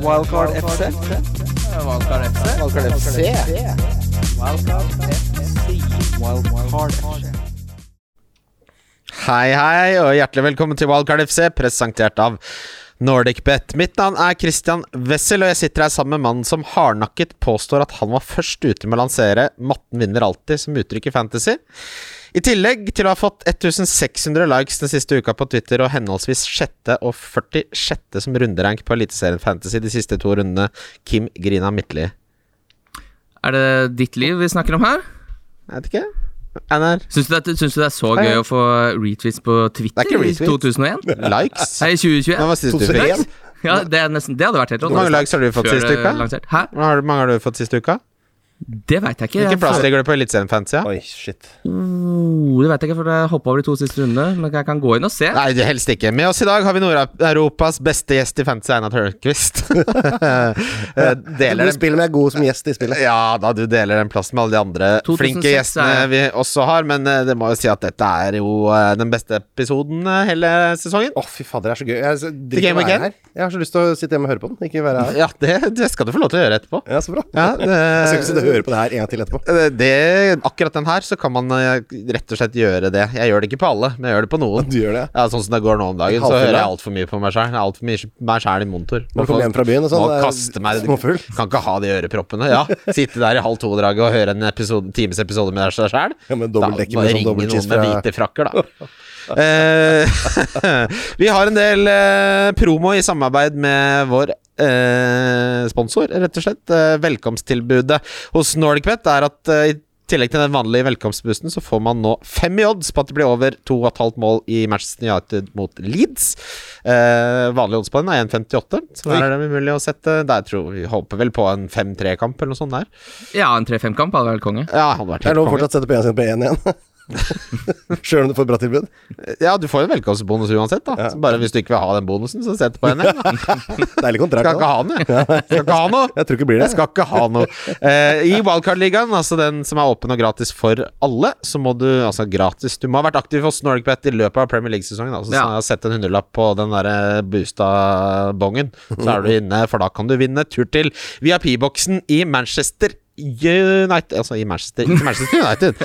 Wildcard FC. Valgkar FC. Wildcard FC. Wildcard FC. Hei, hei, og hjertelig velkommen til Wildcard FC, presentert av NordicBet. Mitt navn er Christian Wessel, og jeg sitter her sammen med mannen som hardnakket påstår at han var først ute med å lansere 'Matten vinner alltid' som uttrykk i fantasy. I tillegg til å ha fått 1600 likes den siste uka på Twitter og henholdsvis sjette og 46. som runderank på Eliteserien Fantasy de siste to rundene, Kim Grina Midtli. Er det ditt liv vi snakker om her? Jeg vet ikke. Einar? Syns du, det er- syns du det er så Ja, ja. gøy å få retweets på Det Twitter er ikke i retweets. 2001? Likes? Nei, i 2021. Hva var sist du fikk? 2001. Ja, det, er nesten, det hadde vært helt rått. Hvor mange likes har du fått Før siste det uka? lansert. Hæ? Hvor har du- mange har du fått siste uka? Det veit jeg ikke. Jeg Hvilken plass faen- ligger du på Eliteserien Fantasy? Ja? Oi, shit. Oh, det vet jeg ikke, for jeg hoppa over de to siste rundene. Men jeg kan gå inn og se. Nei, det helst ikke. Med oss i dag har vi Nord-Europas beste gjest i fantasy, Einar Tørnquist. Eh, deler Du den spiller med god som gjest i spillet. ja da, du deler den plassen med alle de andre 2006 flinke gjestene er- vi også har, men eh, det må jo si at dette er jo eh, den beste episoden eh, hele sesongen. Å, fy fader, det er så gøy. Jeg, så- Game driter i å være Weekend? her. jeg har så lyst til å sitte hjemme og høre på den, ikke være her. Ja, det, det skal du få lov til å gjøre etterpå. Ja, så bra. Ja, eh, Jeg skal ikke sitte det, og høre på det her en gang til etterpå. det, akkurat den her så kan man eh, rett og slett gjøre det. Jeg gjør det ikke på alle, men jeg gjør det på noen. Du gjør det, Ja, Sånn som det går nå om dagen, så Halvfull, hører jeg ja. altfor mye på meg sjæl. Jeg er altfor mye meg sjæl i monitor. Når du kommer hjem fra byen og sånn, Må det er kaste meg småfull. Kan ikke ha de øreproppene. Ja, Sitte der i halv to-draget og høre en episode, times episode med deg sjæl. Ja, men dobbeltdekker må med det sånn ringe dobbelt noen cheese med fra- hvite frakker, da. Eh, vi har en del eh, promo i samarbeid med vår eh, sponsor, rett og slett. Eh, velkomsttilbudet hos NordicBet er at eh, i tillegg til den vanlige velkomstboosten, så får man nå fem i odds på at det blir over 2,5 mål i Manchester United mot Leeds. Eh, vanlig odds på den er 1,58, så der er det mulig å sette. Der tror vi håper vel på en 5-3-kamp eller noe sånt der. Ja, en 3-5-kamp hadde vært konge. Ja, hadde vært Det er helt lov å konge. fortsatt sette pengene sine på 1 igjen. Sjøl om du får bra tilbud. Ja, du får jo en velkomstbonus uansett, da. Så Bare hvis du ikke vil ha den bonusen, så sett på en igjen. da. Deilig kontrakt. Skal ikke da. ha den, jeg. Skal ikke ha noe. Jeg tror ikke det blir det. Jeg skal ikke ha noe. Eh, I Wildcard-ligaen, altså den som er åpen og gratis for alle, så må du altså gratis Du må ha vært aktiv hos NordicBet i løpet av Premier League-sesongen. Altså, Ja. Så har jeg sett en hundrelapp på den derre boosta-bongen, så er du inne, for da kan du vinne tur til VIP-boksen i Manchester. United Altså i Manchester Ikke Manchester United,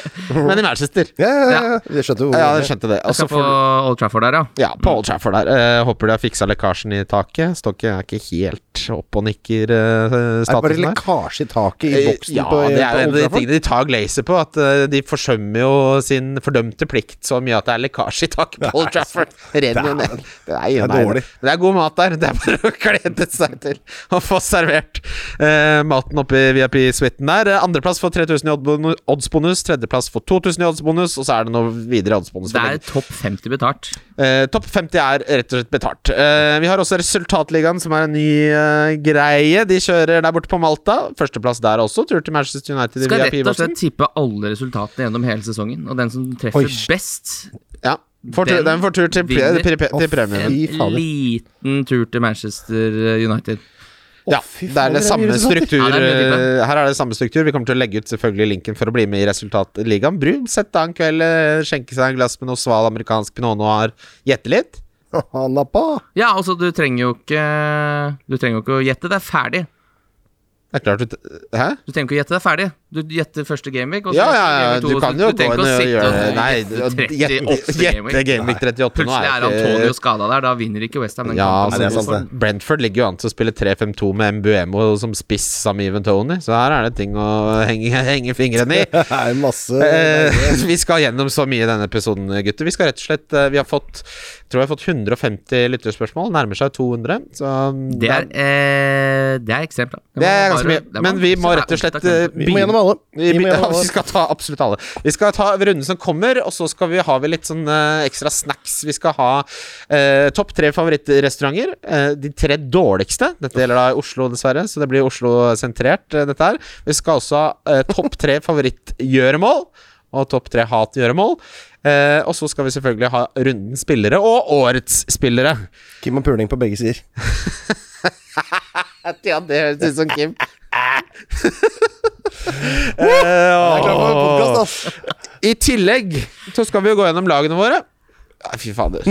men i Manchester. Ja, ja, ja, ja. Jeg skjønte hvor Ja, jeg skjønte det. Og Jeg så skal får på du Old Trafford der, ja. ja, på Old Trafford der. Eh, håper de har fiksa lekkasjen i taket. Står ikke, er ikke helt opp og nikker eh, Er det bare statusen der. lekkasje i taket i Eh, boksen Ja, på, det er en på av de Old Trafford? tingene de tar glazer på. At eh, de forsømmer jo sin fordømte plikt så mye at det er lekkasje i taket på Old Trafford. Renner jo ned. Nei, det er nei, dårlig. Men det er god mat der. Det er bare å glede seg til å få servert eh, maten oppe i VIP-suiten der. Eh, Andreplass for 3000 i oddbonu- oddsbonus, tredjeplass for 2000 i oddsbonus, og så er det noe videre oddsbonus. for Det lenge- er topp 50 betalt. Eh, Topp 50 er rett og slett betalt. Eh, vi har også Resultatligaen, som er en ny eh, greie. De kjører der borte på Malta. Førsteplass der også. Tur til Manchester United i Skal rett og VIP-boksen. slett tippe alle resultatene gjennom hele sesongen, og den som treffer best Ja. Får tur, Den den får tur til, pre- vinner. pre- pre- Å, til premien. En Fy fader. liten tur til Manchester United. Ja, fy det er det faen, det er liksom- samme mye sånn. resultater. struktur Ja, det er mye eh, Her er det samme struktur. Vi kommer til å legge ut selvfølgelig linken for å bli med i Resultatligaen. Bru, sett deg en kveld, eh, skjenke seg en glass med noe sval amerikansk pinot noir, gjette litt. Haha, Nappa. Ja, altså, du trenger jo ikke Du trenger jo ikke å gjette. Det er ferdig. Det er klart du t- Hæ? Du trenger ikke å gjette deg ferdig. Du gjetter første gameweek. og så Ja, ja, gjetter ja, gameweek to, du og kan så- jo gå du inn trenger ikke å og sitte gjøre og Nei, gjette gjette 38 gameweek. Gameweek 38 nå Plutselig er Antonio sånn skada der. Da vinner ikke Westham den ja, kampen. altså, det er sant, for- Brentford ligger jo an til å spille 3-5-2 med Mbuemo som spiss sammen med Even Tony, så her er det ting å henge, henge fingrene i. Det er masse Eh, vi skal gjennom så mye i denne episoden, gutter. Vi skal rett og slett eh, Vi har fått Tror jeg har fått 150 lytterspørsmål. Nærmer seg 200. Så mm, Det er, eh, det er eksempler. det er ganske mye. Men vi må rett og slett eh, Vi må begynne- gjennom alle. vi, Vi må ja, gjennom vi alle. skal ta absolutt alle. Vi skal ta runden som kommer, og så skal vi, har vi litt sånn eh, ekstra snacks. Vi skal ha eh, topp tre favorittrestauranter. eh, de tre dårligste. Dette gjelder da i Oslo, dessverre, så det blir Oslo-sentrert, eh, dette her. Vi skal også ha eh, topp tre favorittgjøremål, og topp tre hatgjøremål. Eh, og så skal vi selvfølgelig ha rundens spillere og årets spillere. Kim og puling på begge sider. Ja, det høres ut som Kim. Eh, podcast, ass. I tillegg så skal vi jo gå gjennom lagene våre. Nei, fy fader.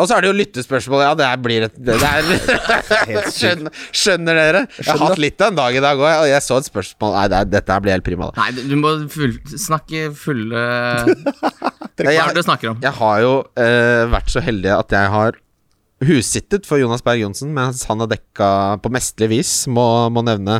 Og så er det jo lyttespørsmål. Ja, det her blir et det der. skjønner, skjønner dere? Jeg har hatt litt av en dag i dag òg, og jeg så et spørsmål Nei, det er, dette her blir helt prima. Da. Nei, du må full, snakke fulle Hva er det Jeg, du snakker om? jeg har jo eh, vært så heldig at jeg har hussittet for Jonas Berg Johnsen mens han har dekka på mesterlig vis, må, må nevne,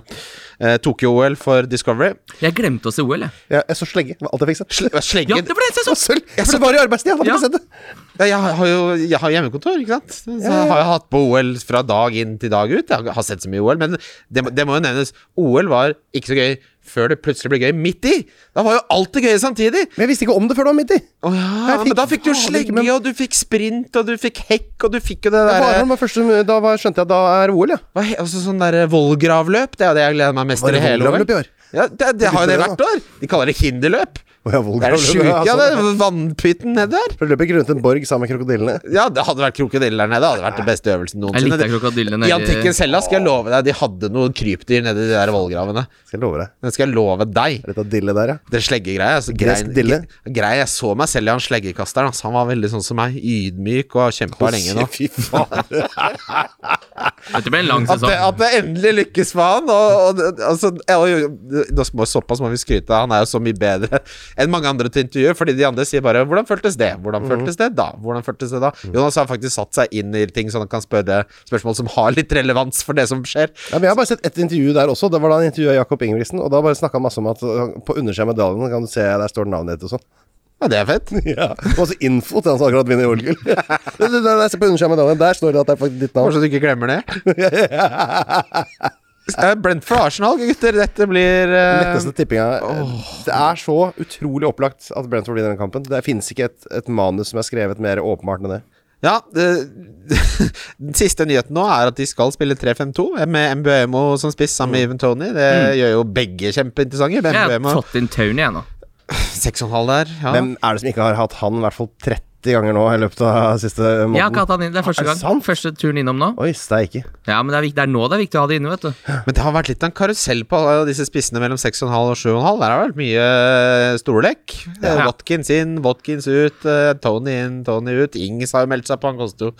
eh, Tokyo-OL for Discovery. Jeg glemte å se OL, jeg. Jeg, jeg så slenge. Det var alt jeg fikk sett. Sle, sleggen Ja, det var det jeg Så så! sølv! For det var i arbeidstida, hadde Ja. ikke sett det. Ja, jeg har jo jeg har hjemmekontor, ikke sant. Så har jeg hatt på OL fra dag inn til dag ut. Jeg har sett så mye OL, men det, må- det må jo nevnes. OL var ikke så gøy før det plutselig ble gøy midt i. Da var jo alt det gøye samtidig. Men jeg visste ikke om det før det var midt i. Å ja, Jeg fikk men da fikk du jo faen ikke slegge, med- og du fikk sprint, og du fikk hekk, og du fikk jo det Det var- det derre var første- Da var, skjønte jeg at da er OL, ja. hva he- altså Sånn derre vollgravløp. Det er jo det jeg gleder meg mest Var til i det hele vollgravløp i år? år. Ja, det, det har jo det visste det, hvert år. De kaller det hinderløp. Å, ja, Det er det sjuke. vollgrav- Ja, det sånn. er vannpytten nedi der. For det løper ikke rundt en borg sammen med krokodillene. Ja, det hadde vært krokodille der nede. Det hadde vært den beste øvelsen Jeg noensinne. likte krokodillene. I antikken Sella skal jeg love deg, de hadde noen krypdyr nedi de der vollgravene. Skal jeg love deg. Den skal jeg love deg. Litt av dille der, ja. Den sleggegreia. Altså, Gresk grein- dille. grei, jeg så meg selv i han sleggekasteren. Altså, han var veldig sånn som meg. Ydmyk og har kjempa lenge nå. Fy faen. Dette ble en lang altså, At det, sesong. at det endelig lykkes for han. Og, og, det- altså, jeg, og, nå må, såpass må vi skryte. av, Han er jo så mye bedre enn mange andre til intervjuet. Fordi de andre sier bare 'Hvordan føltes det? Hvordan føltes det da?' Hvordan føltes det da? Jonas har faktisk satt seg inn i ting, så han kan spørre spørsmål som har litt relevans for det som skjer. Ja, men jeg har bare sett ett intervju der også. Det var da han intervjua Jakob Ingebrigtsen, og da bare snakka han masse om at uh, på undersida av medaljen kan du se der står navnet ditt og sånn. Ja, det er fett. Ja. Og så info til han som akkurat vinner OL-gull. Nei, nei, nei, se på undersida av medaljen, der står det at det er faktisk ditt navn. Kanskje du ikke glemmer det. Eh, Brent for Arsenal, gutter. Dette blir eh, Letteste tippinga. Det er så utrolig opplagt at Brentford vinner den kampen. Det finnes ikke et, et manus som er skrevet mer åpenbart enn det. Ja, det, den siste nyheten nå er at de skal spille 3-5-2 med Mbuemo som spiss sammen med Even Tony. Det gjør jo begge kjempeinteressante. Jeg har Mbuemo fått inn Tony, jeg nå. 6,5 der. Ja. Hvem er det som ikke har hatt han i hvert fall 30 ganger nå i løpet av siste måneden? Jeg har ikke hatt han inn. Det er første Er det gang. sant? Første turen innom nå. Oi, steike. Ja, men det er, viktig, det er nå det er viktig å ha det inne, vet du. Men det har vært litt av en karusell på alle disse spissene mellom 6,5 og 7,5. Der har det vært mye storlekk. Ja. Ja. Watkins inn, Watkins ut, eh, Tony inn, Tony ut. Ings har jo meldt seg på, han koster jo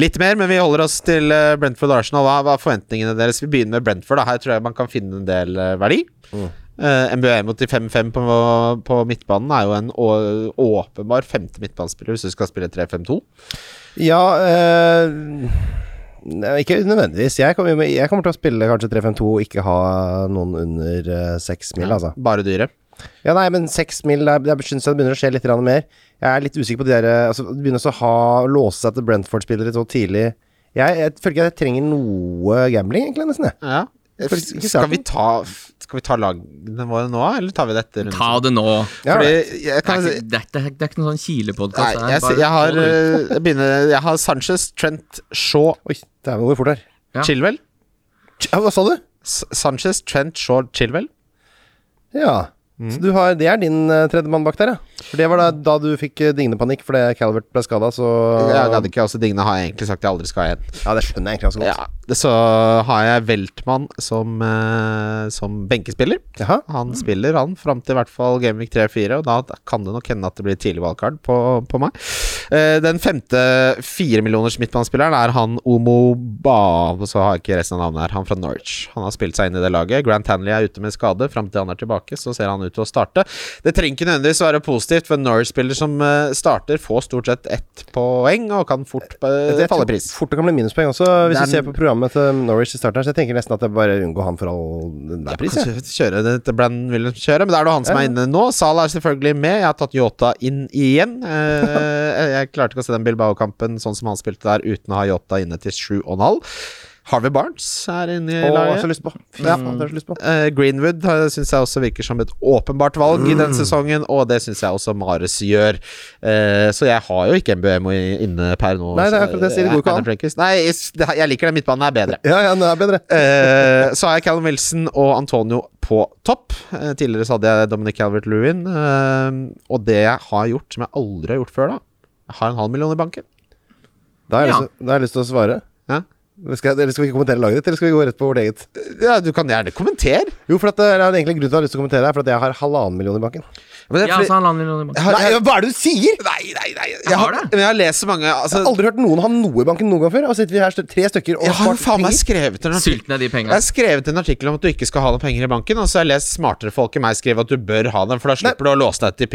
litt mer. Men vi holder oss til eh, Brentford og Arsenal. Hva hva er forventningene deres? Vi begynner med Brentford. Da. Her tror jeg man kan finne en del eh, verdi. Eh, MBM mot de 5-5 på, på midtbanen er jo en å- åpenbar femte midtbanespiller hvis du skal spille 3-5-2. Ja eh, nei, Ikke nødvendigvis. Jeg kommer, jeg kommer til å spille kanskje 3-5-2 og ikke ha noen under eh, seks mil, altså. Bare dyre. Ja, nei, men seks mil der, der synes jeg det begynner å skje litt grann mer. Jeg er litt usikker på de der eh, altså, Det begynner også å ha, låse seg til Brentford-spillere så tidlig. Jeg, jeg føler ikke at jeg trenger noe gambling, egentlig, nesten. Jeg. Ja. Skal vi- Skal vi ta, skal vi ta lagene våre nå, eller tar vi det etter runden? Ta det nå. Ja, Fordi right. jeg Det kan er si ikke, det er, det er, det er ikke noen sånn altså- Nei, kilepodkast. jeg, jeg, har, eh, jeg, begynner, jeg har Sanchez, Trent, Shaw, Oi, dæven, hvor fort det er. Ja. Chilwell. Ja, hva sa du? S Sanchez, Trent, Shaw, Chilwell. Ja. Så du har, det er din uh, tredjemann bak der, ja. For det var da, da du fikk uh, digne panikk fordi Calvert ble skada, så Jeg ja, hadde ikke også Digne har jeg egentlig sagt jeg aldri skal ha igjen. det skjønner jeg egentlig ganske godt. Ja, det- så har jeg Weltmann som, eh, som benkespiller. Jaha. Han spiller han fram til i hvert fall Gameweek 3-4, og da kan det nok hende at det blir tidlig valgkart på, på meg. Eh, Den femte firemillioners midtbanespilleren er han Omo Ba... Så har jeg ikke resten av navnet her. Han fra Norwich. Han har spilt seg inn i det laget. Grant Hanley er ute med skade. Fram til han er tilbake, så ser han ut til å starte. Det trenger ikke nødvendigvis være positivt, for en Norwich-spiller som eh, starter, får stort sett ett poeng og kan fort eh, Jeg falle tror i pris. Fort det kan bli minuspoeng også, hvis Det er du ser den- på programmet til Norwich i starten her, så jeg tenker nesten at jeg bare unngår han for all enhver pris, jeg. Kan kjøre det til Brandon Williams kjøre, men det er jo han som er inne nå. Salah er selvfølgelig med. Jeg har tatt Yota inn igjen. Eh, jeg klarte ikke å se den Bilbao-kampen sånn som han spilte der, uten å ha Yota inne til 7,5. Harvey Barnes er inne i Å, jeg har så laget. lyst på. Fy faen, det har jeg så lyst på. Eh, Greenwood syns jeg også virker som et åpenbart valg i Mm. den sesongen, og det syns jeg også Mares gjør. Eh, så jeg har jo ikke MBMO inne per nå. Nei, det er akkurat det jeg sier, det går ikke an. ikke an. Nei, jeg jeg liker den midtbanen er bedre. Ja, ja, det er bedre. Eh, så har jeg Callum Wilson og Antonio på topp. Eh, tidligere så hadde jeg Dominic Calvert-Lewin. eh, og det jeg har gjort, som jeg aldri har gjort før, da Jeg har en halv million i banken. Da har jeg, Ja. lyst, til- da har jeg lyst til å svare. Ja. Skal, eller skal vi kommentere laget ditt, eller skal vi gå rett på vårt eget? Ja, du kan gjerne kommentere. Jo, for at eh, det er egentlig en grunn til at jeg har lyst til å kommentere her, for at jeg har halvannen million i banken. Men det er Ja, fordi- så han lander noen i banken. Har- Nei, hva er det du sier?! Nei, nei, nei. Jeg Jeg har har, det. men jeg har lest så mange altså, Jeg har aldri hørt noen ha noe i banken noen gang før. Og så sitter vi her stø- tre stykker og Jeg har jo spart faen meg penger. skrevet en artikkel Sulten er de Jeg penga. har skrevet en artikkel om at du ikke skal ha noen penger i banken, og så har jeg lest smartere folk i meg skrive at du bør ha dem, for da slipper du å låse deg til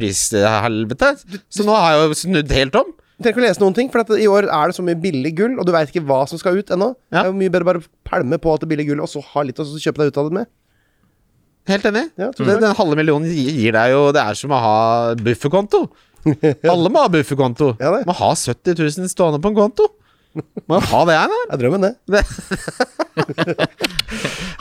prishelvete. Så nå har jeg jo snudd helt om. Du trenger ikke å lese noen ting, for at i år er det så mye billig gull, og du veit ikke hva som skal ut ennå. Ja. Det er jo mye bedre bare å pælme på alt det billige gullet, og så ha litt, og så kjøpe deg ut av det med. Helt enig. Ja, tusen det, den halve millionen gi- gir deg jo Det er som å ha bufferkonto. Alle må ha bufferkonto. Ja, det. må ha 70 000 stående på en konto. Må ha det her, da. Det er drømmen, det.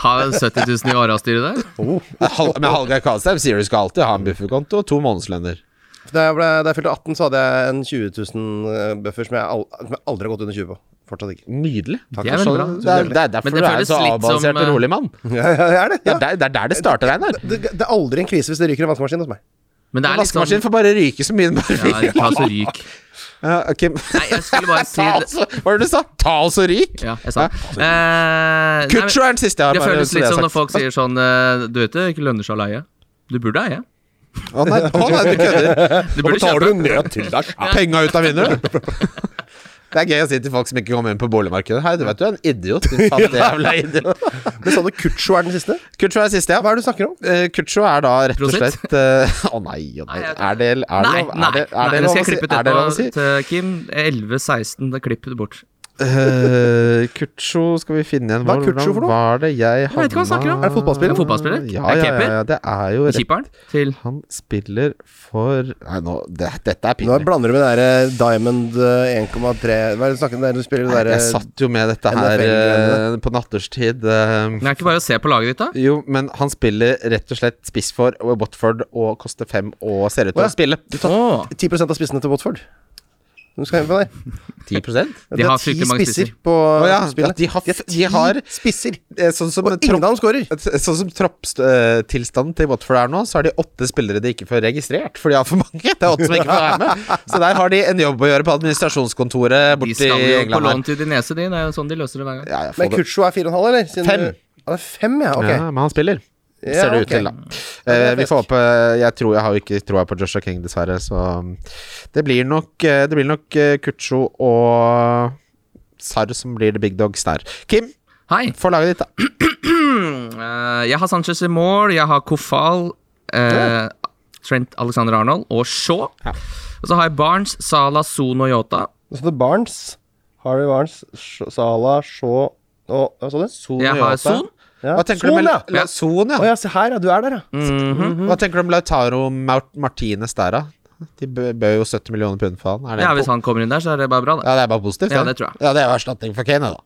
Har 70 000 i åravstyret der? Hal- Men Hallgeir Kvalstheim sier du skal alltid ha en bufferkonto og to månedslønner. Da jeg, ble, da jeg fylte 18, så hadde jeg en 20 000 buffer som jeg, al som jeg aldri har gått under 20 på. Fortsatt ikke. Nydelig. Det er for veldig sånn. bra. Det er, det er derfor Men det du er føles en så litt som, avbalansert eh, og rolig mann. Ja, ja, jeg er det. Det Ja. er der det, er der det starter, Einar. Det, det er aldri en krise hvis det ryker en vaskemaskin hos meg. Men det er litt Vaskemaskinen sånn får bare ryke så mye den bare ja, vil. Ta så ryk. Ja, ok. Nei, jeg skulle bare si Ta det. altså, hva var det du sa? Ta oss og ryk? Ja, jeg sa det. Eh, nei, men Kutcher er den siste jeg har. Det bare føles så det litt er som når sagt. folk sier sånn eh, Du vet det ikke lønner seg å leie. Du burde eie. Å nei, å nei, du kødder. Du burde kjøpe. du ned til deg. Penga ut av vinduet. Det er gøy å si til folk som ikke kommer inn på boligmarkedet. Hei, du vet du er en idiot. Din fattige jævla idiot. Men sa du Kutsjo er den siste? Kutcher er den siste, ja. Hva er det du snakker om? Eh, Kutcher er da rett og Prosit. slett eh, Å nei, å nei. Nei, jeg- Er det er det lov Nei, nei, er det- er nei, det det lov å skal jeg si? klippe Er det lov å si? ut til Kim. 11.16, da klipper du bort. Eh, Kutcho, skal vi finne igjen Hva er Hvordan Kutcho for noe? Var det jeg vet ikke hva han havna- snakker om. Er det fotballspiller? Er det fotballspiller? Ja, Er ja, det ja, keeper? ja. Det er jo rett Keeperen til Han spiller for Nei, nå, det, dette er Nå pinlig. blander du med det der eh, Diamond eh, 1,3 Hva er det du snakker om der? Du spiller det der Jeg eh, satt jo med dette her NFL-greiene. eh, på natterstid. eh. Det er ikke bare å se på laget ditt, da. Jo, men han spiller rett og slett spiss for Watford og koster fem og ser ut til Å, ja. å spille. Åh, 10 av spissene til Watford. Du skal hjem på der. 10 Å Det er har ti fryktelig mange spisser. på ja, ja, spillet. de har, f- de har Spisser. eh, Sånn som, Og ingen av dem skårer. tropp- sånn som troppstilstanden til Watford er nå, så har de åtte spillere de ikke får registrert, for de har for mange. Det er åtte som ikke får være med. Så der har de en jobb å gjøre på administrasjonskontoret de borti skal jo på England. lån til Dinese, de. Det er jo sånn de løser det hver gang. Ja, ja, få Men det. Kutsjo er 4,5, eller? Siden Fem. du- Ja, det er fem, ja. Ok. Ja, men han spiller. Ja, ser det ut ok. til, da. det er Eh, vi fisk. får håpe Jeg tror jeg har jo ikke troa på Joshua King, dessverre, så um, det blir nok eh, Det blir nok eh, Kucho og Sarr som blir the big dogs der. Kim, Hei. få laget ditt, da. Eh, jeg har Sanchez i mål, jeg har Kofal, eh, Trent Alexander Arnold og Shaw. Ja. Og så har jeg Barnes, Salah, Son og Yota. Så det er Barnes, Harvey Barnes, Sh- Salah, Shaw og Hva sa du? Jeg har Son. Ja. Hva tenker du Son, med ja. La- Son, Å ja. ja, Mhm. se her, ja. Du er der, ja. Mm. Mhm. Mm. Hva tenker du om Lautaro Mart Martinez der, da? De bø- bød jo 70 millioner pund for han. Er det Ja, en hvis po- han kommer inn der, så er det bare bra, det. ja, det er bare positivt? Ja, det tror jeg. Ja, det er jo erstatning for Kane, da.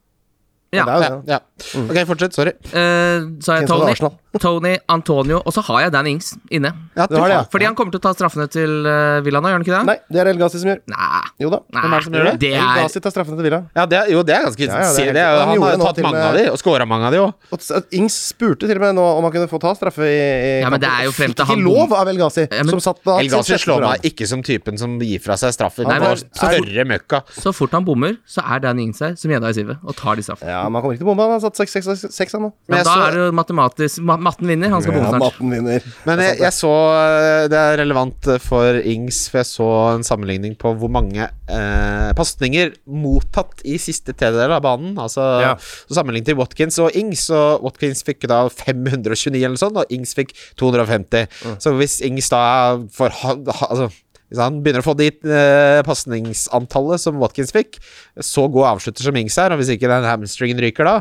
Ja. Det Ja, er jo det. ja. Mm. Ok, fortsett. Sorry. Eh, så har jeg Kjennes som Tony, Arsenal. Tony, Antonio, og så har jeg Dan Ings inne. Ja, Du har det, ja. Fordi han kommer til å ta straffene til eh, Villa nå, gjør han ikke det? Nei, det er El Ghazi som gjør. Nei. Jo da. Nei. Hvem er det som gjør det? Det El er Ghazi tar straffene til Villa. Ja, det er, jo, det er ganske Ja, ja, det er sier helt- det. han Han, gjorde har nå jo tatt til mange med- av de, og scora mange av de òg. Og s- Ings spurte til og med nå om han kunne få ta straffe i, i Ja, men det kampen, er jo og frem fikk til han Ikke lov av El Ghazi, Ja, men- som satt da El Ghazi sitt slår sjette meg ikke som typen som gir fra seg straffer. Han Nei, var men- større møkka. Så fort han bommer, så er Dan Ings her som gjedda i sivet og tar de straffene. Ja, men han kommer ikke til å bombe. Han har satt 6-6 nå. Men Men jeg da så- er det jo matematisk ma Matten vinner, han skal bomme Ja, snart. matten vinner. Men jeg, jeg så eh, Det er relevant eh, for Ings, for jeg så en sammenligning på hvor mange eh, pasninger mottatt i siste tredjedel av banen. Altså Ja. så Sammenlignet til Watkins og Ings, og Watkins fikk da 529 eller sånn, og Ings fikk 250. Så hvis Ings da får ha, ha, altså, hvis han begynner å få de eh, pasningsantallet som Watkins fikk, så god avslutter som Ings er, og hvis ikke den hamstringen ryker da,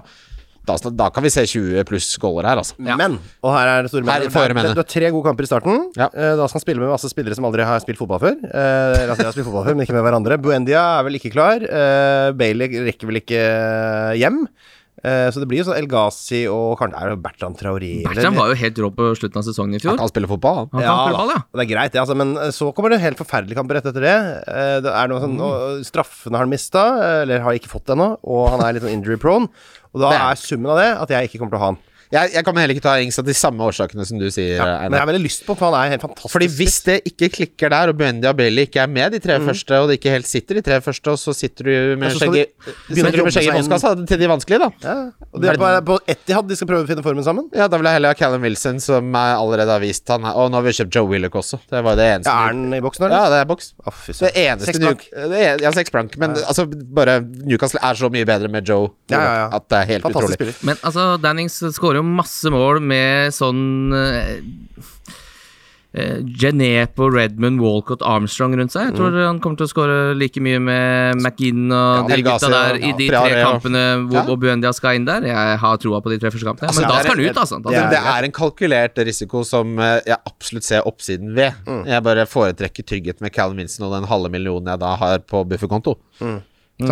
da, da kan vi se 20 pluss goaler her, altså. Ja. Men, og her er det store Her får jeg mene. Du har tre gode kamper i starten. Ja. Eh, Da skal han spille med masse spillere som aldri har spilt fotball før. Eh, Eller altså, de har spilt fotball før, men ikke med hverandre. Buendia er vel ikke klar. Eh, Bailey rekker vel ikke hjem. Eh, Så det blir jo sånn El Ghazi og kanskje er det Bertrand Traoré Bertrand var jo helt rå på slutten av sesongen i Han fjor. kan spille fotball, han. Han kan spille ball, ja. Det er greit, det, altså, men eh, så kommer det helt forferdelige kamper rett etter det. Eh, Det er noe sånn, Mm. og Straffene har han mista, eller har ikke fått det ennå, og han er litt sånn injury prone. Og da Det er- er summen av det at jeg ikke kommer til å ha han. Jeg, jeg kan heller ikke ta Ings av de samme årsakene som du sier, Men jeg Einar. har veldig lyst på, for han er helt fantastisk. Fordi hvis det ikke klikker der, og Buendi og Bailey ikke er med de tre første, og det ikke helt sitter de tre første, og så sitter du med Mm. Ja, så skal skjegget de begynne sitter å du med jobbe skjegget i seg inn. postkassa til de vanskelige, da. ja. Og de er på, på Etihad de skal prøve å finne formen sammen. Ja, da vil jeg heller ha Callum Wilson, som jeg allerede har vist han her. Og nå har vi kjøpt Joe Willoch også. Det var jo det eneste. Ja, er han i ja, boksen, eller? det er boks. Å, fy Det søren. eneste Seks blank. Newc- det er, Ja, seks blank. Men altså, bare Newcastle er så mye bedre med Joe Ja, ja, ja. at det er helt Fantastisk utrolig. spiller. Men altså, Dannings skårer jo masse mål med sånn eh, eh, Genepo, Redmond, Walcott, Armstrong rundt seg. Jeg tror han kommer til å skåre like mye med McInn og de Elgazi gutta og- der i Mm. ja, de Traoré tre og- kampene Ja. hvor hvor Buendia skal inn der. Jeg har troa på de tre første kampene. Altså, Men det da er- skal han ut, altså. Da det Det skal er, det han er en kalkulert risiko som eh, jeg absolutt ser oppsiden ved. Jeg bare foretrekker trygghet med Callum Wilson og den halve millionen jeg da har på bufferkonto. ut. Mm,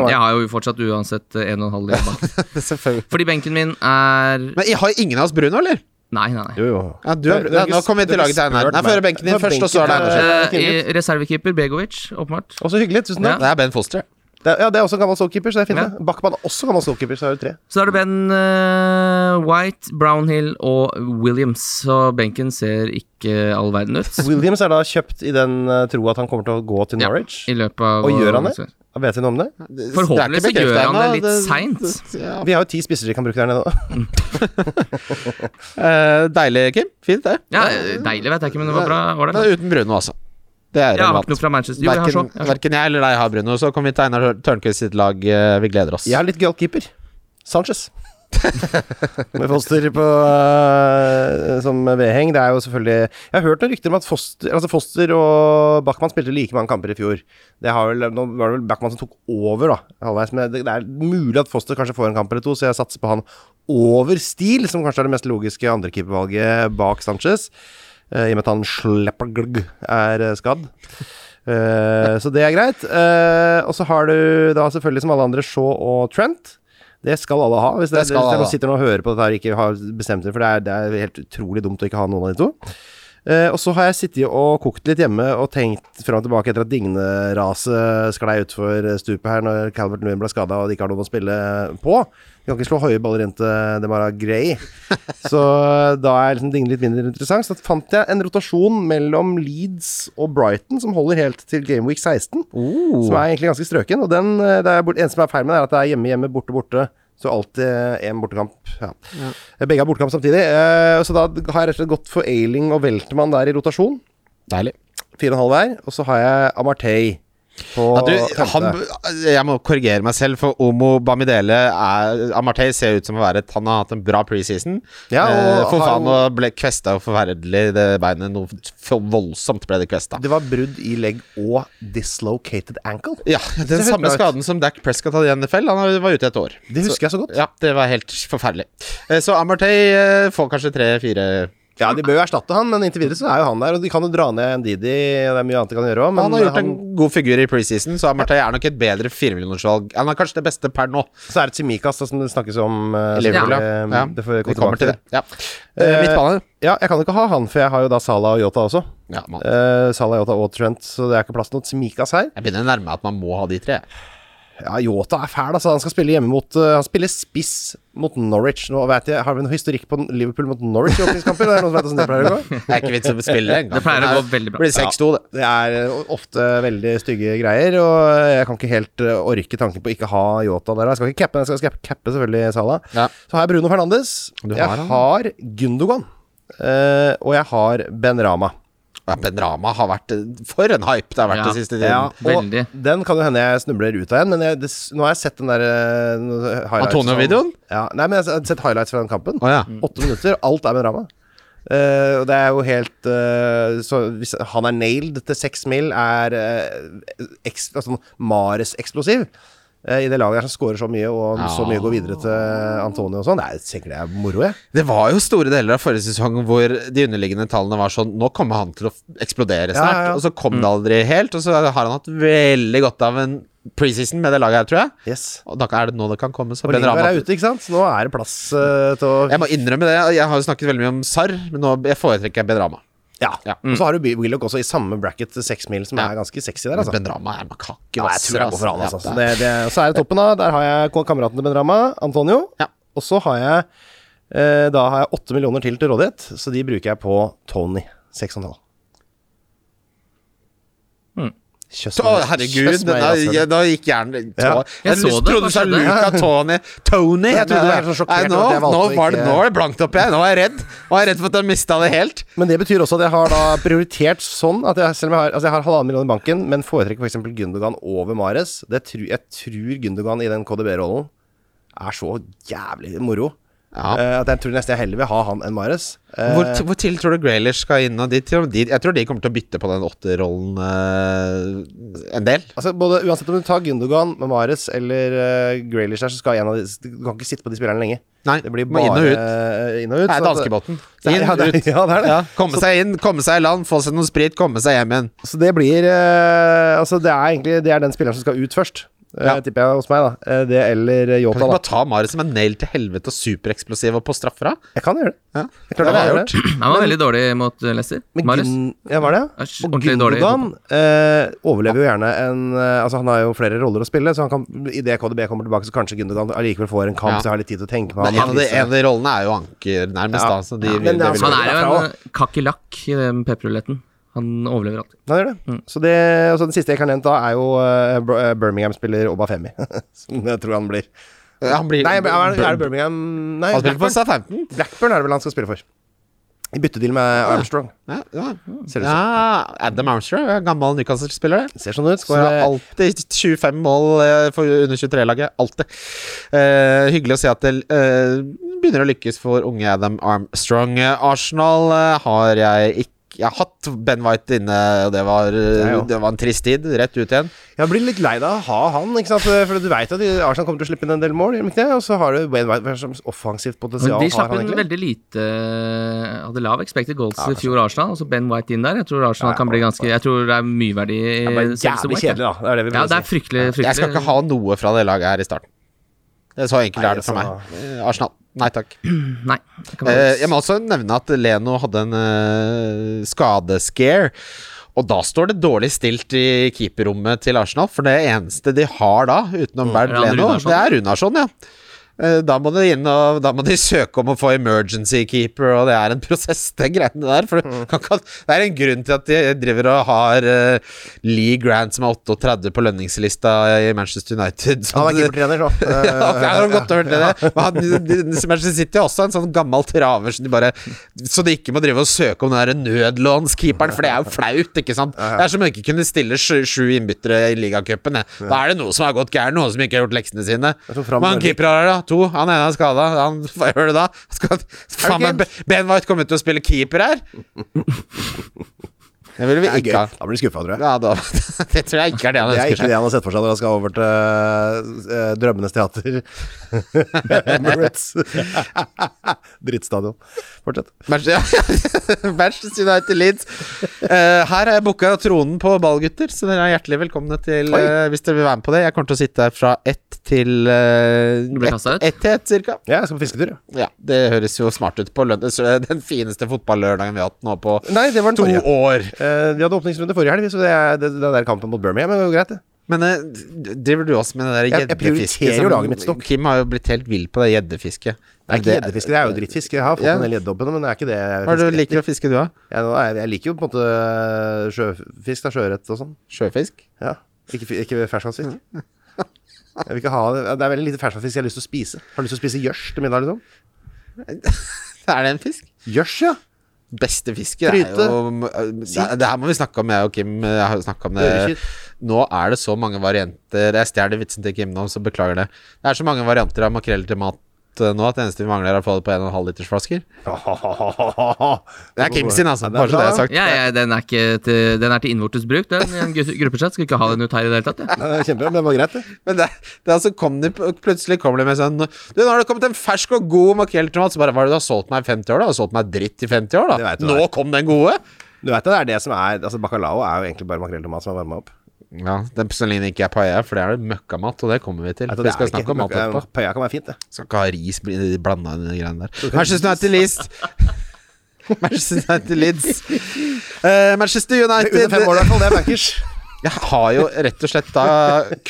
Jeg har jo fortsatt uansett eh, en og en halv del bak. Selvfølgelig. Fordi benken min er Nei, Men jeg har ingen av oss Bruno, eller? nei, nei. Jo, jo. Ja, du er, Du- du ja, har ikke- nå kommer vi du til har laget til ikke Einar. spurt Nei, meg. få høre benken din Det var først, og så er det Einar. benken til- sin. er Eh, fint. i- Reservekeeper Begovic, åpenbart. Og så hyggelig. Tusen takk. Det er Ben Foster. Det er, ja, det er også en gammel soulkeeper, så det er fint. Ja. det. Backman er også gammel soulkeeper, så er det tre. Så er det Ben eh, White, Brownhill og Williams. Så benken ser ikke all verden ut. Williams er da kjøpt i den eh, tro at han kommer til å gå til Ja, Norwich. I løpet av Og gjør han det? Vet vi noe om det? Det- Forhåpentligvis det er ikke så gjør han bekreftet det ennå. litt det- ja. Vi har jo ti spisser de kan bruke der nede òg. Eh, Deilig, Kim. Fint, det. Ja, Deilig vet jeg ikke, men det var bra. Var Men det? uten Bruno, altså. Det er Jeg har ikke relevant. noe fra Manchester. Jo, jeg har så. Verken, Jeg har så. verken jeg eller deg har Bruno, så kommer vi til Einar Tørnquist sitt lag. eh, Vi gleder oss. Jeg er litt gøyal keeper. Sanchez. Med Foster på eh, som vedheng. Det er jo selvfølgelig Jeg har hørt noen rykter om at Foster, altså Foster og Backman spilte like mange kamper i fjor. Det har vel, nå var det vel Backman som tok over, da. Halvveis. Men det, det er mulig at Foster kanskje får en kamp eller to, så jeg satser på han over Steele, som kanskje er det mest logiske andrekeepervalget bak Sanchez. eh, I og med at han Schlepperglg er eh, skadd. Eh, så det er greit. Eh, og så har du da selvfølgelig som alle andre Shaw og Trent. Det skal alle ha, hvis det, Det skal hvis det alle er ha. noen sitter nå og hører på dette her og ikke har bestemt seg, for det er, det er helt utrolig dumt å ikke ha noen av de to. Eh, og så har jeg sittet og kokt litt hjemme og tenkt fram og tilbake etter at Digne-raset sklei utfor stupet her når Calvert Lewin ble skada og de ikke har noen å spille på. De kan ikke slå høye baller inn til Demara Gray. Så da er liksom Digne litt mindre interessant. Så fant jeg en rotasjon mellom Leeds og Brighton som holder helt til Gameweek 16. Oh, Som er egentlig ganske strøken. Og den, eh, det er bort, en som er feil med det, er at det er hjemme, hjemme, borte, borte. Så alltid én bortekamp. Ja. Begge har bortekamp samtidig. eh, Så da har jeg rett og slett gått for Ailing og Weltermann der i rotasjon. Deilig. Fire og en halv hver. Og så har jeg Amartey på Ja, du, femte. han, jeg må korrigere meg selv, for Omo Bamidele er Amartey ser ut som å være et- Han har hatt en bra preseason. Ja, og Eh, for har faen, jo- og ble kvesta og forferdelig i det beinet. Noe for voldsomt ble det kvesta. Det var brudd i legg og dislocated ankle. Ja, den Det ser helt samme bra ut. skaden som Dac Prescott hadde i NFL. Han har- var ute et år. Det husker jeg så godt. Ja, det var helt forferdelig. Eh, Så Amartey eh, får kanskje tre-fire Ja, De bør jo erstatte han, men inntil videre så er jo han der. Og de kan jo dra ned Ndidi, og det er mye annet de kan gjøre òg, men Han har gjort en god figur i preseason, så Amartey er nok et bedre firemillionersvalg. Han er kanskje det beste per nå. så er det Tsimikas da, som det snakkes om. eh, Liverpool, som, ja. eh, ja. Det får vi vi komme kommer til det. tilbake til. Ja. Eh, Midtbane. Ja, jeg kan jo ikke ha han, for jeg har jo da Salah og Yota også. Ja, man. Eh, Salah, Yota og Trent, så det er ikke plass til noe Tsimikas her. Jeg begynner å nærme meg at man må ha de tre. Ja, Yota er fæl, altså. Han skal spille hjemme mot eh, Han spiller spiss mot Norwich. Nå vet jeg, Har vi noe historikk på Liverpool mot Norwich i åpningskamper? Det er noen som vet hvordan det pleier å gå? Det er ikke vits i å spille engang. Det pleier å gå veldig bra. blir 6-2, det. Det er eh, ofte veldig stygge greier, og jeg kan ikke helt eh, orke tanken på ikke ha Yota der. Jeg skal ikke cappe, men jeg skal cappe- cappe selvfølgelig Sala. Ja. Så har jeg Bruno Fernandes. Du har jeg han. har Gundogan. eh, og jeg har Ben Rama. Ja, Benrama har vært eh, For en hype det har vært Ja. det siste tiden. Ja, og Veldig. den kan jo hende jeg snubler ut av igjen, men jeg, det, nå har jeg sett den der eh, noe highlights Antonio-videoen? fra- Ja, nei, men jeg har sett highlights fra den kampen. Å, ja. Åtte minutter, alt er med drama. Eh, og det er jo helt eh, Så hvis han er nailed til seks mil, er uh, eks, altså, sånn Mares-eksplosiv eh, i det laget her som scorer så mye, og så mye går videre til Antonio og sånn. Det er sikkert det er moro, jeg. Det var jo store deler av forrige sesong hvor de underliggende tallene var sånn Nå kommer han til å f- eksplodere snart, ja, Mm. ja. og så kom det aldri helt. Og så har han hatt veldig godt av en preseason med det laget her, tror jeg. Yes. Og da er det nå det kan komme. Så Og Ben Lindberg Rama er ute, ikke sant? Så nå er det plass eh, til å Jeg må innrømme det. Jeg har jo snakket veldig mye om Sarr, men nå jeg foretrekker jeg Ben Rama. Ja. Ja. Og så har du Willoch også i samme bracket til seks mil, som Ja. er ganske sexy der, altså. Ben Rama er makaker. Ja, jeg altså, tror jeg går for han, altså. altså. Så, Ja, det det, det, så er det toppen, da. Der har jeg kameraten til Benrama, Antonio. Ja. Og så har jeg Eh, Da har jeg åtte millioner til til rådighet, så de bruker jeg på Tony. Seks og en halv. Kjøss Å, meg- herregud, kjøss meg i da, rasshølet. ja, da gikk hjernen Ja. tå- Jeg Jeg, så det, trodde du sa kanskje det. Luca Tony Tony. Jeg trodde du var helt så sjokkert Nei, nå, over at jeg nå, valgte å var det, ikke- nå er det blankt opp jeg. Nå er jeg redd. Nå er jeg redd for at jeg mista det helt. Men det betyr også at jeg har da prioritert sånn at jeg, selv om jeg har, altså jeg har halvannen million i banken, men foretrekker f.eks. For Gundogan over Mares. Det tru, jeg tror Gundogan i den KDB-rollen er så jævlig moro Ja. eh, at jeg tror nesten jeg heller vil ha han enn Mares. Hvor, t- hvor til tror du Graylish skal inn? Og de, tror- de, jeg tror de kommer til å bytte på den åtterrollen eh, en del. Altså, både, uansett om du tar Gundogan med Mares eller uh, Graylish der, så skal en av de Du kan ikke sitte på de spillerne lenge. Nei, Det blir må bare inn og ut. eh, inn og ut, Det sånn er at- danskebåten. Det er- Inn, ja, det er- ut. ja, det er det. komme seg inn, komme seg i land, få seg noe sprit, komme seg hjem igjen. Så det blir eh, Altså, det er egentlig det er den spilleren som skal ut først, eh, Ja. tipper jeg hos meg, da. Eh, det eller eh, Kan vi Yota, ikke bare da. ta Mari som en nail til helvete og supereksplosiv og på straffer, da? Jeg kan gjøre det. Ja. Jeg det har klarte å jeg gjøre gjort. det. Han var veldig dårlig mot eh, Leicester. Men Marius. Gun- ja, var det? ja? Er s- Og ordentlig dårlig i Gundogan eh, overlever jo gjerne en eh, Altså, han har jo flere roller å spille, så han kan idet KDB kommer tilbake, så kanskje Gundogan allikevel får en kamp, Ja. så jeg har litt tid til å tenke på Men en ham. av, de, en av de rollene er jo anker, nærmest, Ja. da. Så de, ja, Ja, men altså, det Han er er jo derfra, en eh, kakerlakk i den pepperuletten. Han overlever alltid. Han gjør det. Mm. Så det altså, den siste jeg kan nevne da, er jo eh, Br- eh, Birmingham-spiller Obafemi. som jeg tror han blir. han blir Nei, er, er det Birmingham Altså, Nei, Han spiller på Blackburn. Southampton. Blackburn er det vel han skal spille for. I byttedeal med Ah. Armstrong. Ja, ja. Ser det ja, Adam Armstrong, ja, gammel Newcastle-spiller. Ser sånn ut. Så det er Skårer alltid 25 mål eh, for under 23-laget. Alltid. Eh, hyggelig å se at det eh, begynner å lykkes for unge Adam Armstrong. Eh, Arsenal eh, har jeg ikke jeg har hatt Ben White inne, og det var, eh, Jeg òg. det var en trist tid. Rett ut igjen. Jeg blir litt lei deg av å ha han, ikke sant? for du veit at Arsenal kommer til å slippe inn en del mål, gjør de ikke det? Og så har du Wayne White hva slags offensivt Men potensial. de har slapp han inn egentlig? veldig lite eh, Hadde lav expected goals i fjor Arsenal, og så Ben White inn der. Jeg tror Arsenal Ja, kan bli ganske Jeg tror det er mye verdi i Det er bare selveste jævlig White, kjedelig, da. Det er det vi Ja, det er prøver å si. fryktelig, fryktelig Jeg skal ikke ha noe fra det laget her i starten. Det er så enkelt Nei, er det for altså. meg. Eh, Arsenal. Nei takk. Nei. det kan være- Eh, jeg må også nevne at Leno hadde en eh, skadescare. Og da står det dårlig stilt i keeperrommet til Arsenal, for det eneste de har da, utenom Bernt Er det Leno, han Mm, Runarsson? det er Runarsson, ja. Eh, Da må, de inn og, da må de søke om å få emergency keeper, og det er en prosess, det greiene der. For Mm. du kan ikke, det er en grunn til at de driver og har eh, Lee Grant, som er 38 på lønningslista i Manchester United. som Han er de- keepertrener, så. Eh, ja, det er jo godt å høre det. Men han- de- de- Manchester City har også en sånn gammel traver, så de, bare, så de ikke må drive og søke om den der nødlånskeeperen, for det er jo flaut, ikke sant? Det er som om de ikke kunne stille sju, sju innbyttere i ligacupen. det. Da er det noe som har gått gærent, noen som ikke har gjort leksene sine. Jeg tror Fram Men han Børli- keeper har det, da. To. Han ene er skada. Han- Hva gjør du da? Skal, faen, meg, ben White kommer til å spille keeper her! Det ville det vi er gøy. ikke ha. Da blir du skuffa, tror jeg. Ja, da, det tror jeg ikke er det han Det er ønsker ikke seg. det han har sett for seg når han skal over til eh, Drømmenes teater. Emirates. Drittstadion. Fortsett. Manchester Manchester United Leeds. Eh, her har jeg booka tronen på ball, gutter, så dere er hjertelig velkomne til Oi. eh, Hvis dere vil være med på det. Jeg kommer til å sitte her fra ett til eh, Du blir ett- kastet ut? ett til ett, cirka. Ja, jeg skal på fisketur. ja. Ja, det høres jo smart ut på lønn. så det er Den fineste fotballørdagen vi har hatt nå på Nei, det var den to forrige. år. Eh, vi hadde åpningsrunde forrige helg, så det, er- det, den der kampen mot Birmingham men det var greit, det. Men eh, d- driver du også med det der Jeg- jeg prioriterer jo laget mitt, Stokk. Kim har jo blitt helt vill på det gjeddefisket. Det er ikke gjeddefiske, det er jo drittfiske. Jeg har fått Ja. en del gjeddehoppene, men det er ikke det jeg Hva er det fisker du liker å fiske, du, da? Jeg, nå er- jeg liker jo på en måte eh, sjøfisk, da, sjøørret og sånn. Sjøfisk? Ja. Ikke, fi- ikke ferskvannsfisk. Jeg vil ikke ha det. det er veldig lite ferskvannsfisk jeg har lyst til å spise. Har lyst til å spise gjørs til middag, liksom. Er det en fisk? Gjørs, ja! Beste fiske det Gryte. er jo eh, det, det her må vi snakke om, jeg og Kim. Jeg har jo snakket om det. Ørekitt. Nå er det så mange varianter Jeg stjeler vitsen til Kim nå, så beklager det. Det er så mange varianter av makrell til mat eh, nå at det eneste vi mangler, er å få det på 1,5 liters flasker. Det er Kim sin, altså. Ja, det er Bare så det bra. er sagt. ja, ja, den, er ikke til, den er til innvortes bruk. Den i en gu- gruppechat skal ikke ha den ut her i det hele tatt. Ja. Ja, det er Kjempebra, men det var greit, det. Men det, det er altså kom de, plutselig kommer de med sånn Du, nå har det kommet en fersk og god makrell til mat. Så bare Hva er det du har solgt meg i 50 år, da? Du har solgt meg dritt i 50 år, Det da. vet du Nå det. kom den gode? Du vet at det er det som er Altså, bacalao er jo egentlig bare makrell i tomat som er varma opp. Ja, den som ligner ikke er paella, for det er det møkkamat, og det kommer vi til. Vet du, For vi det er skal ikke- snakke om mat etterpå. Pøya kan være fint, det. Skal ikke ha ris blanda inn i de greiene der. Manchester United Leeds. Manchester United Leeds. Eh, Manchester Under fem år, i United eh, hvert fall. Det er bankers. Jeg har jo rett og slett da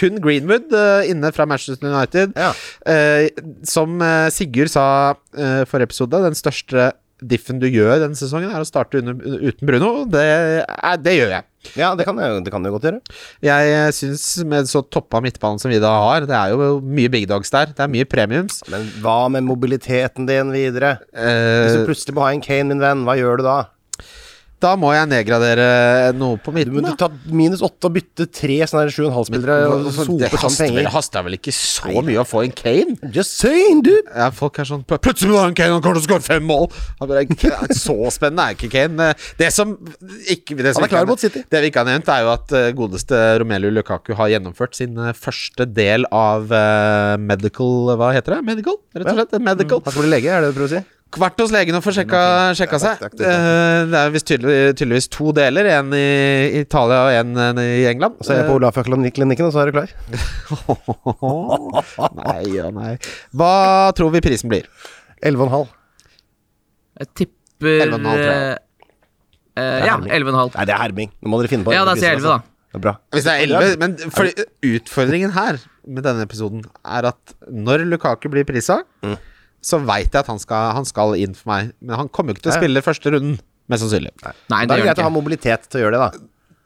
kun Greenwood eh, inne fra Manchester United. Ja. Eh, som eh, Sigurd sa eh, forrige episode, den største diffen du gjør denne sesongen, er å starte under, uten Bruno. Det, eh, det gjør jeg. Ja, det kan jeg jo- det kan jeg godt gjøre. Jeg eh, syns med så toppa midtbanen som vi da har, det er jo mye big dogs der. Det er mye premiums. Men hva med mobiliteten din videre? Hvis du Eh, plutselig må ha en Kane, min venn, hva gjør du da? da må jeg nedgradere noe på Du midten. må da. ta minus åtte og bytte tre sånne her sju og en halv spillere og sope det sånn haster vel, penger. haster vel ikke så mye å få en Kane? Just saying, dude! Ja, folk er sånn Plutselig må du ha en Kane, han kommer til å skåre fem mål! Han bare, "K- Så spennende er ikke Kane. Det som ikke det som Han er ikke klar mot City. Det vi ikke har nevnt, er jo at eh, godeste Romelu Lukaku har gjennomført sin eh, første del av eh, medical Hva heter det? Medical, rett og slett. eh, Medical. Han skal bli lege, er det det du prøver å si? Vært hos legen og få sjekka, sjekka seg. takk, takk, takk. Eh, Det er visst tydelig, tydeligvis to deler. En i Italia og en eh, i England. Så er jeg på Olafjørklinikken, og så er du klar. Nei ja, nei. Hva tror vi prisen blir? Elleve og en halv. Jeg tipper 11,5 tror jeg. eh, eh, Ja, 11,5. Nei, det er herming. Nå må dere finne på Ja, da sier jeg 11, da. Det er bra. Hvis det er 11 Men fordi utfordringen her med denne episoden er at når Lukaku blir prisa, så veit jeg at han skal, han skal inn for meg. Men han kommer jo ikke til å Ja. spille første runden, mest sannsynlig. Nei, Da det gjør er det greit å det ha ikke. mobilitet til å gjøre det, da.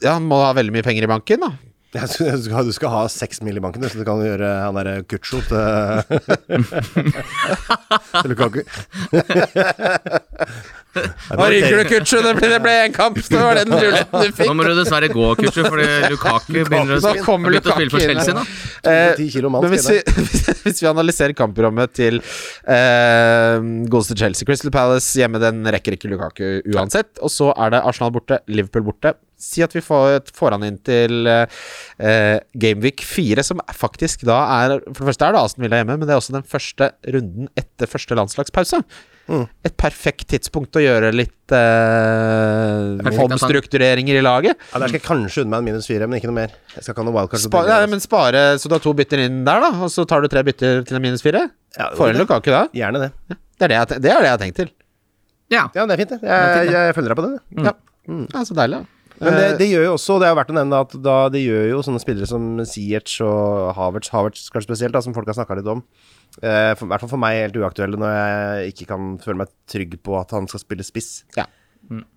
Ja, han må ha veldig mye penger i banken, da. Jeg synes Du skal, du skal ha seks mil i banken, du, så du kan gjøre han derre Kutsjo til til Lukaku. Hva ryker du, Kutsjo? Det ble, det ble en kamp! Det var den ruletten du Nå fikk. må du dessverre gå, Kuchu, fordi Lukaku begynner å Nå kommer begynte å spille for Lukaku inn Chelsea her. nå. Eh, 10 kilo mann Men hvis vi, skal hvis vi analyserer kampprogrammet til eh, godeste Chelsea Crystal Palace hjemme, den rekker ikke Lukaku uansett. Og så er det Arsenal borte, Liverpool borte. Si at vi får, får han inn til eh, Gameweek 4, som faktisk da er For det første er det Aston Villa hjemme, men det er også den første runden etter første landslagspause. Mm. Et perfekt tidspunkt å gjøre litt eh, Perfekt, altså. omstruktureringer i laget. Ja, der skal jeg kanskje unne meg en minus fire, men ikke noe mer. Jeg skal ikke ha noe wildcard. så Spa, Altså, det nei, blir- men spare, så du har to bytter inn der, da, og så tar du tre bytter til en minus fire? Ja, det var Får en det. Lukaku da? Gjerne det. Det er det jeg, te- det er det jeg har tenkt til. Ja. Ja, men det er fint, det. Jeg, jeg, jeg følger deg på det. det. Ja. ja, så deilig, da. Men det, det gjør jo også, det er jo verdt å nevne, at da, det gjør jo sånne spillere som Siertz og Havertz, Havertz kanskje spesielt, da, som folk har snakka litt om. Eh, for, I hvert fall for meg helt uaktuelle når jeg ikke kan føle meg trygg på at han skal spille spiss. Ja.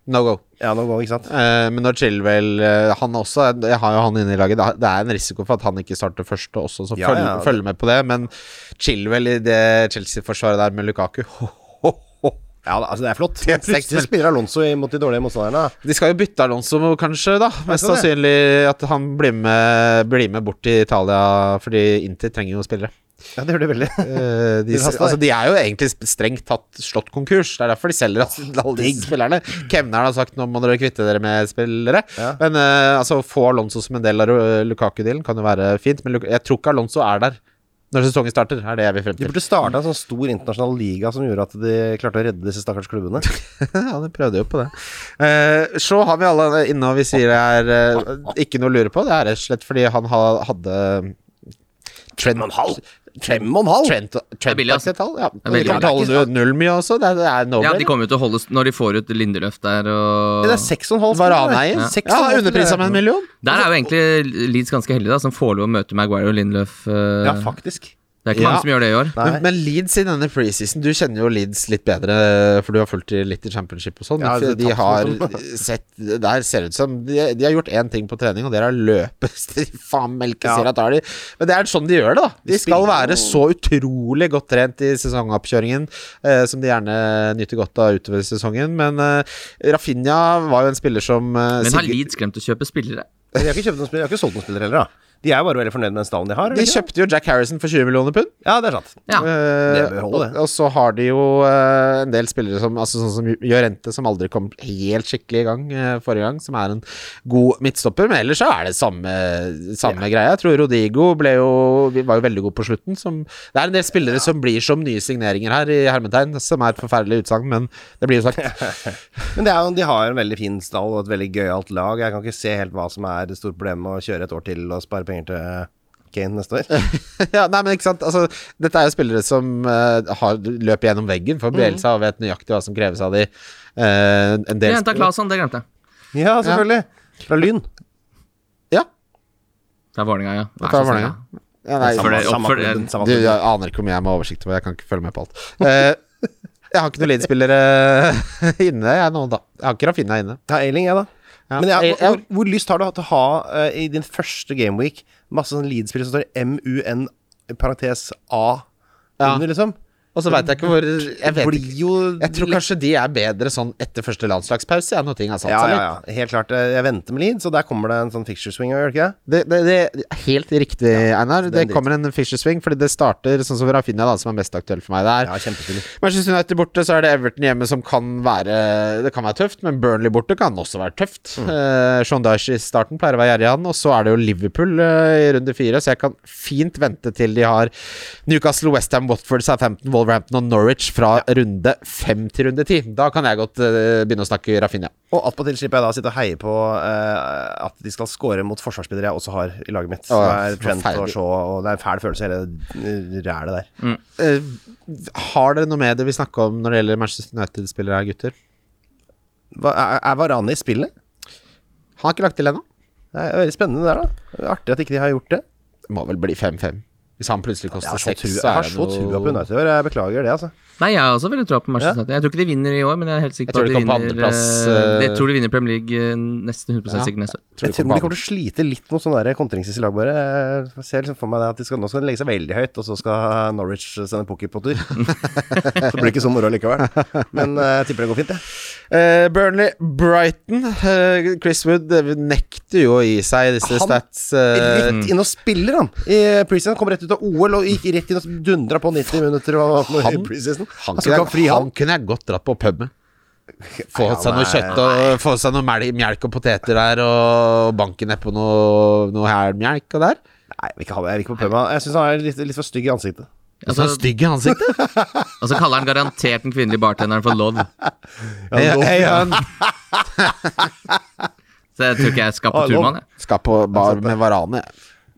No go. Ja, nå går, ikke sant? Eh, men når Chilwell eh, Han også, jeg har jo han inne i laget. Det er- Det er en risiko for at han ikke starter først og også, så Ja, følg, ja. følg med på det. Men Chilwell i det Chelsea-forsvaret der med Lukaku ho, ho, ho. Ja, da, altså det er flott. er Plutselig flott. spiller Alonso mot de dårlige motstanderne. da. De skal jo bytte Alonso, kanskje, da. Mest skal det. sannsynlig at han blir med, blir med bort til Italia, fordi Inter trenger jo spillere. Ja, det gjør de veldig. Eh, de, Vil haste altså, deg. de er jo egentlig sp- strengt tatt slått konkurs. Det er derfor de selger altså, alle disse spillerne. Kemneren har sagt nå må dere kvitte dere med spillere. Ja. Men eh, altså, å få Alonso som en del av eh, Lukaku-dealen kan jo være fint. Men Luk jeg tror ikke Alonso er der når sesongen starter. Er det jeg vil frem De til. burde starta en sånn stor internasjonal liga som gjorde at de klarte å redde disse stakkars klubbene. ja, de prøvde jo på det. Eh, så har vi alle inne, og vi sier det er eh, ikke noe å lure på. Det er rett og slett fordi han ha, hadde Trent, Trent, og en halv? Trent, Trent billig, altså. et tall, ja. er De billig. kommer til å holde null mye også. Det er, det er no Ja, brainer. de kommer jo til å holde s- når de får ut Lindeløf der og Det er seks og en halv. spillere, det. Varane-eier. Seks og en Ja, halv underprisa spillere. med en million. Der er jo egentlig Leeds ganske heldige, da, som får lov å møte Maguire og Lindeløf. eh, Ja, faktisk. det er ikke Ja. mange som gjør det i år. Nei. Men, men Leeds i denne preseason Du kjenner jo Leeds litt bedre, for du har fulgt de litt i championship og sånn. Ja, men det de tapte har mot sett Der ser det ut som De, de har gjort én ting på trening, og det er å løpe. De Faen melkesera tar de. Men det er sånn de gjør det, da. De skal være så utrolig godt trent i sesongoppkjøringen, eh, som de gjerne nyter godt av utover sesongen. Men eh, Rafinha var jo en spiller som eh, Men har Sigurd- Leeds glemt å kjøpe spillere? Men De har ikke kjøpt noen spillere, de har ikke solgt noen spillere heller, da. De er jo bare veldig fornøyd med den stallen de har. er De det ikke? kjøpte jo Jack Harrison for 20 millioner pund. Ja, det er sant. Ja. Eh, Det og, holder, det. og så har de jo eh, en del spillere som altså, sånn som Jorente, som aldri kom helt skikkelig i gang eh, forrige gang, som er en god midtstopper. Men ellers så er det samme, samme greia. Jeg tror Rodrigo ble jo, vi var jo veldig god på slutten. Som, det er en del spillere som blir som nye signeringer her, i hermetegn, som er et forferdelig utsagn, men det blir jo sagt. Men det er, jo- de har en veldig fin stall og et veldig gøyalt lag. Jeg kan ikke se helt hva som er det store problemet med å kjøre et år til og spare penger til Kane neste år. ja, nei, men ikke sant. Altså, dette er jo spillere som eh, har løp gjennom veggen for Bielsa og vet nøyaktig hva som kreves av de. Eh, en De del henta spillere- Claesson, det glemte jeg. Ja, selvfølgelig. Fra Lyn. Ja, Det er Vålerenga, ja. Vær Dette så er snill, Vålerenga. ja. Ja, nei, Oppfør deg- samme oppfør klubben, deg- samme du, klubben. jeg aner ikke hvor mye jeg må ha oversikt over. Jeg kan ikke følge med på alt. Eh, jeg har ikke noen Leeds-spillere inne, jeg nå, da. Jeg har ikke Rafinha inne. Ja, Eiling, jeg, da. Ja. Men jeg, Jeg- hvor, jeg- hvor lyst har du til å ha eh, i din første gameweek masse sånn Leeds-spillere som står MUN parentes A Ja. under, liksom? Og så veit jeg ikke hvor Jeg vet Blir ikke. jo Jeg tror kanskje de er bedre sånn etter første landslagspause, ja, når ting altså. har satt ja, seg ja, litt. ja, helt klart. eh, Jeg venter med Leeds, og der kommer det en sånn fixture swing, gjør det ikke det? Det, det, det er Helt riktig, Einar. Det dritt. kommer en Fisher Swing, fordi det starter sånn som Rafinha, da, som er mest aktuell for meg der. Ja, kjempespiller. Manchester United borte, så er det Everton hjemme som kan være Det kan være tøft, men Burnley borte kan også være tøft. Mm. Eh, Sean Dyche i starten pleier å være gjerrig, han. Og så er det jo Liverpool eh, i runde fire, så jeg kan fint vente til de har Newcastle, Westham, Watford, Southampton, Wolverhampton og Norwich fra runde fem til runde ti. Da kan jeg godt eh, begynne å snakke Rafinha. Og attpåtil slipper jeg da å sitte og heie på eh, at de skal score mot forsvarsspillere jeg også har i laget mitt. Å, det er Trent forferdelig. og Shaw, og det er en fæl følelse, hele rælet der. Eh, har dere noe med det vi snakka om når det gjelder Manchester United-spillere her, gutter? Hva, er, er Varane i spillet? Han har ikke lagt til ennå. Det er veldig spennende det der, da. Det er Artig at ikke de har gjort det. Det Må vel bli 5-5. Hvis han plutselig Jeg koster har så seks, trua- så jeg har er så det trua på noe United i år. Jeg beklager det, altså. Nei, jeg har også veldig tro på Ja. Manchester United. Jeg tror ikke de vinner i år, men jeg er helt Jeg sikker på tror de at de kommer på vinner andreplass, eh, eh, Jeg tror de vinner Premier League eh, nesten 100 Ja. sikkert neste år. Jeg tror de kommer til å slite litt mot sånne der kontringssis i lag, bare. Jeg ser liksom for meg det at de skal, nå skal de legge seg veldig høyt, og så skal Norwich sende poker på tur. så blir det ikke så moro likevel. Men eh, jeg tipper det går fint, jeg. Eh, Burnley, Brighton eh, Chris Wood eh, nekter jo å gi seg i disse Han- stats. eh, Rett inn og spiller, han! I preseason kom rett ut av OL og gikk rett inn og dundra på 90 minutter. Og, og, i han, preseason. Altså, han, Han skal kunne ikke jeg, ha fri, han han. kunne jeg godt dratt på pub med. Få Nei, seg han noe er- kjøtt og få seg noe mel melk og poteter der, og banke nedpå noe, noe helmelk og der. Nei, jeg vil ikke ha det. Jeg vil ikke på pub. Jeg syns han er litt, litt for stygg i ansiktet. Altså, han er stygg i ansiktet. Og så altså, kaller han garantert den kvinnelige bartenderen for Lov. Hei, han- hei, han Så jeg tror ikke jeg skal på Ah, Love. turmann, jeg. skal på Altså, bar med Varane.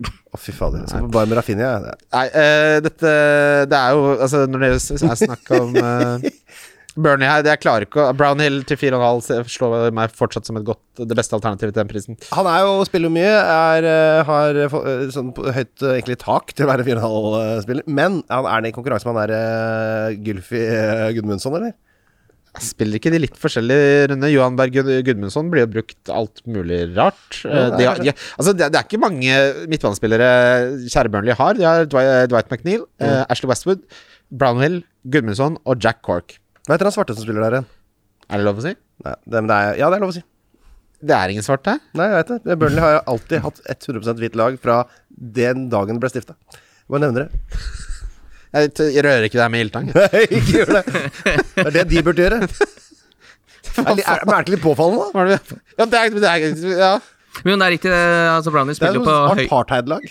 Å, fy fader. Jeg skal på bar med Rafinha. jeg. Nei, eh, dette Det er jo Altså, når dere s- er snakk om eh, Bernie her, jeg klarer ikke å Brownhill til 4,5 se- slår meg fortsatt som et godt det beste alternativet til den prisen. Han er jo, spiller jo mye, er, eh, har eh, få- eh, sånn på- høyt eh, egentlig tak til å være finalespiller. Men han er det i konkurranse med han der eh, Gylfi eh, Gudmundsson, eller? Spiller ikke de litt forskjellige rundene? Johan Berg Gud- Gudmundsson blir jo brukt alt mulig rart. Eh, det de er har, de, altså, det, det er ikke mange midtbanespillere kjære Burnley har. De har Dwight, Dwight McNeil, Mm. eh, Ashley Westwood, Brownhill, Gudmundsson og Jack Cork. Hva heter han svarte som spiller der igjen? Er det lov å si? Nei, det, men det er, ja, det er lov å si. Det er ingen svarte. Nei, jeg vet det. Burnley har jo alltid hatt 100 hvitt lag fra den dagen det ble stifta. Bare nevner det. Jeg, t- jeg rører ikke deg med ildtang. Ikke gjør det. Det er det de burde gjøre. Er, li- er, men er det ikke litt påfallende, da? Hva er det vi- Ja, det er, det er ja. Men jo, det er riktig. eh, Altså, Brownie sånn Det er spiller jo jo på et høy... apartheid-lag.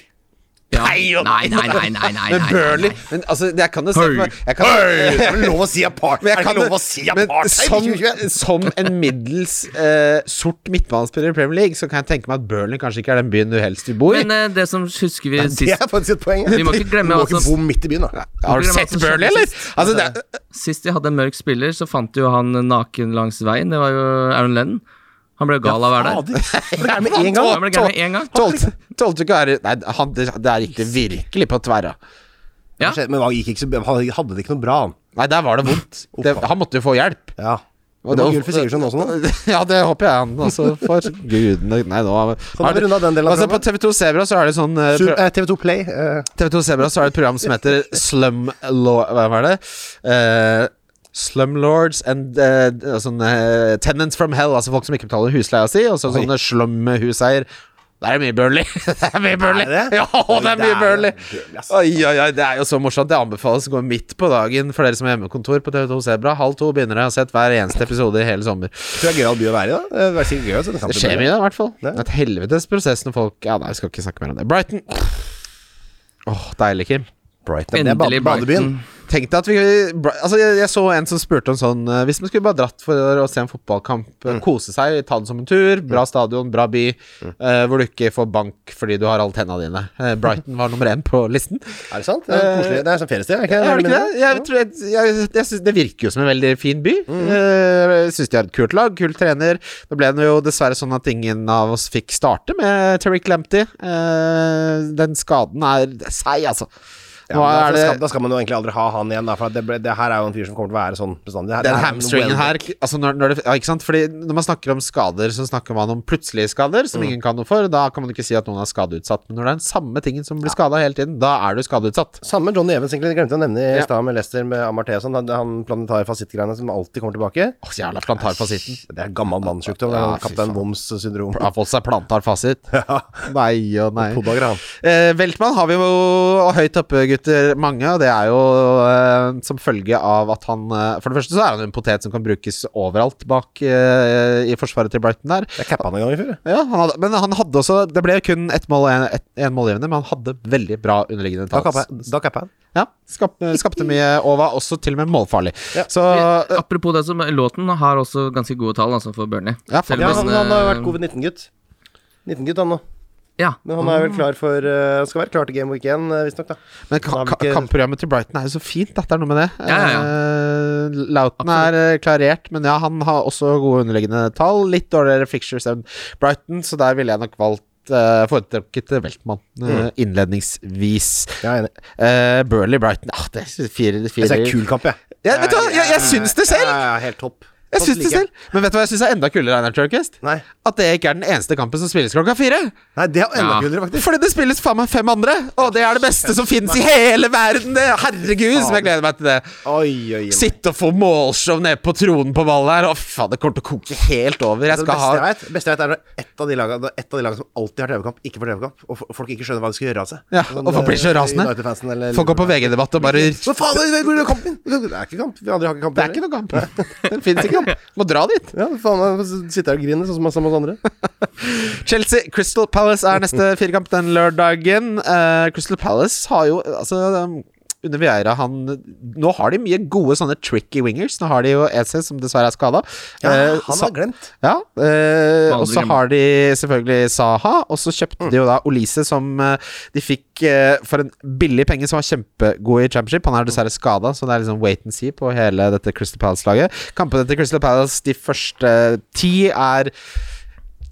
Ja. Nei, nei, nei, nei, nei, Men nei, nei, Burnley nei. Men altså, jeg kan jo se for meg jeg kan, Det er vel lov å si apart. Men jeg Er det kan ikke det- lov å si men apartheid i 2021? som, som en middels eh, sort midtbanespiller i Premier League, så kan jeg tenke meg at Burnley kanskje ikke er den byen du helst vil bo i. Men eh, det som husker vi Det sist er faktisk et poeng. Vi må ikke glemme Du må ikke altså- bo midt i byen, Har da. du Programmet sett som Burnley, skjedde eller? sist. Altså, det, er- Sist de hadde en mørk spiller, så fant de jo han naken langs veien. Det var jo Aaron Lennon. Han ble jo gal av å være der. Fader. Med en gang. Han ble gæren med en gang. tolvte tolvte ikke er Nei, han, det, det er ikke virkelig på tverra. Ja. Men han gikk ikke så, han hadde det ikke noe bra, han. Nei, der var det vondt. Det, han måtte jo få hjelp. Ja. Og Det var det- Gylfi Sigurdsson også nå. Ja, det håper jeg han også får. Gudene Nei, nå da har vi rundet den delen av Altså, på TV2 Sebra så er det sånn eh, pro- TV2 Play. eh, TV2 Sebra så er det et program som heter Slum Law... Hva var det? Eh, Slumlords and eh, sånn, eh, Tenants from Hell, altså folk som ikke betaler husleia si, og så Oi. sånne slumhuseier. Det er mye Burnley! Det er mye Burnley! det? Ja, det er mye jo Burnley! Burnley, ass. Oi, oi, oi, det er jo så morsomt. Det anbefales å gå midt på dagen for dere som har hjemmekontor på TV2 Sebra. Halv to begynner jeg. Jeg har sett hver eneste episode i hele sommer. Tror jeg er gøyal by å være i, da. Eh, Det er sikkert gøy, altså. Det skjer mye, da, i hvert fall. Det Det. er et helvetes prosess når folk Ja, nei, vi skal ikke snakke mer om det. Brighton. Åh, deilig, Kim. Brighton. Det er Endelig bade- badebyen. Brighton. Tenk deg at vi altså jeg, jeg så en som spurte om sånn eh, Hvis vi skulle bare dratt for å se en fotballkamp, Mm. eh, kose seg, ta det som en tur, bra stadion, bra by, eh, hvor du ikke får bank fordi du har alle tenna dine. Eh, Brighton var nummer én på listen. Er det sant? Det er, koselig. Det er sånn feriested, er det ikke? Eh, Er det ikke det? Jeg tror jeg, jeg, jeg synes det virker jo som en veldig fin by. Mm. Eh, Jeg syns de har et kult lag, kul trener. Nå ble det jo dessverre sånn at ingen av oss fikk starte med Tariq Lamptey. Eh, Den skaden er seig, altså. Ja, Nå men er altså, det skal, da skal man jo egentlig aldri ha han igjen, da, for at det, ble, det her er jo en fyr som kommer til å være sånn bestandig. Det her- den det her er en hamstringen well- her altså når, når det, ja, ikke sant? Fordi når man snakker om skader, så snakker man om plutselige skader som ingen kan noe for. Da kan man ikke si at noen er skadeutsatt. Men når det er den samme tingen som blir skada hele tiden, da er du skadeutsatt. Samme Johnny Evans, egentlig. Jeg glemte å nevne i Ja. stad med Lester med Amarté og sånn. Han, han planetar fasittgreiene som alltid kommer tilbake. Åh, jævla plantarfasiten. Det er gammel mannssjukdom. Ja, Ja, fy Kaptein faen. Woms syndrom. Har fått seg plantarfasit. Nei og nei. To dager, han. Eh, Veltmann har vi jo og høyt oppe, gutter, mange, og det er jo eh, som følge av at han eh, For det første så er han jo en potet som kan brukes overalt bak eh, i forsvaret til Brighton der. Jeg cappa han en gang i fjor. jeg. Ja, han hadde, men han hadde også Det ble kun ett mål og en- ett- en målgivende, men han hadde veldig bra underliggende Da cappa tall. jeg- da cappa jeg han. Ja, skap, skapte mye og var også til og med målfarlig. Ja. Så eh, Apropos det, som låten har også ganske gode tall altså, for Bernie. Ja, Selv om Ja, den, han, han har jo vært eh, covid-19-gutt. 19-gutt, han nå. Ja. Men han er Mm. vel klar for eh, Skal være klar til Game Week 1, eh, visstnok, da. Men ka han ka har vel ikke- kampprogrammet til Brighton er jo så fint, at det er noe med det. Ja, ja, ja. Eh, Lauten er eh, klarert, men ja, han har også gode underliggende tall. Litt dårligere fixtures enn Brighton, så der ville jeg nok valgt eh, foretrukket Weltmann eh, innledningsvis. Jeg er enig. Eh, Burnley-Brighton ah, Det er fire, Jeg fire. ser kul kamp, jeg. Ja, vet du hva? Jeg- jeg syns det selv. Ja, ja, helt topp. Jeg Sånt syns det liker jeg. selv. Men vet du hva jeg syns er enda kulere, Einar Tørkvist? Nei. At det ikke er den eneste kampen som spilles klokka fire. Nei, det er jo enda Ja. kulere, faktisk. Fordi det spilles faen meg fem andre, og det er det beste som fins i hele verden! Det. Herregud, som jeg gleder meg til det. Oi, oi, oi. Sitte og få målshow ned på tronen på ballen her. Å, fy faen, det kommer til å koke helt over. Jeg Det beste skal ha jeg vet, beste jeg vet er når ett av de lagene, når ett av de lagene som alltid har TV-kamp, ikke får TV-kamp, og fo- folk ikke skjønner hva de skal gjøre av seg. Ja, og folk blir så eh, rasende. United-fansen eller Folk går på VG-debatt og bare Hva faen, det- hvor er kampen? Det er ikke kamp. Vi andre har ikke kamp. Det er ikke noe kamp. Den fins ikke. Må dra dit. Ja, faen, jeg sitter her og griner, sånn som masse av oss andre. Chelsea Crystal Palace er neste firekamp den lørdagen. Eh, Crystal Palace har jo Altså um, under Vieira han Nå har de mye gode sånne tricky wingers. Nå har de jo EC, som dessverre er skada. Ja, han har glemt. Ja, eh, og så Vanlig. har de selvfølgelig Saha, og så kjøpte de jo da Olise, som eh, de fikk eh, for en billig penge, som var kjempegod i championship. Han er dessverre skada, så det er liksom wait and see på hele dette Crystal Palace-laget. Kampene til Crystal Palace de første ti er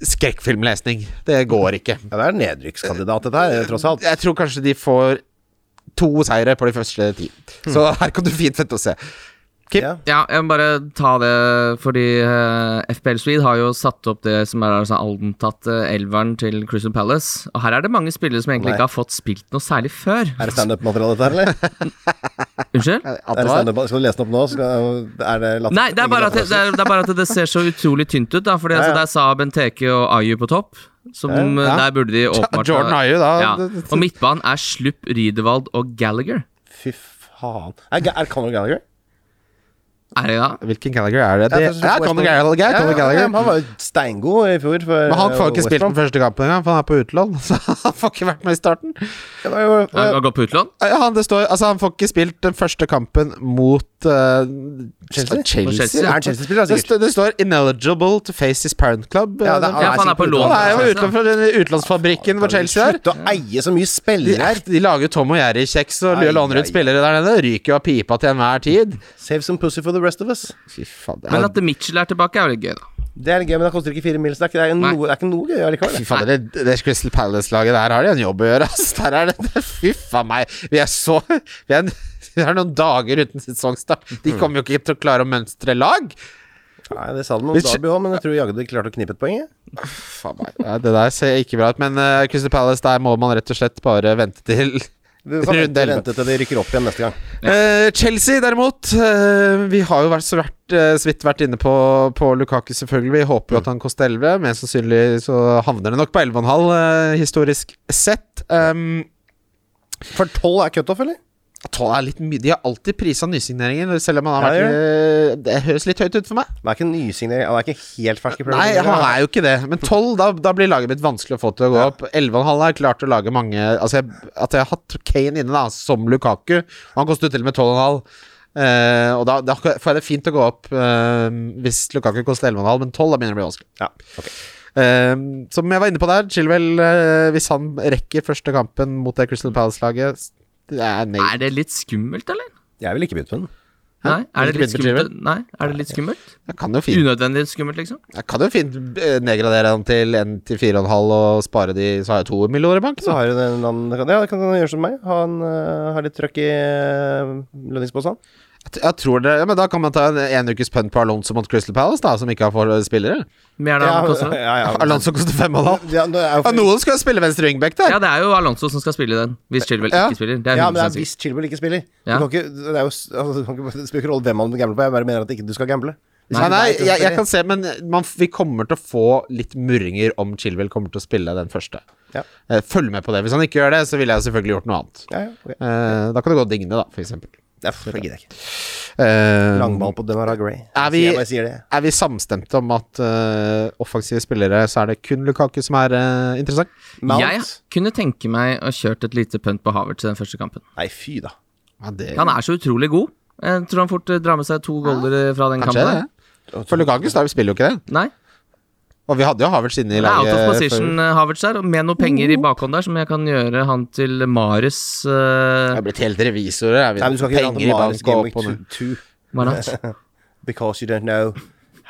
skrekkfilmlesning. Det går ikke. Ja, det er en nedrykkskandidat, dette her, tross alt. Jeg tror kanskje de får to seire på de første ti. Så her kan du fint fett å se. Ja. Ja, jeg må bare ta det, fordi eh, FPL Swede har jo satt opp det som er altså, antatt eh, elveren til Crystal Palace. Og her er det mange spillere som egentlig Nei. ikke har fått spilt noe særlig før. Er det standup-materiale, dette her, eller? Unnskyld? Er det stand-up- skal du lese den opp nå? Skal, er det latter? Nei, det er, bare at det, det, er, det er bare at det ser så utrolig tynt ut, da. Fordi Ja, ja. Altså, det er Saab, Benteke og Ayu på topp. Som ja. Der burde de åpenbart Jordan Ayew, da. Ja. Og midtbanen er Slupp, Ridevald og Gallagher. Fy faen. Er, Ga- er Conor Gallagher? Er det da? Hvilken Gallagher er det? det Ja, ja, for- Conor Gallagher. Ja, Conor ja, Gallagher. ja, han var jo steingod i fjor. For, Men han får jo eh, ikke spilt West Brom. den første kampen engang, for han er på utlån. Så han får ikke vært med i starten. Ja, det var jo- eh, Har han gått på utlån? Ja, Han, det står, altså, han får ikke spilt den første kampen mot eh, Chelsea? Chelsea. Mot Chelsea. Er han Chelsea-spiller, da, Det, sikkert? står- det står 'ineligible to face his parent club'. Ja, det er- Den- Ja, for han er på lån. altså. han er jo Chelsea, utlån fra den utlånsfabrikken hvor Chelsea er. Slutt å eie så mye De, spillere her! de lager jo Tom og Jerry-kjeks og Ai, låner ai, ut spillere der nede. Ryker jo av pipa til enhver tid. Save some pussy for the rest of us. Fy faen, det er- Men at Mitchell er tilbake, er jo litt gøy, da. Det er litt gøy, men det koster ikke fire mils. Det er ikke, det er Nei. noe, det er ikke noe gøy allikevel. Fy det. faen, det, det Crystal Palace-laget der har de en jobb å gjøre, ass. Der er det, fy faen meg. Vi er så Vi er, vi er noen dager uten sesongstart. De kommer jo ikke til å klare å mønstre lag. Nei, det sa de om Derby òg, men jeg tror jaggu de klarte å knipe et poeng. jeg. Faen meg. Nei, det der ser ikke bra ut. Men eh, Crystal Palace, der må man rett og slett bare vente til Vi får Runde vente, elleve. vente til de rykker opp igjen neste gang. Eh, Chelsea derimot eh, Vi har jo vært, så vært, eh, så vidt vært inne på, på Lukaku, selvfølgelig. Vi håper jo at han koster 11. Mest sannsynlig så havner det nok på 11,5, eh, historisk sett. Um, For tolv er cutoff, eller? Tolv er litt mye. De har alltid prisa nysigneringer, selv om han har Ja, vært eh, Det høres litt høyt ut for meg. Det er ikke en nysignering. Han er ikke helt fersk i Premier Nei, League, han eller? er jo ikke det. Men tolv, da, da blir laget mitt vanskelig å få til å gå opp. Elleve og en halv har jeg klart å lage mange Altså, jeg, at jeg har hatt Kane inne, da, som Lukaku. Han koster jo til og med tolv og en halv. Eh, og da, da får jeg det fint å gå opp eh, hvis Lukaku koster 11,5, men 12 da begynner det å bli vanskelig. Ja, ok. Eh, som jeg var inne på der, Chilwell, eh, hvis han rekker første kampen mot det Crystal Palace-laget Det er nei. Er det litt skummelt, eller? Jeg ville ikke begynt på den. Nei, er det Ikke litt begynne med skummelt? Nei, er det litt skummelt? Jeg kan jo fint Unødvendig skummelt, liksom? Jeg kan jo fint eh, nedgradere han til 1 til 4,5 og spare de, så har jeg to millioner i banken. Så da. har du den annen Ja, det kan han gjøre som meg. Han øh, har litt trøkk i øh, lønningsposen. Jeg, t- jeg tror det, ja, men Da kan man ta en en ukes punt på Alonso mot Crystal Palace, da, som ikke har for spillere. Mye er det han koster? ja, ja. Alonso koster 5,5. Ja, det er jo Ja, noen skal jo spille venstre wingback der! Ja, det er jo Alonso som skal spille den, hvis Chilwell Ja. ikke spiller. Det er ja, men 100 det er sikkert. hvis Chilwell ikke spiller. Ja. Du kan ikke, det er jo, s- altså, du kan ikke det spiller ikke rolle hvem man gambler på, jeg bare mener at ikke du skal gamble. Hvis Nei, du nei, vet jeg, hvem jeg spiller. kan se, men man, f- vi kommer til å få litt murringer om Chilwell kommer til å spille den første. Ja. Eh, Følg med på det. Hvis han ikke gjør det, så ville jeg selvfølgelig gjort noe annet. ja, ja, ok. Eh, Da kan det gå digne, da, for eksempel. Det er- det gidder jeg ikke. Eh, Langball på Demara Gray. Er vi- Jeg bare sier det. Er vi samstemte om at eh, offensive spillere, så er det kun Lukaku som er eh, interessant? Mount? Jeg kunne tenke meg å kjørt et lite punt på Havertz i den første kampen. Nei, fy da. Ja, det, Eh, Han er så utrolig god. Jeg tror han fort eh, drar med seg to goller fra den kanskje kampen. det. der. For Lukaku Stav spiller jo ikke det. Nei, Og vi hadde jo Havertz inne i det er out laget. of før- position eh, Havertz der, og med noen penger i bakhånd der som jeg kan gjøre han til Marius Vi uh, er blitt helt revisorer. Er vi. Nei, men du skal ikke gjøre Penger i Mares bank og Game opp og ned. Week 2 Marnat. because you don't know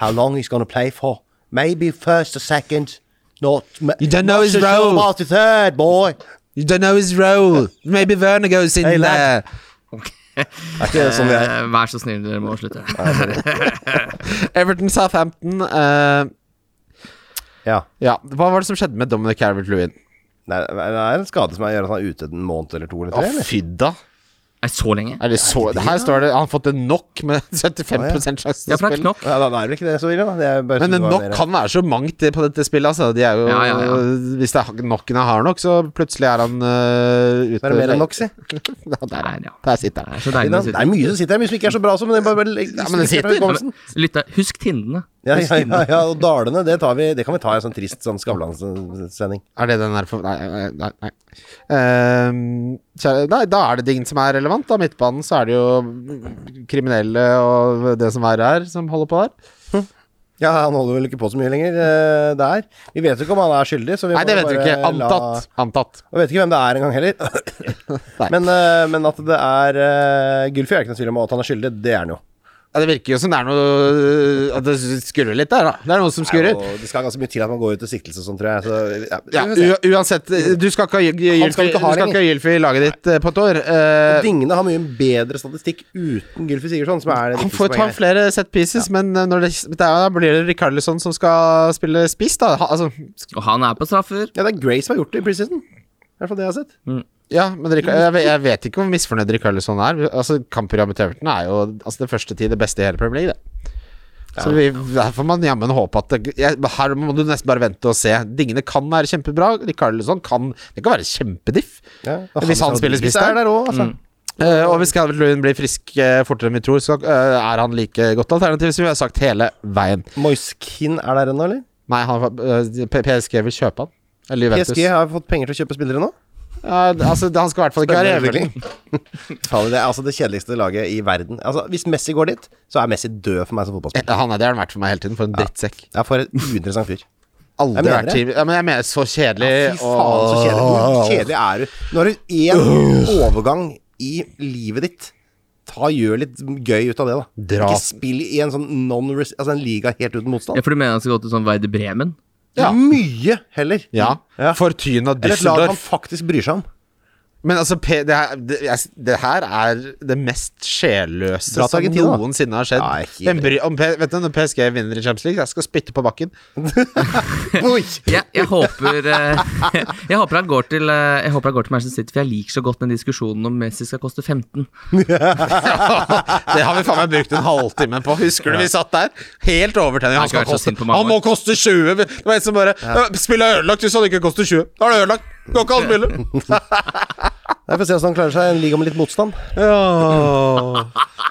how long he's going to play for. Maybe first or second. Not, You don't know his role. About the third, boy. You don't know his role. Maybe Werner goes in Hey, there. lad. Er ikke det sånn vi er? Eh, Vær så snill, dere må slutte. Everton Southampton. eh, Ja. ja, hva var det som skjedde med Dominic Calvert-Lewin? Nei, det er en skade som gjør at han er ute en måned eller to eller Å, tre. eller? fy da. Nei, så lenge? Er det så Her står det han har fått en knock med 75 sjanse til å Ja, for det er spille. knokk. Ja, da da er det vel ikke det så ille, da. Det er bare Men synes en det var knock mer- kan være så mangt på dette spillet. Altså. De er jo, Ja, ja, ja. Hvis det er knocken er hard nok, så plutselig er han eh, ute. Det er mer enn nok, si. Ja, der, Der, ja. der sitter Det han. er så deilig å Det er sitte. mye som sitter her, mye som ikke er så bra som men det er bare, bare, Ja, men det sitter. Ja, men- Lytte, husk Tindene. Ja, ja, ja, ja, og Dalene, det, tar vi, det kan vi ta i en sånn trist sånn Skavlan-sending. Er det den der for Nei, nei. nei, nei. Ehm, kjære, nei da er det ting som er relevant. Da midtbanen så er det jo kriminelle og det som er her, som holder på der. Ja, han holder vel ikke på så mye lenger eh, der. Vi vet jo ikke om han er skyldig, så vi Nei, det må vet vi bare ikke. la- Antatt. Antatt. Og vet ikke hvem det er engang heller. Nei. men, eh, men at det er uh, Gulfi er ikke noe tvil om at han er skyldig, det er han jo. Ja, det virker jo som det er noe At det skurrer litt der, da. Det er noe som skurrer. Og det skal ganske mye til at man går ut til siktelse og sånn, tror jeg. Så, ja, Ja, vi får se. u- uansett, du skal ikke ha Gylfi- Han skal ikke ha du skal det ikke ha Gylfi i laget ditt eh, på et år. Eh, Dingene har mye bedre statistikk uten Gylfi Sigurdsson, som er det han får jo viktigste ta poenget. her. flere set pieces, men eh, når det, da blir det Rikarlisson som skal spille spiss, da. Ha, altså, Og han er på straffer. Ja, det er Gray som har gjort det i preseason. I hvert fall det jeg har sett. Mm. Ja, men Rick- jeg, ve- jeg vet ikke hvor misfornøyd Rikarlison er. Altså, Kampprogrammet til Everton er jo altså, det første tid det beste i hele Premier League, det. Så vi, der får man jammen håpe at det, jeg, Her må du nesten bare vente og se. Dingene kan være kjempebra. Rikarlison kan Det kan være kjempediff. Ja. og Hvis han spiller spiss er der. der òg, altså. Eh, og hvis Calvert Lewin blir frisk eh, fortere enn vi tror, så eh, er han like godt alternativ som vi har sagt hele veien. Moiskin er der ennå, eller? Nei, han, eh, P- PSG vil kjøpe han. Eller Juventus. PSG har fått penger til å kjøpe spillere nå. Ja, altså, han skal i hvert fall ikke være evig god. Fader, det er altså det kjedeligste laget i verden. Altså, hvis Messi går dit, så er Messi død for meg som fotballspiller. Ja, Han er det har han vært for meg hele tiden. For en drittsekk. Ja, for en uinteressant fyr. Aldri Jeg mener vært det. til ja, men Jeg mener så kjedelig. Fy faen, så kjedelig. Hvor kjedelig er du? Nå har du én overgang i livet ditt. Ta Gjør litt gøy ut av det, da. Dra. Ikke spill i en sånn non altså en liga helt uten Ja, motstand. for du mener han skal gå til sånn Werder Bremen? Ja. Mye heller. Ja. Ja. Fortuna Eller et lag han Düsseldorf. faktisk bryr seg om. Men altså, P- det her, det, jeg- det her er det mest sjelløse Dra til som Argentina, da. noensinne har skjedd. Nei, ikke Den bry, om, P- vet du, Når PSG vinner i Champions League, jeg skal spytte på bakken. Oi! Jeg, jeg, håper, eh, jeg, håper han går til, eh, jeg håper han går til Manchester City, for jeg liker så godt den diskusjonen om Messi skal koste 15. Det har vi faen meg brukt en halvtime på. Husker du vi satt der? Helt overtenning. Han, Jeg skal har ikke vært så koste, sint på mange han må koste 20! Det var en som «Øh, bare ja. 'Spillet er ødelagt, hvis han ikke koster 20.' Da er det ødelagt. Går ikke an å spille. Jeg får se hvordan han klarer seg i en liga med litt motstand. Åh.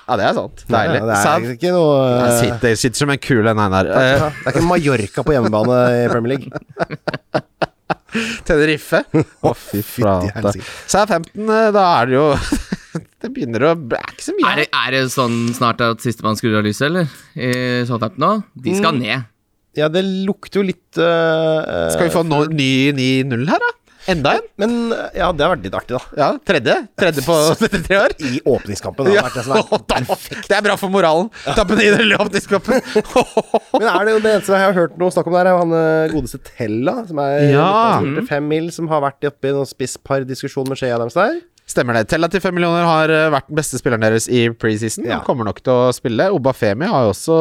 Ja, det er sant. Deilig. Ja, det er Sad. egentlig ikke noe Jeg eh, sitter, sitter som en kule, den her. ja, Det er ikke Mallorca på hjemmebane i Premier League. Eh, Tenerife. Å, fy flate. helsike. Så er 15, eh, da er det jo Det begynner å Det er ikke så mye. Er det, er det sånn snart at sistemann skrur av lyset, eller? I Southampton nå? De skal Mm. ned. Ja, det lukter jo litt eh, Skal vi få no, ny 9-0 her, da? Enda en? Men eh, ja, det har vært litt artig, da. Ja, tredje. Tredje på 33 år. I åpningskampen. Det Ja. har vært det som er Perfekt. Det er bra for moralen. Tappe ned i åpningskampen. Men er det jo det eneste jeg har hørt noe snakk om der, er jo han eh, godeste Tella, som er Ja. litt av en fem mil, som har vært oppe i noen spisspardiskusjon med Shea deres der. Stemmer det. Tella til fem millioner har eh, vært den beste spilleren deres i preseason. Ja. Han kommer nok til å spille. Obafemi har jo også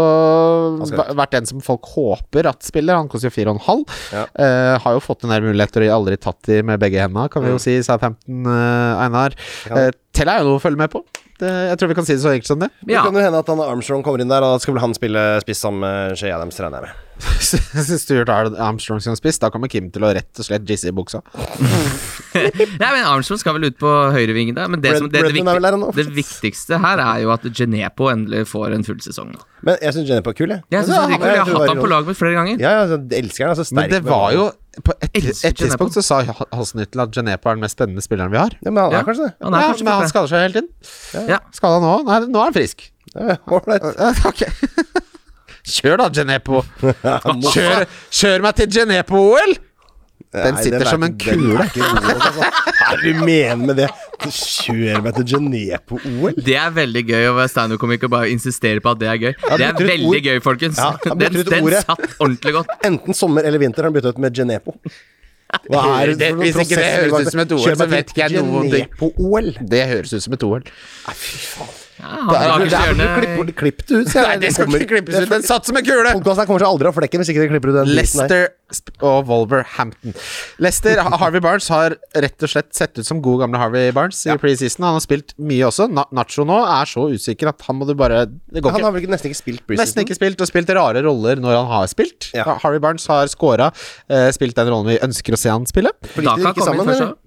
skal væ- vært en som folk håper at spiller. Han koster jo fire og en halv. Ja. Eh, har jo fått en del muligheter og aldri tatt de med begge hendene, kan vi jo si, sa 15 Einar. Mm. Ja. Eh, Tella er jo noe å følge med på. Det, jeg tror vi kan si det så enkelt som det. Det Ja. kan jo hende at han Armstrong kommer inn der, og da skal vel han spille spiss sammen med Shea Adams, regner jeg med. Stuart Ar- Armstrong som spiss, da kommer Kim til å rett og slett jizze i buksa. Nei, men Armstrong skal vel ut på høyrevingen der. Men det, Brad- som, det, det, Bradman er vel der viktig, nå? det viktigste her er jo at Genepo endelig får en full sesong nå. Men jeg syns Jennifer er kul, jeg. Jeg synes Ja, det er kul, jeg jeg har tror hatt det han var på laget mitt flere ganger. Ja, ja, altså, jeg elsker han. Altså, sterk Men det var jo På et, Elsker et tidspunkt Genepo. så sa Ha- Hasenhyttel at Genepo er den mest spennende spilleren vi har. ja, Men han Ja. er kanskje det. Han er ja, kanskje men han borte. skader seg hele tiden. Ja. Skada nå? Nei, nå er han frisk. Ja, Ålreit. Eh, Ok. Kjør da, Genepo. Kjør, kjør meg til Genepo-OL! Den Nei, sitter er som en ikke- den kule. er ikke god nok, altså. Hva er det du mener med det? Du Kjør meg til Genéve-OL? Det er veldig gøy å være standup-komiker og bare insistere på at det er gøy. Det er bytter ut veldig ord. gøy, folkens. Ja, han Den, bytter ut den ordet. satt ordentlig godt. Enten sommer eller vinter har han bytta ut med Genépo. Hva er Det- for noen hvis ikke det prosesser høres i gang? ut som et OL, Kjør så meg vet til ikke jeg noe om ting. Genéve-OL. Det høres ut som et OL. Ja, han Der lager burde du hjørne klippe- klippe det ut, sier jeg. Nei, det skal kommer- ikke klippes ut. Den satt som en kule! Podcasten her kommer seg aldri av flekken hvis ikke de klipper ut den biten der. Leicester sp- og Wolverhampton. Leicester, Ha- Harvey Barnes har rett og slett sett ut som god gamle Harvey Barnes i preseason. Han har spilt mye også. Na Nacho nå er så usikker at han må du bare Det går Han ikke. har vel ikke- nesten ikke spilt preseason? Nesten ikke spilt, og spilt rare roller når han har spilt. Ja. Ha- Harvey Barnes har scora, eh, spilt den rollen vi ønsker å se han spille. For Da kan gikk de han ikke komme inn sammen, først.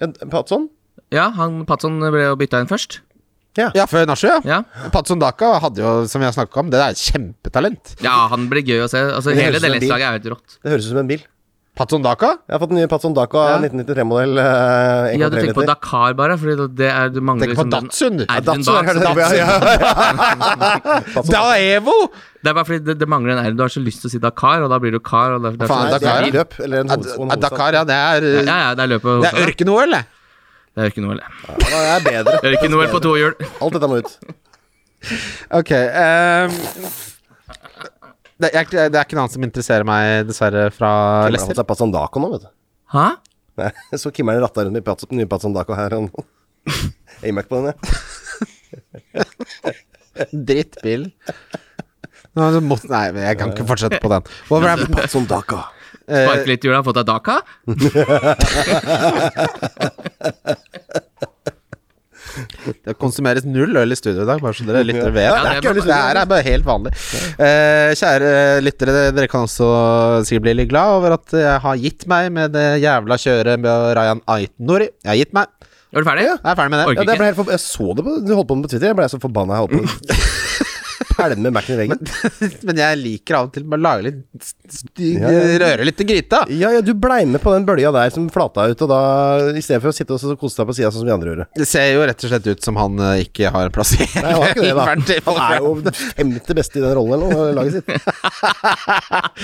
eller? Ja, Patson? Ja, han Patson ble jo bytta inn først. Ja, før Nacho, ja. Ja. Patson Daka hadde jo, som vi har snakket om, det er et kjempetalent. ja, han blir gøy å se. Altså, Det hele høres det ut som en bil. landslaget er helt rått. Det høres ut som en bil. Patson Daka? Jeg har fått en ny Patson Daka eh, Ja. 1993-modell. Ja, du tenker på Dakar bare, for det er du mangler Tenk på liksom den- Datsun, du. Nei, Ja, den Datsun, bak, er det så det? Ja, ja, ja. Datsun. Daevo! Det er bare fordi det, det mangler en R. Du har så lyst til å si Dakar, og da blir du kar. Og det, det er Faen, så- Nei, det er Dakar, ja. et løp, eller en Ja, d- hovedstad. ja, Dakar, ja. Det er, ja, ja, det er løpet. det er ørken-OL, det. det er ikke noe, Ja, det er bedre. Ørken-OL på to hjul. Alt dette må ut. Ok ehm, det, er, ikke- det er ikke noe annet som interesserer meg, dessverre, fra Han har Leicester. fått seg Patson Daka nå, vet du. Hæ? Nei, jeg så Kimmer'n ratta rundt med Patson- den nye Patson Daka her. og- Jeg gir meg ikke på den, jeg. Drittbil. Nå, du må, nei, men jeg kan ikke fortsette på den. Wolverhampton Patson Daka. Eh, Sparke litt i hjulet, har fått deg Daka? Det konsumeres null øl i studio i dag, bare så dere lyttere vet. Ja, det, er det er ikke øl i bra. studio, det her er bare helt vanlig. Eh, kjære lyttere, dere kan også sikkert bli litt glad over at jeg har gitt meg med det jævla kjøret med Rayan Aitnori. Jeg har gitt meg. Er du ferdig? Jeg er ferdig med det. Orker Ja, det ble helt for... Jeg så det på Du holdt på med det på Twitter. Jeg ble så forbanna jeg holdt på å pælme Mac-en i veggen. Men jeg liker av og til å lage litt st- Ja, ja. Røre litt i gryta. Ja, ja, du blei med på den bølja der som flata ut, og da i stedet for å sitte og så kose deg på sida sånn som vi andre gjorde. Det ser jo rett og slett ut som han eh, ikke har en plass i Nei, han var ikke det, verden til da. Han er jo Wolverhampton. femte beste i den rollen eller noe, laget sitt.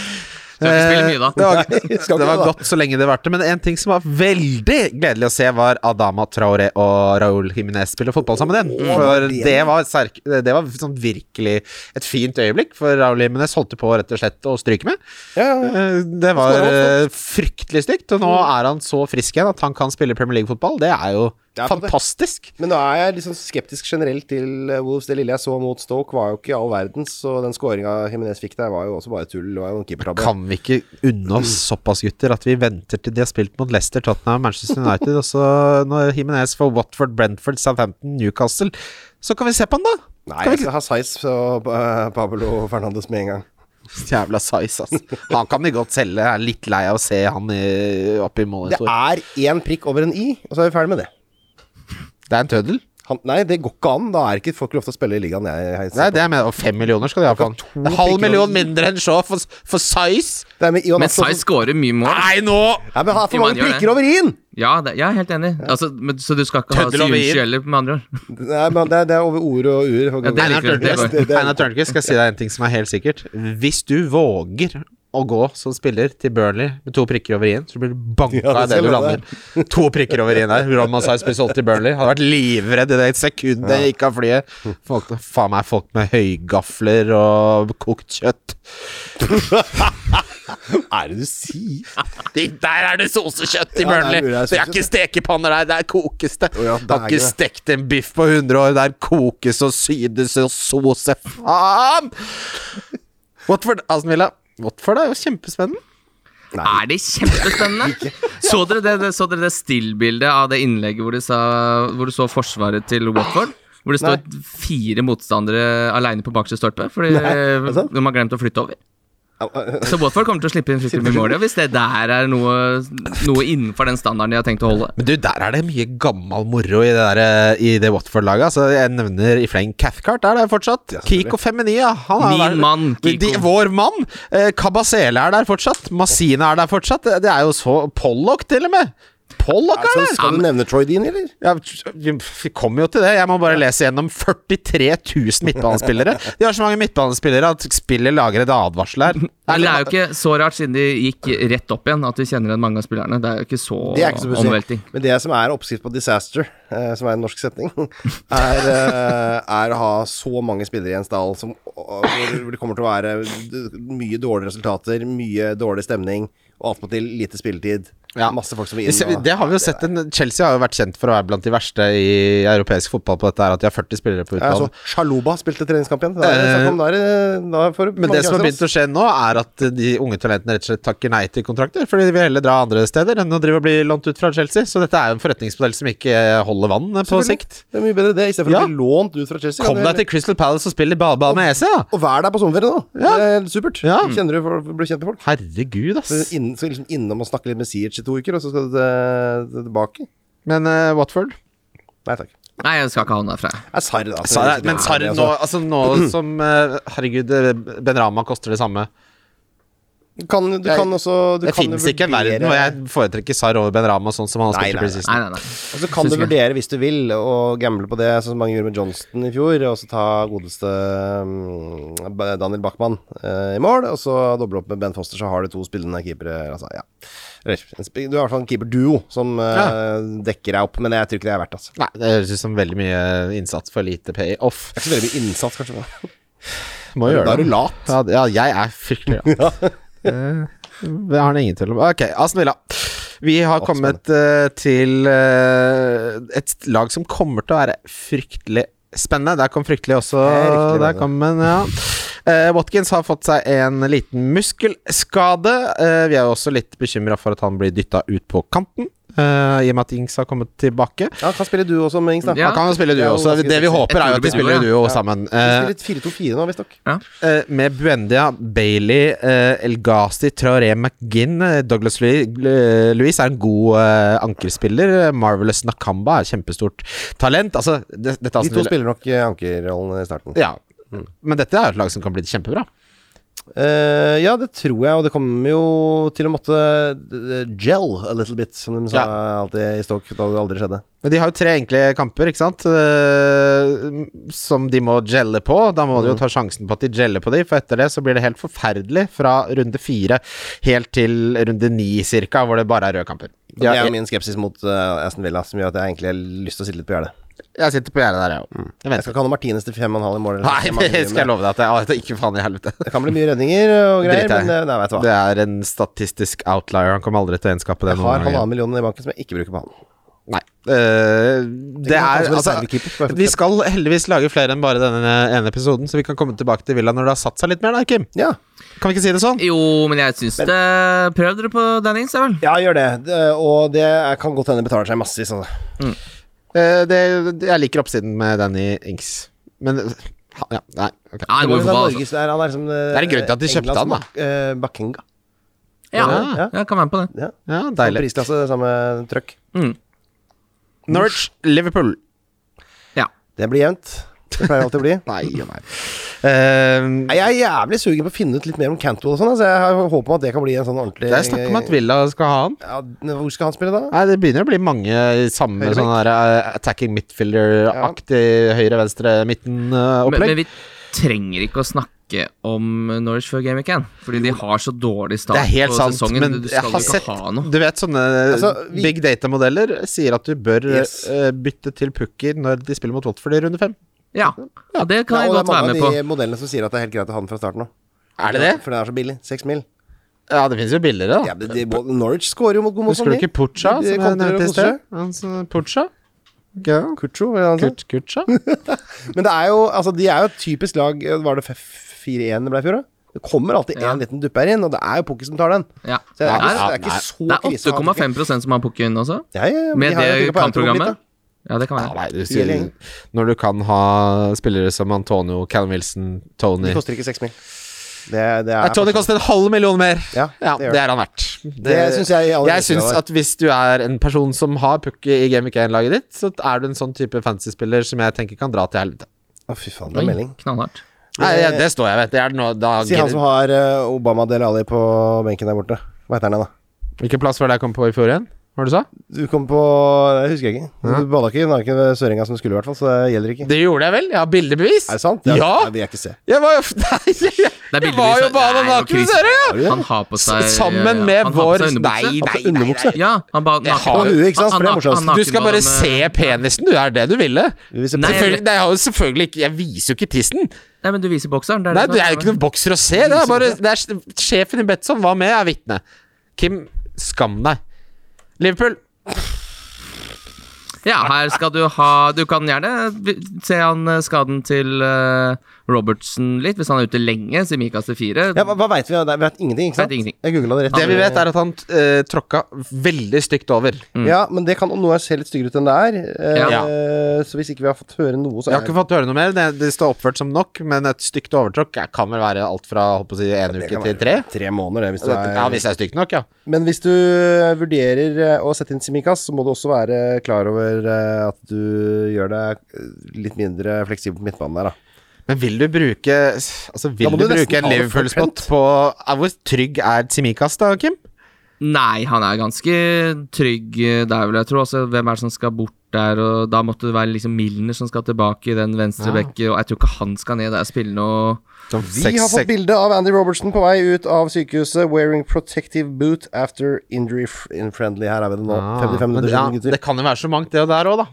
Skal ikke spille mye, Det da. var, Nei, Eh, skal ikke det var det, da. godt så lenge det varte, men en ting som var veldig gledelig å se, var Adama Traore og Raúl Jiménez spille fotball sammen igjen. Mm. For det var, serk, det var sånn virkelig et fint øyeblikk, for Raúl Jiménez holdt på rett og slett å stryke med. Ja, ja. Eh, Det var eh, fryktelig stygt, og nå Mm. er han så frisk igjen at han kan spille Premier League-fotball. Det er jo Det er på en måte- fantastisk. Men nå er jeg litt sånn skeptisk generelt til eh, Wolves. Det lille jeg så mot Stoke, var jo ikke all verdens, og den skåringa Jimenez fikk der, var jo også bare tull. Det var jo en keepertabbe. Kan vi ikke unne oss såpass, gutter, at vi venter til de har spilt mot Leicester, Tottenham, Manchester United, og så når Himinez får Watford, Brentford, Southampton, Newcastle, så kan vi se på han, da! Nei, Kan vi jeg skal ha Saiz og eh, Pablo Fernandes med en gang. Jævla size, altså. Han kan vi godt selge. Jeg er litt lei av å se han i, oppe i Det monitor. er én prikk over en i, og så er vi ferdig med det. Det er en tøddel. Han, nei, det går ikke an. Da er ikke folk lov til å spille i ligaen jeg heiser Nei, på. det er med, og fem millioner skal de ha for to han. En halv pikker. million mindre enn Shaw for, for size! Det er med Ion Men Atson Sai som- scorer mye mål. altså- Nei, nå! Nei, men han har for Iman mange gjør det. prikker over i-en! Ja, det, jeg er helt enig. Altså, men, så du skal ikke ha Tøddel over i. Siunchi heller, med andre ord? Nei, men det, er- det er over ord og ur. Ja, det er Einar liker du. Det er Tørnquist bare- det er- Einar Tørnquist skal si deg en ting som er helt sikkert. Hvis du våger å gå som spiller til Burnley med to prikker over i-en, så blir du banka Ja, det av det ser du jeg lander. To prikker over i-en der. Ron Masai blir solgt til Burnley. Hadde vært livredd i det et sekund det gikk av flyet. Folk, faen meg folk med høygafler og kokt kjøtt. Hva er det du sier? De, der er det sosekjøtt i Ja, der Burnley! burde det det, er sosekjøtt, ikke stekepanner der, der kokes det. Å ja, det har der er ikke det. stekt en biff på 100 år, der kokes og sydes og sose. Faen! Watford, Aston Villa. Watford er jo kjempespennende. Nei. Er det kjempespennende? så dere det, det, så dere det stillbildet av det innlegget hvor du, sa, hvor du så forsvaret til Watford? Hvor det står fire motstandere aleine på bakerste stolpe fordi det sant? de har glemt å flytte over. Au, Så Watford kommer til å slippe inn fryktelig mye mål ja, hvis det der er noe, noe innenfor den standarden de har tenkt å holde. Men du, der er det mye gammel moro i det, der, eh, i det Watford-laget. Altså, jeg nevner i fleng Cathcart, der er det fortsatt. Kiko Feminia. Han er Min der. mann, Kiko. De, vår mann. Eh, Kabasele er der fortsatt. Masina er der fortsatt. Det- Det er jo så Pollock, til og med. Pollock er Så der! skal du nevne Troy Dean, eller? Ja, vi kommer jo til det. Jeg må bare lese gjennom 43 000 midtbanespillere. De har så mange midtbanespillere at spillet lager et advarsel her. Men det er jo ikke så rart, siden de gikk rett opp igjen, at vi kjenner igjen mange av spillerne. Det er jo ikke så, Det er ikke så omvelting. spesielt. Men det som er oppskrift på disaster, eh, som er en norsk setning, er, eh, er å ha så mange spillere i en stall som og- hvor det kommer til å være d- mye dårlige resultater, mye dårlig stemning, og attpåtil lite spilletid. Ja. Masse folk som vil Vi ser- inn. og- Det har vi jo sett en, Chelsea har jo vært kjent for å være blant de verste i europeisk fotball på dette her, at de har 40 spillere på Ja, så utlandet. Shaloba spilte treningskamp igjen. Da er det snakk om- da er det- da får du Men mange det som har sjanser, begynt å skje nå, er at de unge talentene rett og slett takker nei til kontrakter, fordi de vil heller dra andre steder enn å drive og bli lånt ut fra Chelsea. Så dette er jo en forretningsmodell som ikke holder vann eh, på ass. sikt. Det er mye bedre det, istedenfor Ja. å bli lånt ut fra Chelsea. Kom kan du deg til Crystal Palace og spill i badeball med EC, da! Og vær der på sommerferie nå. Det er supert. Ja. Kjenner du, for- blir kjent med folk. Herregud, ass. Så inn- så liksom innom og snakke litt med Siert i to uker, og så skal du til- til- tilbake. Men eh, Watford Nei takk. Nei, jeg skal ikke ha han derfra. Det er Sarr, da. Sarri, Men Sarri nå, altså nå som eh, Herregud, eh, Ben Rama koster det samme. Du kan, du Jeg- kan også du Det kan jo fins ikke en verden vurdere- hvor jeg foretrekker Sarr over Ben Rama, sånn som han har Nei, spilt i nei, Nei, preseason. nei, nei. Og så kan altså, du Synes ikke. vurdere hvis du vil, og gamble på det, sånn som mange gjorde med Johnston i fjor. Og så ta godeste mm, Ba- Daniel Bachmann eh, i mål, og så doble opp med Ben Foster, så har du to spillende keepere. Altså, ja. Eller, en sp- Du har i hvert fall en keeperduo som eh, dekker deg opp, men jeg tror ikke det er verdt altså. Nei, det høres ut som veldig mye innsats for lite payoff. Det er ikke så veldig mye innsats, kanskje. men- Må gjøre Da er det. du lat. Ja, det- ja, jeg er fryktelig lat. Eh, Det har han ingen tvil om. Ok, Aston Villa. Vi har kommet eh, til eh, et lag som kommer til å være fryktelig spennende. Der kom fryktelig også. Fryktelig Der spennende. kom en, ja. Eh, Watkins har fått seg en liten muskelskade. Eh, vi er jo også litt bekymra for at han blir dytta ut på kanten, eh, i og med at Ings har kommet tilbake. Ja, kan spille duo også med Ings, da. Ja. Han kan jo spille Det er duo jo også. Det ganske vi sexy. håper, Jeg er tror jo at de det blir spiller duo, duo sammen. Eh, Vi spiller 4-2-4 nå, visstnok. Eh, med Buendia, Bailey, eh, El Ghazi, Traoré, McGinn eh, Douglas Louis, Louis er en god eh, ankerspiller. Eh, Marvelous Nakamba er et kjempestort talent. Altså, det, dette er De Aston to Villa- spiller nok eh, ankerrollen i starten. Ja. Men dette er jo et lag som kan bli kjempebra. Eh, ja, det tror jeg, og det kommer jo til å måtte eh, gel a little bit, som de sa alltid i Stoke, da det aldri skjedde. Men de har jo tre enkle kamper, ikke sant? Eh, som de må gelle på. Da må Mm. de jo ta sjansen på at de geller på de, for etter det så blir det helt forferdelig fra runde fire helt til runde ni cirka, hvor det bare er røde kamper. Og Ja, det er jeg, jo min skepsis mot eh, Aston Villa, som gjør at jeg egentlig har lyst til å sitte litt på gjerdet. jeg sitter på gjerdet der, jeg òg. Jeg Jeg venter. skal ikke ha noe Martinez til 5,5 i mål. eller så Nei, mange det mye, skal jeg men love deg at jeg ah, det er ikke faen i helvete. Det kan bli mye redninger og Driter greier, jeg. men eh, nei, vet du hva. Det er en statistisk outlier. Han kommer aldri til å gjenskape det Jeg har noen gang. halvannen million i banken som jeg ikke bruker på han. Nei. Eh, det er kan kanskje være altså reservekeeper, bare for Vi å- skal heldigvis lage flere enn bare denne ene episoden, så vi kan komme tilbake til Villa når det har satt seg litt mer, da, Kim. Ja. Kan vi ikke si det sånn? Jo, men jeg syns det Prøv dere på Dennings, da vel. ja, gjør det. Det- Og det er- kan godt hende betaler seg massevis. Altså. Eh, det, det, jeg liker oppsiden med Danny Inks, men eh, ha- ja, Nei. ok. Nei, det går Men jo det er for faen, altså. Norges- det er- han er liksom, eh, Det er en grunn til at de kjøpte Englands han, Bak- eh, Bakenga. Ja, Ja. jeg kan være med på det. Ja. Ja, Samme deilig. prisklasse, samme trøkk. Norwich, Liverpool. Det blir jevnt. Det pleier alltid å bli. Nei og nei. Eh, Nei, Jeg er jævlig sugen på å finne ut litt mer om Cantwell og sånn. Altså, jeg har håp om at det kan bli en sånn ordentlig det er snakk om at Villa skal ha han. ja, Hvor skal han spille da? Nei, Det begynner å bli mange i samme Høyrebekk. sånn her, eh, attacking midfielder-aktig Men, høyre-venstre-midten-opplegg. men vi trenger ikke å snakke om Norwich før Game Week 1, fordi de har så dårlig start Det er helt på sant, sesongen. men du jeg skal jo har ikke sett ha noe. Du vet sånne Altså, vi- big data-modeller sier at du bør Yes. eh, bytte til pukker når de spiller mot Watford i runde fem. Ja, og det kan Ja, jeg godt være og det er mange med av på. de modellene som sier at det er helt greit å ha den fra starten av. Er det det? For den er så billig. Seks mil. Ja, det finnes jo billigere, da. Ja, men de, både Norwich scorer jo mot god mot Husker du ikke Pucha, De- de som jeg kontrer nevnte i og sted? koser. Altså, Pucha? Ja. Kucho, eller noe sånt. Kurt Kucha? Men det er jo, altså, de er jo et typisk lag Var det 4-1 det ble i fjor, da? Det kommer alltid en Ja. liten dupper inn, og det er jo Pukker som tar den. Ja. Så det Nei, er, nei. ikke, det er ikke så Det er krise å ha Pukker. 8,5 som har pukken også, Ja, ja, ja, men de med har jo det trykket på automobil, da. kampprogrammet. Ja, det kan Ja, være. nei, du Gjelder sier ingen. Når du kan ha spillere som Antonio, Callum Wilson, Tony De koster ikke seks mil. Det, det Nei, er Tony koster en halv million mer. Ja, det gjør det er han verdt. Det, syns jeg i aller Jeg høyeste syns grad. at hvis du er en person som har pukke i Game Week 1-laget ditt, så er du en sånn type fantasy-spiller som jeg tenker kan dra til helvete. Å, fy faen, det Oi, er melding. knallhardt. Nei, ja, det står jeg ved. Det er noe, da, eh, Si han som har eh, Obama Del Ali på benken der borte. Hva heter han igjen, da? Hvilken plass var det jeg kom på i fjor igjen? Hva var det du sa? Du kom på Jeg husker ikke. Du bada ikke i naken ved Sørenga som du skulle, i hvert fall, så det gjelder ikke. Det gjorde jeg vel? Jeg har bildebevis. Er det sant? Det er- Ja! Nei, det vil jeg ikke se. Jeg var jo Nei, jeg, Det er jeg var jo bildebevis- bare Nei, naken, Chris. ser du! du det? Han har på seg Sammen ja, med han har på vår seg Nei, underbukse. nei, Altså, nei, nei. underbukse. Ja, han ba naken. har jo ikke sant, for det er han- morsomt. han naken Du skal ba bare dem, eh, se penisen, du. Er det det du ville? Vi vil se Nei, på- Selvfølgelig, nei, jeg, har jo selvfølgelig ikke, jeg viser jo ikke tissen. Nei, men du viser bokseren. Det er Nei, det Det som er jo ikke noen bokser å se. Det er bare, det er, sjefen i Betson var med, er vitne. Kim, skam deg. Liverpool. Ja, her skal du ha Du kan gjerne vi- se han eh, skaden til eh, Robertsen litt, hvis han er ute lenge, siden Mika kaster fire. Ja, hva, hva veit vi? Ja, det- Vi vet ingenting, ikke sant? Vet ingenting. Jeg googla det rett. Det vi vet, er at han eh, tråkka veldig stygt over. Ja, men det kan noen ganger se litt styggere ut enn det er. Eh, Ja. Så hvis ikke vi har fått høre noe, så Jeg er har ikke fått høre noe mer. Det, det står oppført som nok, men et stygt overtråkk eh, kan vel være alt fra holdt på å si, en det uke kan til være tre? tre måneder, det, hvis du er Ja, hvis det er stygt nok, ja. Men hvis du vurderer eh, å sette inn Simikas, så må du også være klar over eh, at du gjør deg eh, litt mindre fleksibel på midtbanen der, da. Men vil du bruke Altså, vil må du du nesten bruke en ta det for Liverpool-spot Trent. på eh, Hvor trygg er Tsimikas, da, Kim? Nei, han er ganske trygg eh, der, vil jeg tro. Altså, hvem er det som skal bort der? Og da måtte det være liksom Milner som skal tilbake i den Ja. venstre bekken, og jeg tror ikke han skal ned der og spille noe Vi har fått bilde av Andy Robertson på vei ut av sykehuset wearing protective boot after injury f- in friendly. Her er vi det nå. Ah, 55 men minutter ja, siden, gutter. Det kan jo være så mangt, det og der òg, da.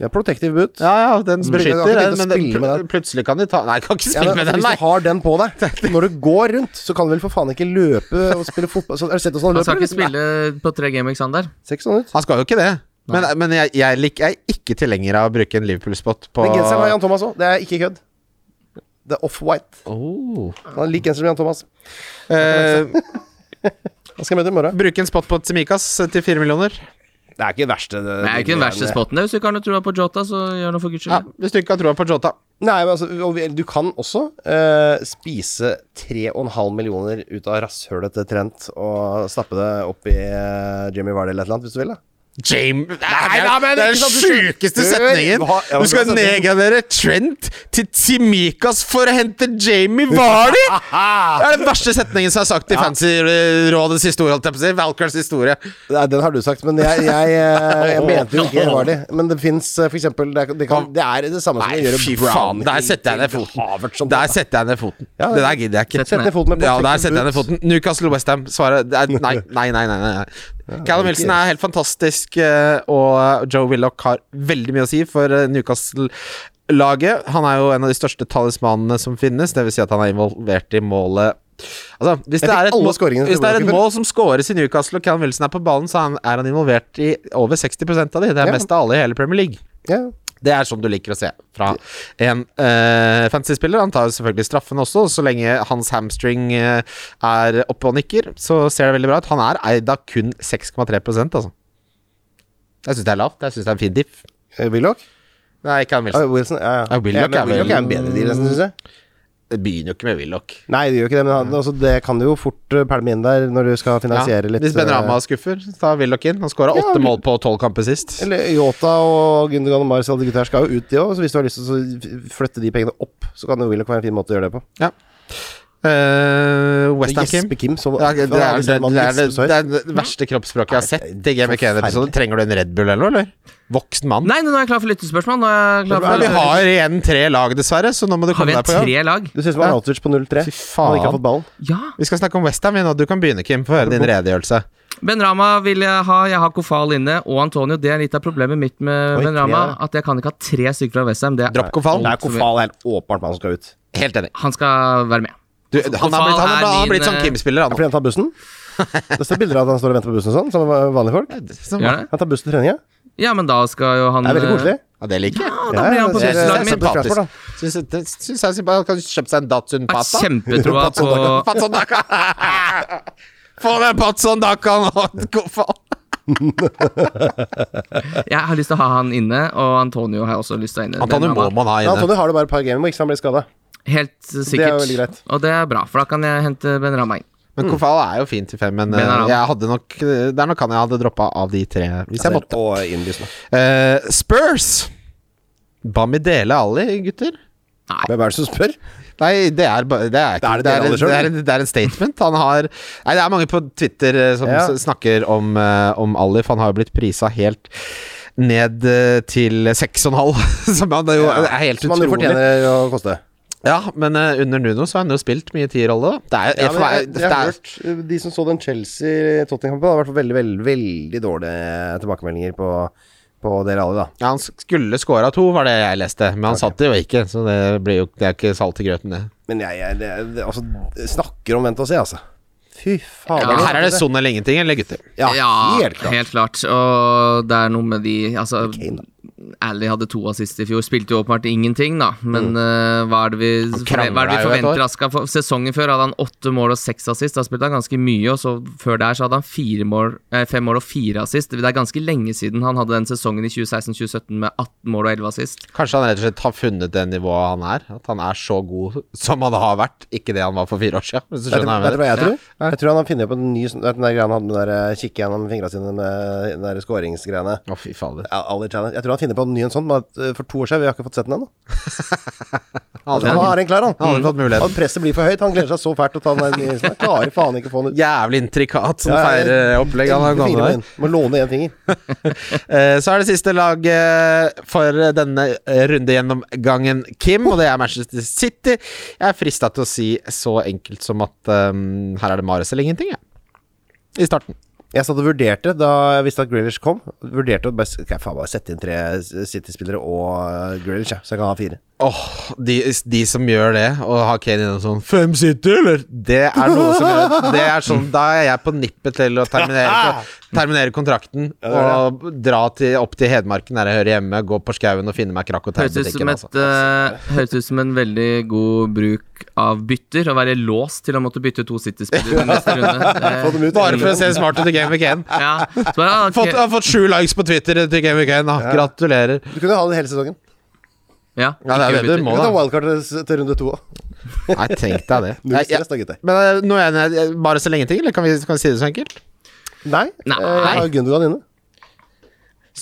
Ja, protective boot. Ja, ja, den beskytter, Jeg har den, ikke tenkt å men den, spille med pl- den. plutselig kan de ta Nei, jeg kan ikke Ja, spille men, med altså, den, hvis nei. du har den på deg når du går rundt, så kan du vel for faen ikke løpe og spille fotball så, Har du sett hvordan han Han skal løper? ikke liksom? spille på tre gameweeks, han der. Ser ikke sånn ut. Han skal jo ikke det. Men, men jeg, jeg, lik, jeg er ikke tilhenger av å bruke en Liverpool-spot på Den genseren har Jan Thomas òg. Det er ikke kødd. Det er off-white. oh. Han er lik genser som Jan Thomas. Eh, Han skal jeg møte i morgen. Bruke en spot på Tsimikas til fire millioner. Det er ikke det verste. Det, Det er jo ikke den verste spotten der. Hvis du ikke har noe trua på Jota, så gjør noe for guds Ja, skyld. hvis du ikke har troa på Jota. Nei, men altså, og vi- du kan også eh, spise 3,5 millioner ut av rasshølet til Trent og stappe det opp i eh, Jimmy Vardy eller et eller annet, hvis du vil. da James Nei, det er- da, men det er den ikke sant, du skal- sjukeste Hør, setningen! hva- ja, Du skal hva- nedgradere Trent til Tsimikas for å hente Jamie Vardy! Det er den verste setningen som er sagt i Fancy-rådets historie. holdt jeg på å si. Valkars historie. Nei, den har du sagt, men jeg, jeg, eh, jeg mente jo ikke Vardy. Men det fins f.eks. Det, er- det, kan- det er det samme som å Nei, gjøre fy Brown faen. Der til- setter jeg ned til Havertz foten. som Der setter jeg ned foten. Ja, det der gidder jeg ikke. Sett Sett ned foten med Ja, der protective setter jeg ned boot. foten. Newcastle Westham. Svaret det er nei, nei, nei. nei, nei. Callum Wilson er helt fantastisk, eh, og Joe Willoch har veldig mye å si for eh, Newcastle-laget. Han er jo en av de største talismanene som finnes, dvs. Si at han er involvert i målet Altså, hvis det, fikk er et alle mål, scoringene til hvis det er et Willoch i fjor. mål som scores i Newcastle, og Callum Wilson er på ballen, så er han, er han involvert i over 60 av de. Det er Ja. mest av alle i hele Premier League. Ja. Det er sånn du liker å se fra en uh, fantasy-spiller. Han tar selvfølgelig straffen også, og så lenge hans hamstring eh, er oppe og nikker, så ser det veldig bra ut. Han er eid av kun 6,3 altså. Jeg syns det er lavt. Jeg syns det er en fin diff. Eh, Willoch? Nei, ikke han Wilson. Ah, Wilson? Ja, ja. Ja, Willock ja, men er vel- Willock er en bedre deal, nesten, syns jeg. Det begynner jo ikke med Willoch. Nei, det gjør ikke det, men han- altså, det kan du jo fort eh, pælme inn der når du skal finansiere litt. Hvis Ben eh, Rama skuffer, så tar Willoch inn. Han skåra åtte mål på tolv kamper sist. Eller Yota og Gundogan og Marius og alle de gutta her skal jo ut, de òg. Så hvis du har lyst til å så flytte de pengene opp, så kan det jo Willoch være en fin måte å gjøre det på. Uh, Westham Kim. Jesper Kim, så Ja, det, er, det, er, det, Man er, jesper så høyt. det er det verste kroppsspråket jeg har sett. i Game of Kane-episoden. Trenger du en Red Bull eller noe? eller? Voksen mann? Nei, nå er jeg klar for lyttespørsmål. Nå er jeg klar Ja, for vi har igjen tre lag, dessverre, så nå må du Har vi komme deg en på jobb. tre lag? Du ser ut som Arnautovic på 0-3. Fy Han ikke har faen. fått ballen. Ja. Vi skal snakke om Westham nå. Du kan begynne, Kim. Få høre din redegjørelse. Ben Rama vil jeg ha. Jeg har Kofal inne. Og Antonio. Det er litt av problemet mitt med Oi, Ben tre, Rama. ja. At jeg kan ikke ha tre stykker fra Westham. Det er Dropp Kofal. Det er Kofal det er helt åpenbart man skal ut. Helt enig. Han skal være med. Du, han har blitt, han har, han har blitt sånn eh, Kim-spiller, Ja, fordi han. han tar bussen? Det står bilder av at han står og venter på bussen og sånn, som vanlige folk. Som, Gjør det? Han tar bussen til treninga. Ja, men da skal jo han eh, Det er veldig koselig. Mm. ja, det liker jeg. da blir han på Ja, bussen, ja, ja. Jeg min. setter pris på det. Syns jeg det syns jeg er sympatisk. Han Kan kjøpe seg en Datsun Jeg Pata. har kjempetroa på Patson Daka! Få den Patson Daka nå, Kofal! Jeg har lyst til å ha han inne, og Antonio har jeg også lyst til å ha inne. Antonio Ben må Rama. man ha Ja, inne. Antonio har det bare et par gameweeks, han blir skada. Helt er jo sikkert. veldig greit. og det er bra, for da kan jeg hente Ben Rama inn. Men Kofal er jo fin til fem, men Men er eh, han- jeg hadde nok, det er nok han jeg hadde droppa av de tre. Hvis jeg måtte. Og innlysende. Eh, Spurs! Bamidele Ali, gutter. Hvem er det som spør? Nei, det er, ba- det er, ikke- er det det, dere er, alle det, selv, er, en- det er en statement. Han har Nei, det er mange på Twitter eh, som Ja. s- snakker om, eh, om Ali, for han har jo blitt prisa helt ned eh, til 6,5, som han jo er helt Som han jo utrolig. fortjener å koste. Ja, men eh, under Nuno så har han jo spilt mye tierrolle, da. Det er, Ja, for men jeg, meg- jeg det har er, hørt uh, De som så den Chelsea-Tottenham-kampen, har vært veldig, veldig, veldig dårlige tilbakemeldinger på, på dere alle, da. ja, han skulle scora to, var det jeg leste, men han satt det jo ikke, så det, blir jo, det er ikke salt i grøten, det. Men jeg, jeg det, det, altså, snakker om vent og se, altså. Fy faen. Ja, Her er det sånn eller ingenting, eller gutter? Ja, helt klart. Og det er noe med de Altså, Kane, da. Ally hadde to assist i fjor. Spilte jo åpenbart ingenting, da. Men eh, hva er det vi, krangla hva er Mm. jo et det vi år. forventer? at skal få- sesongen før hadde han åtte mål og seks assist. Da spilte han ganske mye. Og så før der så hadde han fire mål, eh, fem mål og fire assist. Det er ganske lenge siden han hadde den sesongen i 2016-2017 med 18 mål og 11 assist. Kanskje han rett og slett har funnet det nivået han er. At han er så god som han har vært, ikke det han var for fire år siden. Hvis du Vet du skjønner hva jeg vet mener. du hva jeg tror? Jeg tror han har funnet på en ny sånn- vet du Den der greia han hadde med den der eh, kikke gjennom fingra sine med den der skåringsgreiene. Å, fy fader. Ja, alle challenge. Jeg tror han finner på en ny en sånn, bare at, eh, for to år siden. Vi har ikke fått sett den ennå. Han Han hadde har en klar, han. aldri fått Og muligheten. presset blir for høyt. Han gleder seg så fælt til å ta den der nye. Han klarer faen ikke å få den ut. Jævlig intrikat sånn Ja, ja, feireopplegg han har gått Fingre med med. den. Må låne én finger. Eh, Så er det siste laget for denne rundegjennomgangen, Kim, og det er Manchester City. Jeg er frista til å si så enkelt som at eh, her er det Mares eller ingenting, jeg. I starten. Jeg satt og vurderte da jeg visste at Grealish kom. Vurderte å bare, skal jeg faen bare sette inn tre City-spillere og eh, Grealish, jeg, så jeg kan ha fire. Åh, de, de som gjør det, og har Kane innom sånn Fem City, eller? Det er noe som gjør at- Det er sånn, Da er jeg på nippet til å terminere, terminere kontrakten og dra til, opp til Hedmarken, der jeg hører hjemme, gå på skauen og finne meg krakk og Høres ut som, tegnebutikken. et, Altså. eh, høres ut som en veldig god bruk av bytter. Å være låst til å måtte bytte to City-spillere neste runde. Det- Bare for å se smart ut i Game Week 1. Ja. Så, bare, ah, ok. Fått, har fått sju likes på Twitter til Game Week 1. da. Gratulerer. Du kunne ha det hele sesongen. ja, Ja, det er ikke det du bytter. Du må, kan ta da. wildcard til- til runde to òg. Nei, tenk deg det. Null Jeg, jeg, stress da, gutter. men eh, nå er jeg, jeg- bare så lenge til, eller kan vi, kan vi si det så enkelt? Nei, Nei. eh, jeg har Gundogan inne.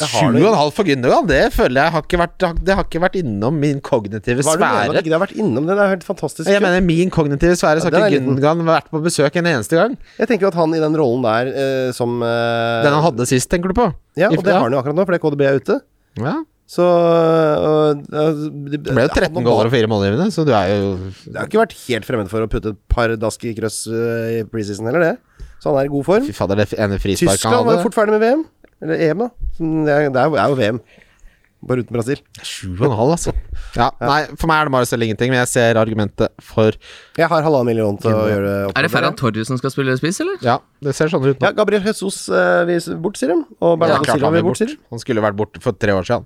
Jeg har det. 7,5 for Gündogan, det føler jeg har ikke vært, det har- det har ikke vært innom min kognitive Hva er det du mener at sfære. ikke det har vært innom? Den er helt fantastisk. Jeg kul. mener min kognitive sfære, så Ja, har den ikke er liten. Gündogan vært på besøk en eneste gang. Jeg tenker at han i den rollen der eh, som eh, Den han hadde sist, tenker du på? Ja, og det Ja. har han jo akkurat nå, fordi KDB er ute. Ja. Så øh, og, Det ble jo 13 goller og 4 målgivende, så du er jo Jeg har ikke vært helt fremmed for å putte et par dask i krøss eh, i preseason heller, det. Så han er i god form. Fy fader, det ene frisparket Tyskland han var jo hadde. fort ferdig med VM. Eller EM, da. Som Det er, det er jo- er jo VM. Bare uten Brasil. 7,5, altså. Ja, nei, for meg er det bare selv ingenting, men jeg ser argumentet for Jeg har halvannen million til å gjøre det opp. Er det med Ferran Torres som skal spille spiss, eller? Ja, det ser sånn ut nå. Ja, Gabriel Jesus eh, vil bort, sier de. Ja, Og Bernardo klart Silva han, vil vil bort. bort, sier de. han skulle vært borte for tre år siden.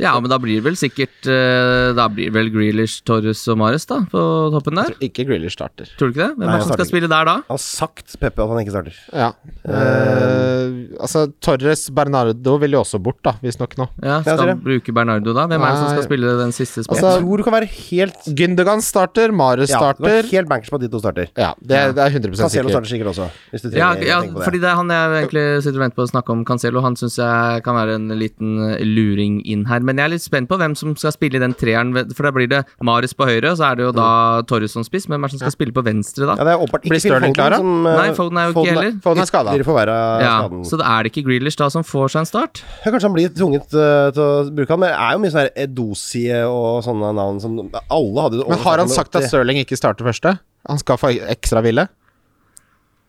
Ja, men da blir det vel sikkert eh, Da blir det vel Grealish, Torres og Mares da på toppen der. Ikke Grealish starter. Tror du ikke det? Hvem Nei, er det jeg som starter skal spille der da? Han har sagt Peppe at han ikke starter. Ja. Eh, altså, Torres Bernardo vil jo også bort, da, visstnok nå. Ja, Ja, Skal sier han bruke Bernardo da? Hvem er det som Nei. skal spille den siste Jeg spotten? Altså, tror du kan være helt Gündogan starter, Marius Ja, du starter. kan være helt bankers på at de to starter. Ja, det, er- det er 100 Cancelo sikkert. starter sikkert også, hvis du ja, trenger ja, å tenke på det. fordi det er han jeg egentlig sitter og venter på å snakke om, Cancelo. Han syns jeg kan være en liten eh, luring inn her. Men jeg er litt spent på hvem som skal spille i den treeren, ved- for da blir det Mares på høyre, og så er det jo da Torres som spiss, men hvem er det som skal spille på venstre da? Ja, det er åpenbart Blir ikke Phil Sterling klar, da? Foden som eh, Nei, Foden er jo ikke heller. Få den er skada. Blir forverret Ja, skaden. så da er det ikke Grealish da som får seg en start? Ja, Kanskje han blir tvunget eh, til å bruke han, men det er jo mye sånn her Edosie og sånne navn som alle hadde jo Men har han sagt at 80. Stirling ikke starter første? Han skal få ekstra hvile?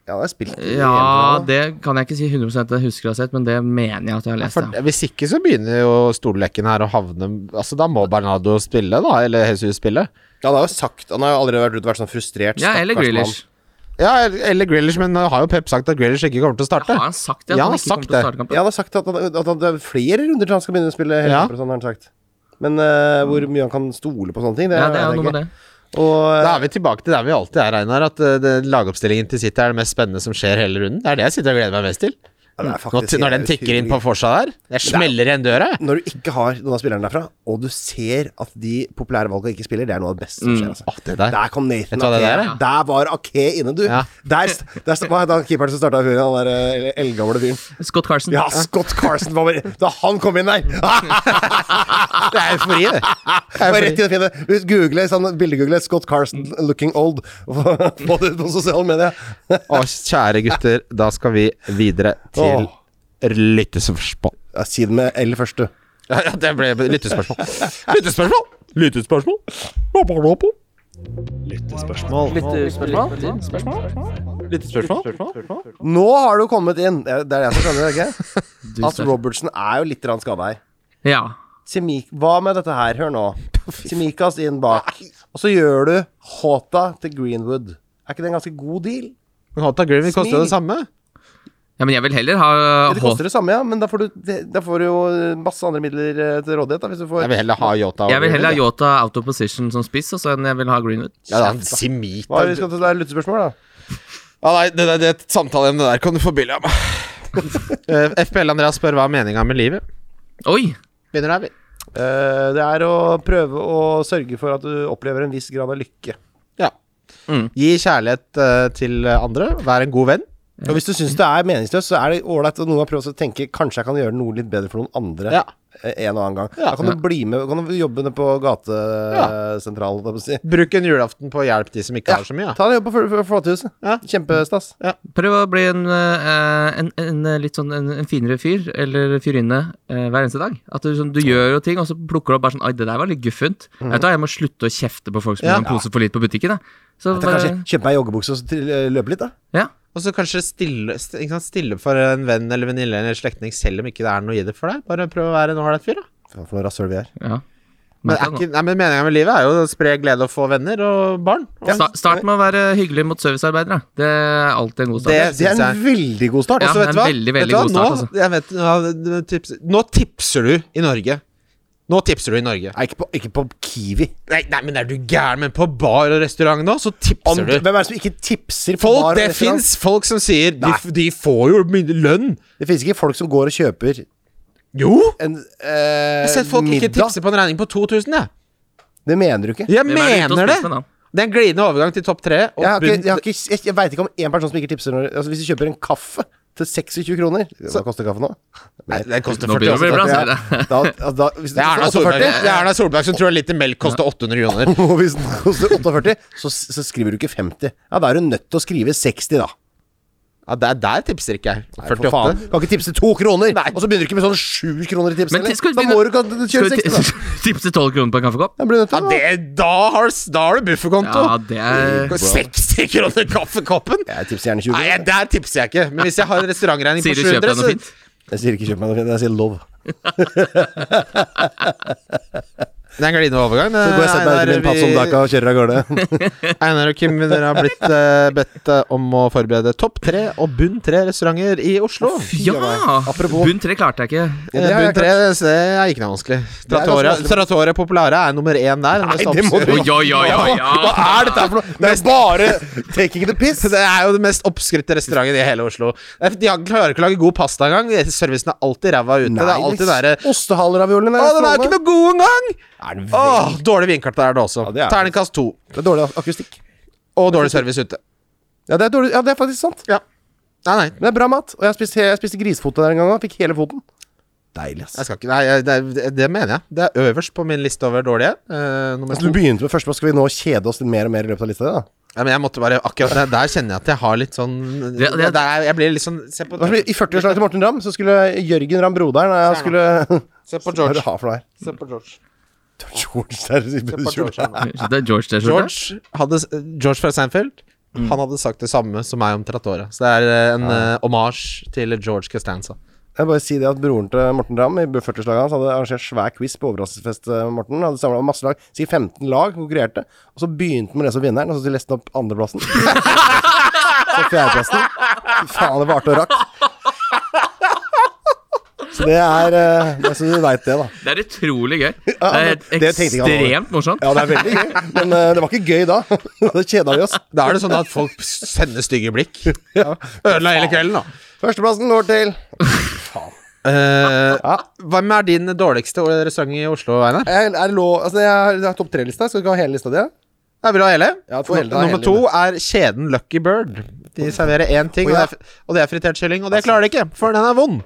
Ja, han har spilt i Ja, EM-finalen. det kan jeg ikke si 100 at jeg husker å ha sett, men det mener jeg at jeg har lest. For, Ja. hvis ikke så begynner jo stollekken her å havne Altså Da må Bernardo spille, da. Eller Jesus spille. Han har jo sagt Han har jo allerede vært ute og vært sånn frustrert. ja, eller stakkars Grealish. Ja, eller Grealish, men nå har jo Pep sagt at Grealish ikke kommer til å starte. Har han sagt det? At Ja, han han ikke har kommer til sagt å starte mann. Ja, kampen? han har sagt at, han- at han- det er flere runder til han skal begynne å spille Ja. helgekamper og sånn, har han sagt. Men eh, hvor mye han kan stole på sånne ting, det, Ja, det er vet jo jeg noe med ikke. det. Og, eh, Da er vi tilbake til der vi alltid er, Einar. At eh, det, lagoppstillingen til City er det mest spennende som skjer hele runden. Det er det jeg sitter og gleder meg mest til. ja, det er Når, faktisk når den helt tikker inn utrolig. på forsa der. Jeg smeller igjen døra, jeg. Når du ikke har noen av spillerne derfra, og du ser at de populære valgene ikke spiller, det er noe av det beste som skjer. Altså. Åh, det der. Der kom Vet Nathan du hva Mm. det der Ake. Der, er? var Ake inne, du. Ja. Der, st- der st- hva het han keeperen som starta fyren? Han der eh, eldgamle fyren. Scott Carson. Ja, Scott Carson var bare Da han kom inn der! Ah, Det er eufori, det. Det er Bare eufori. rett i det fine. Ut- Google, sånn, Bildegoogle 'Scott Carson looking old' Få det ut på sosiale medier. Å, kjære gutter, da skal vi videre til Åh. lyttespørsmål. Ja, si det med L først, du. Ja, ja, det ble lyttespørsmål. Lyttespørsmål! Lyttespørsmål! Lyttespørsmål. Nå har du kommet inn. Det er det er jeg som skjønner det, ikke? Du At ser. Robertson er jo litt skada her. ja. Semik Hva med dette her? Hør nå. Semikas inn bak. Og så gjør du Hota til Greenwood. Er ikke det en ganske god deal? Hata Greenwood koster jo Smil. det samme. ja, men jeg vil heller ha Det koster det samme, ja, men da får du, det- da får du jo masse andre midler eh, til rådighet. Da, hvis du får Jeg vil heller ha Yota. og Jeg vil heller ha Greenwood, Yota out of position som spiss, altså, enn jeg vil ha Greenwood. Ja, Ja, da, en simita. Hva er det vi skal til det er lyttespørsmål, da? Ja, nei, det, det, det samtaleemnet der kan du få billig av meg. Eh, FPL Andreas spør hva er meninga med livet. Oi! Begynner der, vi. Eh, det er å prøve å sørge for at du opplever en viss grad av lykke. Ja. Mm. Gi kjærlighet eh, til andre. Vær en god venn. Og hvis du syns det er meningsløst, så er det ålreit at noen har prøvd å tenke kanskje jeg kan gjøre noe litt bedre for noen andre Ja. eh, en og annen gang. Ja. Da kan du bli med, kan du jobbe nede på gatesentralen, holdt jeg på å si. Bruk en julaften på å hjelpe de som ikke Ja. har så mye. Ja. Ta en jobb på fl- fl- Flathuset. Ja. Kjempestas. Prøv å bli en, eh, en, en eh, litt sånn en, en finere fyr, eller fyrinne, eh, hver eneste dag. At du, sånn, du gjør jo ting, og så plukker du opp bare sånn Oi, det der var litt guffent. Vet du hva, jeg må slutte å kjefte på folk som Ja. har en pose for lite på butikken, jeg. Så Da bare kanskje kjøpe meg joggebukse og så til- eh, løpe litt, da. Ja. Og så kanskje stille, st- ikke sant, stille for en venn eller venninne eller slektning selv om ikke det er noe i det for deg. Bare prøv å være en ålreit fyr, da. Faen, for noe rasshøl vi er. ja. Men, er ikke, nei, men meninga med livet er jo å spre glede og få venner og barn. Og Sta start med å være hyggelig mot servicearbeidere. Det er alltid en god start. Det- Det er synes en veldig god start. Altså, Ja, så det er vet en du hva? veldig, Vet veldig du hva? god start, altså. Nå, jeg vet, ja, det- tips, nå tipser du i Norge. Nå tipser du i Norge. Nei, ikke på, ikke på Kiwi. Nei, nei, men er du gæren? Men på bar og restaurant nå, så tipser Om, du. hvem er det som ikke tipser på bar Folk, og det restaurant? fins folk som sier de, Nei. f- de får jo mye lønn. Det fins ikke folk som går og kjøper Jo! en Jeg eh, har sett folk ikke middag. tipse på en regning på 2000, jeg. Det mener du ikke? Jeg Hvem er det ute og mener det! spiser med da? Det er en glidende overgang til topp tre. og Jeg, har ikke, bunn- jeg, har ikke, jeg, jeg veit ikke om én person som ikke tipser når altså Hvis du kjøper en kaffe til 26 kroner Hva koster kaffe nå? Nei, det koster Nå 40 begynner det å bli også. bra. Ja, sier da, det. altså, da, hvis Det er Erna den koster Solberg, 48, det er Erna Solberg som tror en liter melk koster 800 kroner. og hvis den koster 48, så, så skriver du ikke 50. Ja, Da er du nødt til å skrive 60, da. Ja, der, der tipser ikke jeg. For faen. 48. Kan ikke tipse to kroner, og så begynner du ikke med sånn sju kroner i tips. Men eller? skal vi da må du begynne- kan- kjøre Skal vi 60, da. Tipse 12 kroner på en kaffekopp? Da blir du nødt Ja, til det. det, da har du, da har du bufferkonto. Ja, det er 60 kroner kaffekoppen? Jeg tipser gjerne 20 Nei, kroner. der tipser jeg ikke. Men hvis jeg har en restaurantregning på Sier du kjøp deg 700, noe fint? så Jeg sier ikke kjøp meg noe fint, jeg sier love. Det er en glidende overgang. eh, Så går jeg og setter meg ut i min vi- Passom-daka og kjører av gårde. Einar og Kim, dere har blitt eh, bedt eh, om å forberede topp tre og bunn tre restauranter i Oslo. Ja! Apropos- Bunn tre klarte jeg ikke. det Eh, har jeg bunn tre det er ikke noe vanskelig. er Trattoria, ganske vanskelig. Trattoria Populare er nummer én der. Nei, mest det må du- oppskrytte- Oi, oi, oi, oi, Hva ja. er dette her for noe? Det er bare taking the piss. Det er jo den mest oppskrytte restauranten i hele Oslo. Eh, De har- klarer ikke å lage god pasta engang. Servicen er alltid ræva ute. det er alltid Nei, derre Å, Ostehaler-raviolen den er jo ikke noe god engang! Er den Å, vel- dårlig vinkart der, det også. Ja, det er det. Terningkast to. Det er dårlig akustikk. Og dårlig service ute. Ja, det er, dårlig, ja, det er faktisk sant. Ja. Nei, nei. Men det er bra mat. Og jeg spiste, jeg spiste grisefot der en gang og fikk hele foten. Deilig, ass. Jeg skal ikke, nei jeg- det, det mener jeg. Det er øverst på min liste over dårlige. Eh, nummer Altså, to. du begynte med første, men skal vi nå kjede oss litt mer og mer i løpet av lista? di, da? Ja, men jeg måtte bare akkurat der, der kjenner jeg at jeg har litt sånn Det- det- der, Jeg blir litt sånn Se på, Det var som I 40-årslaget til Morten Ramm så skulle Jørgen Ramm Broderen og jeg skulle Hva se på er det George. du har for noe her? Se på George. George der i Se på George. kjole. her nå. Så det er George det, skjorte. George, hadde, George fra Seinfeld Mm. Han hadde sagt det samme som meg om Trattoria. Så det er eh, en ja. omasj til George Costanza. Jeg vil bare si det at broren til Morten Ramm i 40-årslaget hans hadde arrangert svær quiz på overraskelsesfest med Morten. Hadde samla masse lag, si 15 lag konkurrerte, og så begynte han med det som vinneren, og så leste han opp andreplassen. så fjerdeplassen. Fy faen, det varte og rakk. Så det er eh, Det er så du veit det, da. Det er utrolig gøy. Det Ja, er men det tenkte jeg ikke han ekstremt morsomt. Ja, det er veldig gøy, men eh, det var ikke gøy da. da kjeda vi oss. Da er det sånn at folk sender stygge blikk. Ødela hele kvelden, da. Førsteplassen går til Eh, Hvem er din dårligste restaurant i Oslo, Einar? jeg, Er det lov Altså, jeg har, jeg har topp tre-lista. Skal du ikke ha hele lista di? ja? Jeg vil ha hele. Ja, få hele, da, Nummer hele. to er kjeden Lucky Bird. De serverer én ting, Å, ja. og, det er, og det er fritert kylling. Og det klarer de ikke, for den er vond.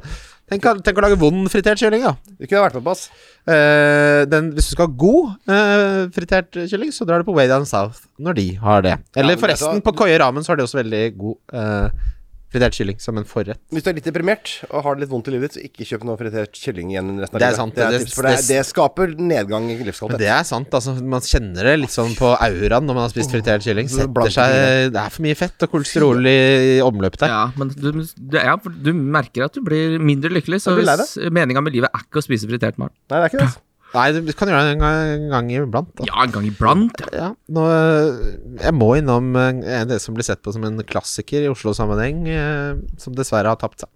Tenk, tenk å lage vond fritert kylling, da. Du kunne vært med på, ass. Eh, den, hvis du skal ha god eh, fritert kylling, så drar du på Way Down South når de har det. Eller men forresten, dette- på Koie Ramen så har de også veldig god eh, fritert kylling som en forrett. Hvis du er litt deprimert og har det litt vondt i livet ditt, så ikke kjøp noe fritert kylling igjen resten av Det er livet. sant, Det, er det- tips, for det, er- det- det skaper nedgang i Men livskvalitet. det er sant, altså. Man kjenner det litt sånn på auraen når man har spist fritert kylling. så Setter blanke seg Det er for mye fett og kolesterol i omløpet der. Ja, men du, du, ja, for du merker at du blir mindre lykkelig, så Jeg blir lei hvis meninga med livet er ikke å spise fritert mat Nei, det er ikke det. ass. Nei, du kan gjøre det en gang, en gang iblant. Da. Ja, en gang iblant. ja. Ja, nå, øh, jeg må innom øh, det som blir sett på som en klassiker i Oslo-sammenheng, øh, som dessverre har tapt seg.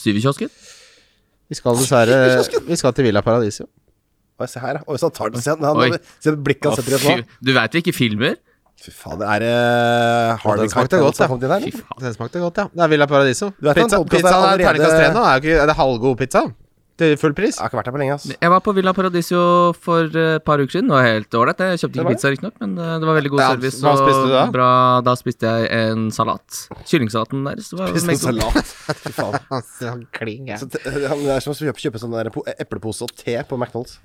Syverkiosken. Vi skal dessverre Vi skal til Villa Paradiso. Oi, se her, ja. Oi, så tar den seg. Oi. Han, se blikket han Å, setter i oss nå. fy- Du veit vi ikke filmer? Fy faen, det er uh, Harvey Den smakte Keitel godt, som ja. kom inn her. Fy eller? faen. Den smakte godt, ja. Det er Villa Paradiso. Du vet at Pizza, den podcasten pizzaen er allerede- terningkast tre nå. Er, jo ikke, er det halvgod pizza? Til full pris? Jeg har ikke vært her på lenge, ass. Jeg var på Villa Paradiso for eh, et par uker siden. Det var helt ålreit. Jeg kjøpte ikke pizza, riktignok, men eh, det var veldig god Ja, service. hva spiste du da? og Bra, da spiste jeg en salat. Kyllingsalaten deres. var Spiste en meget god. salat. Fy faen. Han klinger. Så, t- han det er som å kjøpe, kjøpe sånn der po- eplepose og te på McDonald's.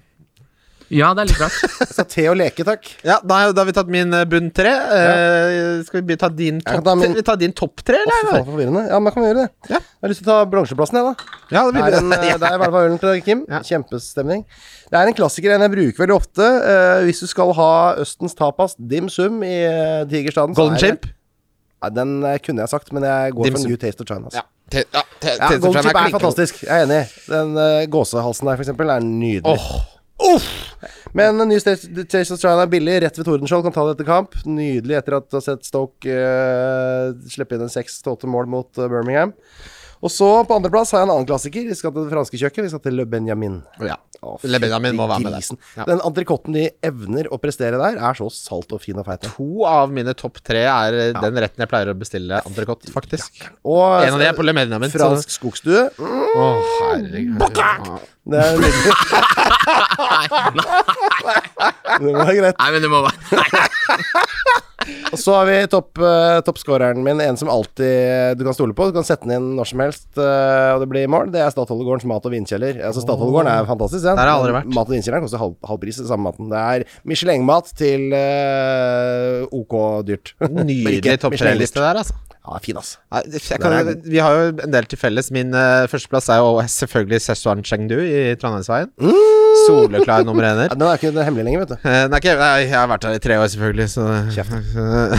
Ja, det er litt rart. Så te og leke, takk. Ja, da, har- da har vi tatt min øh, bunn tre. Eh, Skal vi be- ta din kan topp ta min- vi ta din topp tre, Å, fy eller? faen, forvirrende. Ja, men da kan vi gjøre det. Ja. Jeg har lyst til å ta bransjeplassen, jeg, da. Ja, det Det vil er en, eh, der var ølen til deg, Kim. Ja. Kjempestemning. Det er en klassiker, en jeg bruker veldig ofte. Eh, hvis du skal ha Østens tapas, dim sum, i eh, Tigerstaden så Golden er det- Chimp? Nei, den eh, kunne jeg sagt, men jeg går Dim for sum. New Taste of China. Altså. Ja. Te- ja, te- Ja, te- Golden te- Chimp te- er fantastisk. Jeg er enig. Den eh, gåsehalsen der, for eksempel, er nydelig. Åh. Men eh, New Taste, Taste of China er billig. Rett ved Tordenskjold, kan ta det etter kamp. Nydelig etter at du har sett Stoke eh, slippe inn en seks-tolvte mål mot eh, Birmingham. Og så, på andreplass, har jeg en annen klassiker. Vi skal til det franske kjøkket. Vi skal til Le Benjamin. Ja. Å, Le Benjamin må fytti være med der. grisen. Ja. Den entrecôten de evner å prestere der, er så salt og fin og feit. To av mine topp tre er eh, den retten jeg pleier å bestille entrecôte, faktisk. Og En av de er på Le Medinamin. Altså, fransk skogstue. Mm, Å, herregud. Det er nydelig. Det var greit. Nei, men det må være Nei. Og så har vi topp, eh, toppscoreren min, en som alltid eh, du kan stole på. Du kan sette den inn når som helst, eh, og det blir mål. Det er Statoilegårdens mat- og vinkjeller. Altså, Statoilegården er fantastisk. Den. Der har jeg aldri vært. Mat- og vinkjelleren koster halv, halv pris, den samme maten. Det er Michelin-mat til eh, OK dyrt. Men ikke Nydelig topp Michelin-dyrt. tre-liste der, altså. Ja, Han er fin, altså. Nei, Jeg kan, vi har jo en del til felles. Min eh, førsteplass er jo selvfølgelig Szechuan Chengdu i Trondheimsveien. Mm. Soleklar nummer ener. Ja, Den er ikke den er hemmelig lenger, vet du. Eh, Nei, ikke, nei, jeg har vært her i tre år, selvfølgelig, så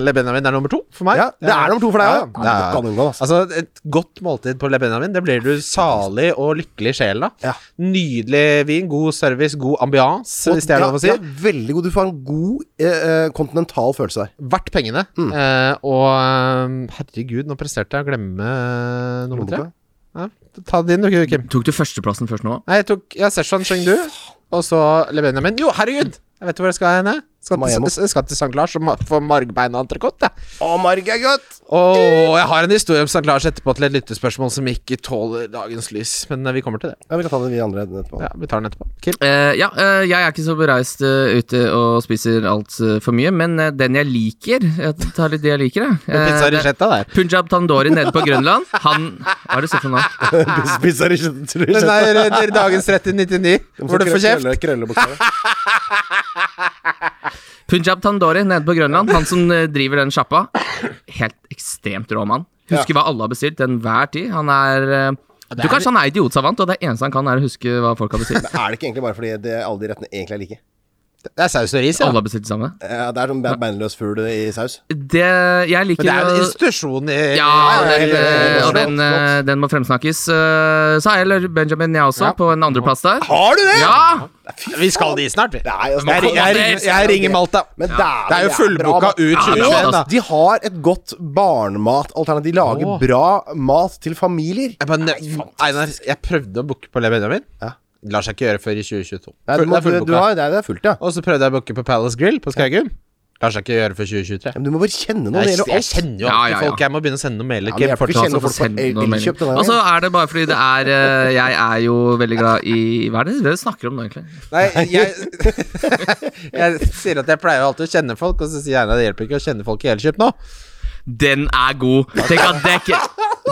Le Benjamin er nummer to for meg. Ja, det er nummer to for deg Ja, òg. Ja, det kan unngå, altså. Altså, et godt måltid på Le Benjamin, det blir du salig og lykkelig i sjelen av. Ja. Nydelig vin, god service, god ambiance, hvis det er lov å si. Ja, ja, veldig god. Du får en god eh, eh, kontinental følelse der. Verdt pengene. Mm. Eh, og eh, herregud, nå presterte jeg å glemme eh, nummer tre. Lommeboka. Ja, ta din, du, Kim. Tok du førsteplassen først nå? Nei, jeg tok ja, Szechuan Chengdu, og så Le Benjamin. Jo, herregud! Jeg vet hvor jeg skal hen. jeg. Skal Miami. til, s- skal til St. Lars og ma- få margbeina entrecôte. jeg. Eh. Å, Marg er godt! Og jeg har en historie om St. Lars etterpå til et lyttespørsmål som ikke tåler dagens lys, men eh, vi kommer til det. Ja, vi kan ta det vi andre etterpå. Ja, Vi tar den etterpå. Kim? Eh, ja, eh, jeg er ikke så bereist eh, ute og spiser altfor mye, men eh, den jeg liker Jeg tar litt det jeg liker, jeg. Eh, Pizza det er ricetta der. Punjab Tandori nede på Grønland. Han Hva er det du ser for navn? Spiser ikke tror Den jeg. er eh, dagens rett i 99, hvor du får kjeft. Krølle- krøllebukser. Punjab Tandori nede på Grønland. Han som eh, driver den sjappa. Helt ekstremt rå mann. Husker hva alle har bestilt til enhver tid. Han er eh, Du kanskje han er idiotsavant, og det eneste han kan, er å huske hva folk har bestilt. Er det ikke egentlig bare fordi det, alle de rettene egentlig er like? Det er saus og ris, ja. Alle har bestilt det samme. Ja, det er som be- beinløs fugl i saus. Det jeg Men liker det er en å- institusjon i Ja, ja, den, helt enig. eh, og den, eh, den må fremsnakkes. Eh, Så er jeg Benjamin, jeg også, på en andreplass der. Har du det?! Ja! Vi skal dit snart, vi. Nei, altså, Jeg, kom jeg, an, ringer- det- jeg ringer Malta. Men dæven, Det er jo fullboka bra mat. altså, ut Ja, det er 2021, da. bra, De har et godt barnematalternativ. De lager Åh. bra mat til familier. Jeg bare, Einar, jeg prøvde å booke på Le Benjamin. Ja. Det Lar seg ikke gjøre før i 2022. Nei, Full- du, det må, er du, fullbooka. du har, det, er, det er fullt, ja. Og så prøvde jeg å booke på Palace Grill på Skaugum. Lar seg ikke gjøre før 2023. Men du må bare kjenne noe. Jeg, Det gjelder jeg alt. kjenner jo Ja, alltid ja, ja. folk. Jeg må begynne å sende noen mailer. Ja, Kim. men jeg- vi Folk- kjenner Altså, folk på send el- noen Elkjøp denne meldinger. Og så er det bare fordi det er eh, Jeg er jo veldig glad i Hva er det dere snakker om nå, egentlig? Nei, jeg, jeg sier at jeg pleier alltid å kjenne folk, og så sier jeg at det hjelper ikke å kjenne folk i Elkjøp nå. Den er god! Tenk at det ikke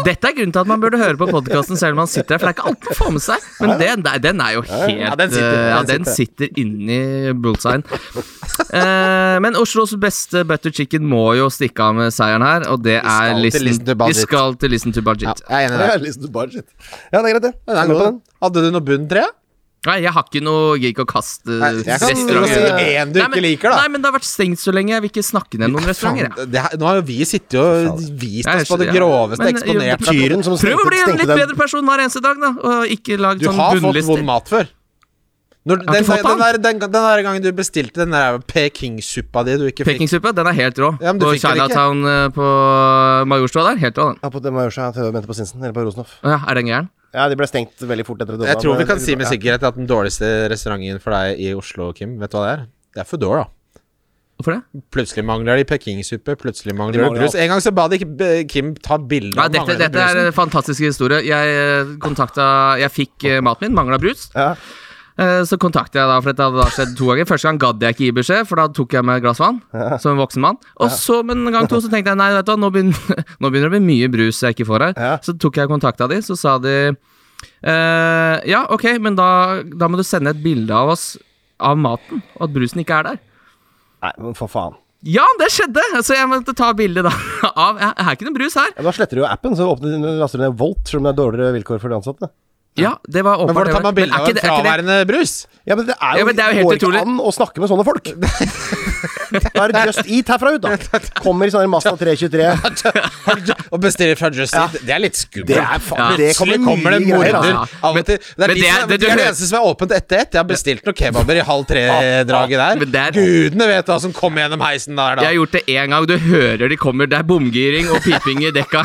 Dette er grunnen til at man burde høre på podkasten selv om man sitter her, for det er ikke alt man får med seg. Men den, der- den er jo helt Ja, den sitter, eh, ja, den den sitter inni bullseyen. Eh, men Oslos beste butter chicken må jo stikke av med seieren her, og det er skal til Listen to listen, Vi Budget. skal til Listen to Budget. Jeg er enig i Jeg det. har lyst til bare shit. Ja, det er greit, det. Den er Jeg er med på god. den. Hadde du noe bunn tre? Nei, jeg har ikke noe Jeg gidder ikke å kaste Jeg kan si Mm, restauranter. én du Nei, men- ikke liker, da. Nei, men det har vært stengt så lenge. Jeg vil ikke snakke ned noen restauranter. jeg. Faen, det her, nå har jo vi sittet og vist Jeg oss på det skjønner, ja. groveste, Men, eh, eksponert jo, deg. Tyren som Prøv å stengte, bli en stengte litt den. bedre person hver eneste dag, da. Og ikke lag Du sånn har fått vond bunnlister. mat før. Når, har den, ikke fått den, den. der, den, den der gangen du bestilte den der Peking-suppa di du ikke fikk Pekingsuppa, den er helt rå. Ja, men du på fikk den ikke. Chinatown eh, på Majorstua der, helt rå den. Ja, på, det må jeg gjøre seg, jeg mente på Sinsen, eller på Rosenhoff. Å Ja, er den gæren? Ja, de ble stengt veldig fort etter det. Jeg tror vi kan si med Ja. sikkerhet at den dårligste restauranten for deg i Oslo, Kim, vet du hva det er? Det er Foodora. Hvorfor det? Plutselig mangler de pekingsuppe, plutselig De mangler de mangler brus. alt. En gang så ba de ikke b- Kim ta bilde Nei, av dette, manglende dette er brusen. en fantastisk historie. Jeg eh, kontakta Jeg fikk eh, maten min, mangla brus. Ja. Eh, Så kontakta jeg da, for dette hadde da skjedd to ganger. Første gang gadd jeg ikke gi beskjed, for da tok jeg meg et glass vann. Som en voksen mann. Og så, men gang to, så tenkte jeg nei, vet du hva, nå begynner, nå begynner det å bli mye brus jeg ikke får her. Ja. Så tok jeg kontakt av de, så sa de eh, ja, ok, men da, da må du sende et bilde av oss av maten, og at brusen ikke er der. Nei, men for faen. Ja, det skjedde! Så jeg måtte ta bilde da av Jeg er ikke noe brus her. Ja, men da sletter du jo appen, så åpner, laster du ned Volt, selv om det er dårligere vilkår for de ansatte. Ja, det var Men åpenbart hvordan tar man det var- bilde av en eh, men er ikke det- er ikke det- fraværende brus? Ja, men det er jo, Ja, men det er jo helt går ikke utrolig. an å snakke med sånne folk. da er det Just Eat herfra ut, da. Kommer i sånne Mazda 323. Å bestille fra Just Eat, det er litt skummelt. Det er faen, Ja. det Plutselig kommer kommer det en mye greier. morder. Altså. altså. Av og Men- til. Det er de men det er- som- det- de er du det hører- eneste som er åpent etter ett. Jeg har bestilt noen kebaber i halv tre-draget Men det der. er- Gudene vet hva som kommer gjennom heisen der, Jeg har da. gjort det én gang. Du hører de kommer. Det er bomgiring og piping i dekka.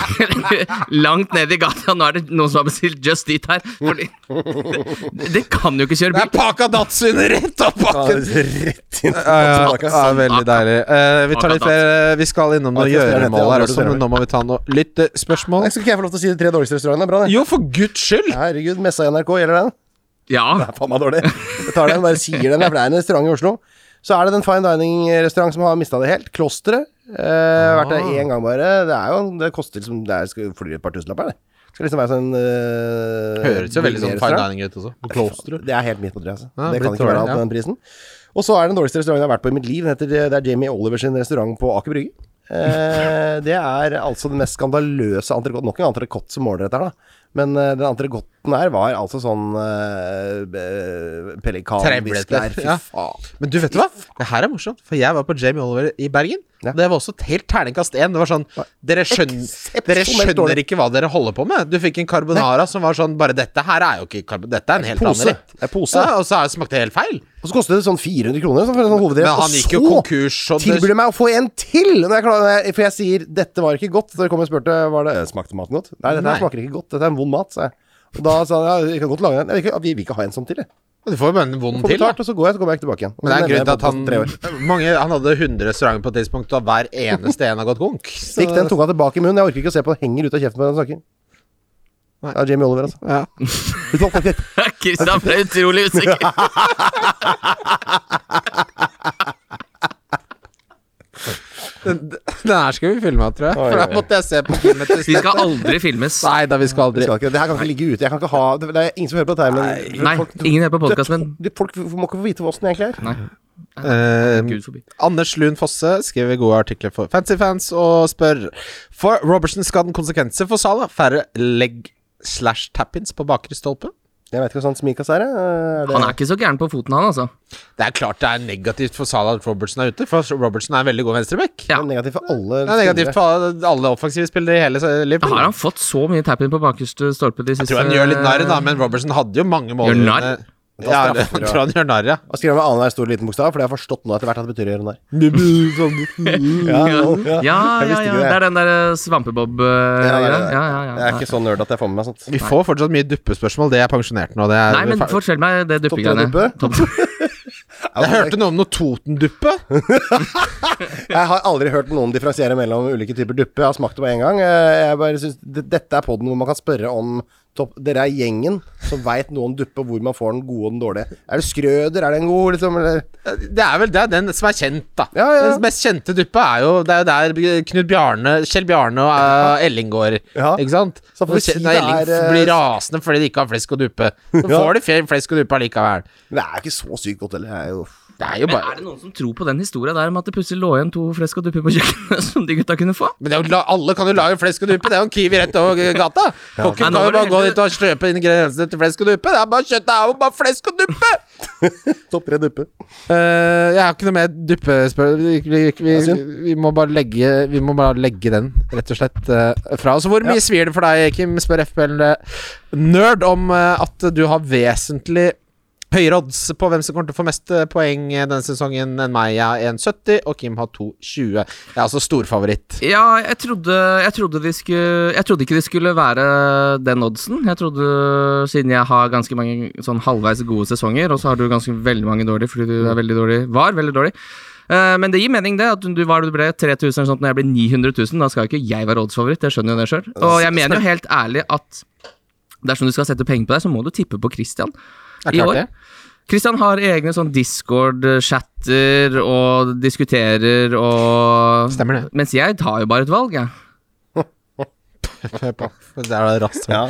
Langt ned i gata. Nå er det noen som har bestilt Just Eat her. Fordi det, det kan jo ikke kjøre Det er bil. pakka Datsun rett opp Ja, bakken! Rett inn Ja, ja, ja, veldig Akkurat. deilig. Eh, vi tar litt Akkurat. flere Vi skal innom noe Ja, det er det, gjøremål her det er det, det også, er det. men nå må vi ta noe lyttespørsmål. Skal ikke jeg få lov til å si de tre dårligste restaurantene? Bra, det. Jo, for guds skyld! Herregud, messa i NRK, gjelder den? Ja. Det er faen meg dårlig. Jeg tar den, bare sier den, for det er en restaurant i Oslo. Så er det den fine dining-restaurant som har mista det helt. Klosteret. Eh, vært der én gang bare. Det er jo Det koster liksom Det er, skal fly et par tusenlapper, det. Skal liksom være sånn eh, Høres jo veldig sånn fine restaurant. dining ut også. På klosteret. Det er helt midt på treet, altså. Ja, det blitt kan ikke være dårlig, alt med ja. den prisen. Og så er det den dårligste restauranten jeg har vært på i mitt liv. Den heter, det er Jamie Olivers restaurant på Aker Brygge. Eh, eh, det er altså den mest skandaløse entrecôte. Nok en entrecôte som måler dette her, da. Men eh, den entrecôten her var altså sånn uh, pelikanvisklær. Trebletter, Fy ja. faen. Men du vet du hva? Det her er morsomt, for jeg var på Jamie Oliver i Bergen. Ja. Og det var også et helt terningkast én. Det var sånn Dere skjønner, Eksepsjonelt dere skjønner dårlig. ikke hva dere holder på med. Du fikk en carbonara som var sånn Bare dette her er jo ikke carbonara, dette er en helt Pose. annen rett. Det er pose. Ja, og så er- smakte det helt feil. Og så kostet det sånn 400 kroner sånn, for en sånn hovedrett. Men han gikk jo konkurs, og Og så det- tilbyr de meg å få en til! Når jeg klarer, når jeg- for jeg sier 'dette var ikke godt'. Så dere kom og spurte var det smakte maten godt. Nei, dette Nei. her smaker ikke godt. Dette er en vond mat, sa jeg. Og da sa han ja, vi kan godt lage en. Jeg vil ikke, vi vil ikke ha en sånn til, jeg. Men Du får jo bare en vond Får til. da. betalt, og så går jeg, så kommer jeg ikke tilbake igjen. Og Men det er en så grunn nevner jeg til at han podcasten tre år. mange, Han hadde 100 restauranter på et tidspunkt, og hver eneste en har gått konk. Så- Stikk den tunga tilbake i munnen. Jeg orker ikke å se på det henger ut av kjeften når han snakker. Nei. Det er Jamie Oliver, altså. Ja. Kristian ble utrolig usikker. Den, den her skal vi filme av, tror jeg. Oi, For da oi. måtte jeg se på filmen til Vi skal aldri filmes. Nei da, vi skal aldri Det skal ikke, det her kan ikke ligge ute. Jeg kan ikke ha Det det er ingen som hører på dette her, men Nei, folk, ingen er på podkasten min. de- folk må ikke få vite åssen jeg egentlig er. Nei. Eh, Gud forbi. Anders Lund Fosse skriver gode artikler for Fancyfans og spør For Robertson skal den konsekvenser for Sala. Færre legg slash tappins på bakre stolpe. Jeg vet ikke hva sånn Smikas er, jeg. er det, Han er ikke så gæren på foten, han, altså. Det er klart det er negativt for Sala at Robertson er ute, for Robertson er en veldig god venstreback. Ja. det er negativt for alle. Det er negativt for alle- alle offensive spillere i hele Liverpool. Har han fått så mye tapping på bakerste stolpe de Jeg siste tror han gjør litt narr, da, men Robertson hadde jo mange mål. Eh, Gjør narr? Ja, jeg tror han gjør narr, ja. Og skriver med annenhver stor liten bokstav, for det har jeg forstått nå etter hvert at det betyr å gjøre narr. Ja, Ja, ja, Jeg ja. visste ikke Det det. er den der eh, svampebob eh, Ja, det er greia. det. Ja, ja, Jeg er ja. ikke så nerd at jeg får med meg sånt. Vi får fortsatt mye duppespørsmål. Det er pensjonert nå. Det er Nei, men fortell meg det Topp tre duppegreiene. duppe? Topp- Jeg hørte noe om noe Toten-duppe. Jeg har aldri hørt noen differensiere mellom ulike typer duppe. Jeg har smakt det på en gang. Eh, Jeg bare synes d- Dette er podden hvor man kan spørre om topp Dere er gjengen som veit noe om duppe, og hvor man får den gode og den dårlige. Er det Skrøder? Er det en god, liksom? Eller Det er vel det er den som er kjent, da. Ja, ja, ja. Den mest kjente duppa er jo Det er jo der Knut Bjarne, Kjell Bjarne og eh, Elling går. Ja. Ikke sant? Så får vi Når si Kjell- det når Elling er, eh, blir rasende fordi de ikke har flesk og duppe. Så Ja. får de fe- flesk og duppe allikevel. Men det er ikke så sykt godt heller. Det er jo Det er jo Men er bare det noen som tror på den historia der om at det plutselig lå igjen to flesk og dupper på kjøkkenet som de gutta kunne få? men det er jo, la- alle kan jo lage flesk og duppe. Det er jo en Kiwi rett over gata. Kokken kan Nei, nå var jo det bare gå heller- dit og kjøpe ingrediensene til flesk og duppe. Det er bare kjøtt, det er jo bare flesk og duppe! topp tre duppe. Eh, jeg har ikke noe mer duppespørsmål. Vi, vi, vi, Det er synd. vi, må bare legge, vi må bare legge den, rett og slett, eh, fra oss. Hvor mye svir det for deg, Kim, spør FPL eh, Nerd, om eh, at du har vesentlig høyere odds på hvem som kommer til å få mest eh, poeng eh, denne sesongen enn meg. Jeg er 1,70, og Kim har 2,20. Jeg er altså storfavoritt. Ja, jeg trodde, jeg, trodde de skulle, jeg trodde ikke det skulle være den oddsen. Jeg trodde, Siden jeg har ganske mange sånn halvveis gode sesonger, og så har du ganske veldig mange dårlige fordi du er veldig dårlig, var veldig dårlig. Eh, men det gir mening, det. At du var det du ble 3000 eller sånt, når jeg ble 900 000. Da skal jo ikke jeg være oddsfavoritt, jeg skjønner jo det sjøl. Og jeg mener jo helt ærlig at dersom du skal sette penger på deg, så må du tippe på Christian. Det er I klart år? det. Kristian har egne sånn Discord-chatter og diskuterer og Stemmer det. Mens jeg tar jo bare et valg, jeg. Hør på. Det er da raskt. Ja.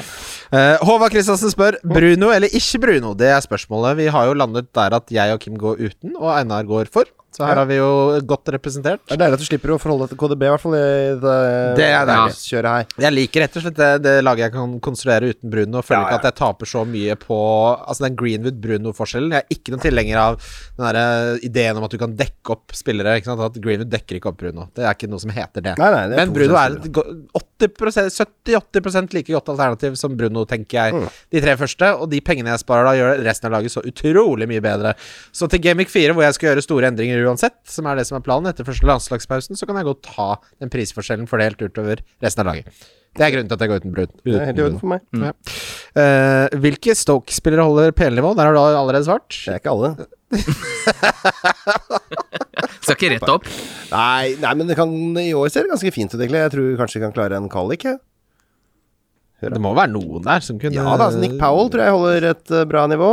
Eh, Håvard Kristiansen spør Bruno eller ikke Bruno. Det er spørsmålet. Vi har jo landet der at jeg og Kim går uten, og Einar går for. Så her Ja. har vi jo godt representert. Det er deilig at du slipper å forholde deg til KDB, i hvert fall. I det, Det er deilig. Kjøret her. Jeg liker rett og slett det, det laget jeg kan konstruere uten Bruno. Og føler Ja, ja. ikke at jeg taper så mye på Altså den Greenwood-Bruno-forskjellen. Jeg er ikke noen tilhenger av den der ideen om at du kan dekke opp spillere. Ikke sant? At Greenwood dekker ikke opp Bruno. Det er ikke noe som heter det. Nei, nei, det er Men to Bruno er et forskjellige go- 80% 70-80 like godt alternativ som Bruno, tenker jeg. Mm. De tre første. Og de pengene jeg sparer da, gjør resten av laget så utrolig mye bedre. Så til Gamic 4, hvor jeg skal gjøre store endringer uansett, som er det som er planen etter første landslagspausen, så kan jeg godt ta den prisforskjellen fordelt utover resten av laget. Det er grunnen til at jeg går uten Bruno. Det er helt i orden for meg. Ja. Eh, hvilke Stoke-spillere holder PL-nivå? Der har du allerede svart. Det er ikke alle. Skal ikke rett opp. Nei, nei men det kan, i år ser det ganske fint ut, egentlig. Jeg tror kanskje vi kan klare en kvalik. jeg. Det må være noen der som kunne Ja da, altså Nick Powell tror jeg holder et eh, bra nivå.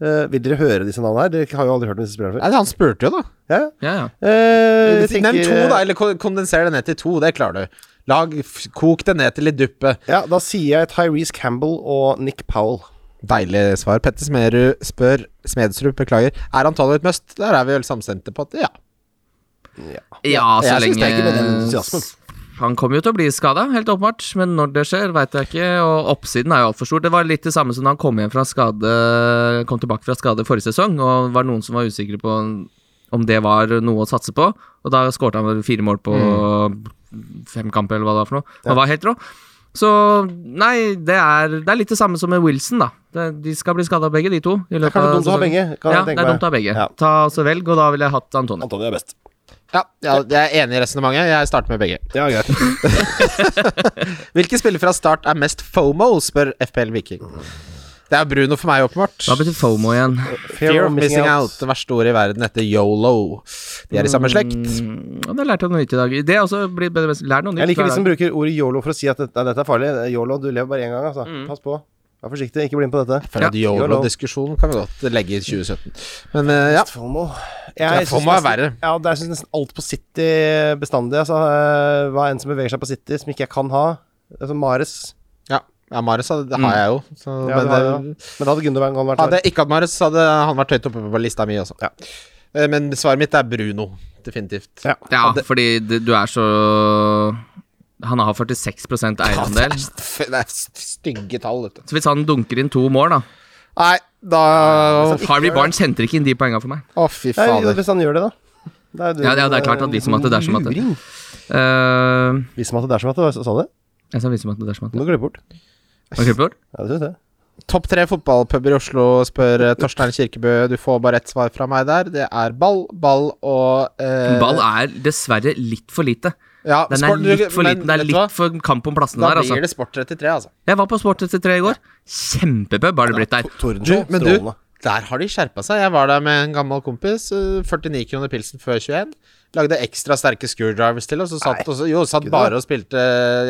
Eh, vil dere høre disse navnene her? Dere har jo aldri hørt om disse spillerne før. Nei, Han spurte jo, da. Ja, ja. Ja, ja. Eh, jeg Nevn tenker, to, da, eh, eller kon- kondenser det ned til to. Det klarer du. Lag, f- Kok det ned til litt duppe. Ja, da sier jeg Tyrese Campbell og Nick Powell. Deilig svar. Petter Smerud spør Smedsrud, beklager. Er Antalya et must? Der er vi vel samstemte på at ja. Ja, så jeg synes det lenge er ikke med den entusiasmen. Han kommer jo til å bli skada, helt åpenbart, men når det skjer, veit jeg ikke. Og oppsiden er jo altfor stor. Det var litt det samme som da han kom, hjem fra skade, kom tilbake fra skade forrige sesong, og var noen som var usikre på om det var noe å satse på. Og da skårte han vel fire mål på fem kamper, eller hva det var for noe. Han var helt rå. Så nei, det er, det er litt det samme som med Wilson, da. Det- De skal bli skada begge, de to. i Det er løpet kanskje av dumt å ha sesongen. begge, kan ja, jeg tenke det er meg. dumt å ha begge. Ja. Ta altså velg, og da ville jeg hatt Antone. Antony er best. Ja, ja, jeg er enig i resten av mange. Jeg starter med begge. Ja, greit. Hvilke spillere fra start er mest FOMO, spør FPL Viking. Det er Bruno for meg, åpenbart. Hva betyr FOMO igjen? Fear of missing out. Det verste ordet i verden etter yolo. De er i samme slekt. Mm, og det lærte jeg noe nytt i dag. Det er også blir bedre mest. Lær noe nytt. Jeg liker hver de liksom som dag. bruker ordet yolo for å si at dette, nei, dette er farlig. Yolo, du lever bare én gang, altså. Mm. Pass på. Vær forsiktig, ikke bli med på dette. For at Ja. yolo-diskusjonen kan vi godt legge i 2017. Men eh, ja. FOMO Ja, jeg FOMO synes er verre. nesten- Ja, det- jeg syns nesten alt på City bestandig. Altså, eh, hva enn som beveger seg på City som ikke jeg kan ha. Altså, Mares. Ja, ja Mares det Mm. har jeg jo. Så, Ja, men det har jeg det- jo. Men da hadde Gunderberg vært hadde der. jeg ikke hatt Mares, så hadde han vært høyt oppe på lista mi også. Ja. Eh, Men svaret mitt er Bruno. Definitivt. Ja. Ja, det- fordi det, du er så Han har 46 eierandel. Det er stygge tall, vet du. Så hvis han dunker inn to mål, da Nei, da Å, Harvey Barnes henter ikke inn de poengene for meg. fy altså, Nei, fader. hvis han gjør det, da. Det er, du- Ja, ja, det er klart at liksom at det er som at det- Luring. Uh, Hvis man at det er som at det, sa du det? jeg sa visum at det er som at Nå går det bort. Har du klippet bort? Ja, det synes jeg. Topp tre fotballpuber i Oslo, spør eh, Torstein Kirkebø. Du får bare ett svar fra meg der. Det er ball, ball og eh, Ball er dessverre litt for lite. ja, Den er sport- du- litt for men liten. Det er vet du hva? litt for kamp om plassene Da der, blir altså. det Sport 33, altså. Jeg var på Sport etter tre i går. Kjempepub har det blitt der. Du, Tordenshow, men du, strålende. der har de skjerpa seg. Jeg var der med en gammel kompis. eh, 49 kroner pilsen før 21. Lagde ekstra sterke screwdrivers til, og så satt, også, jo, satt bare og spilte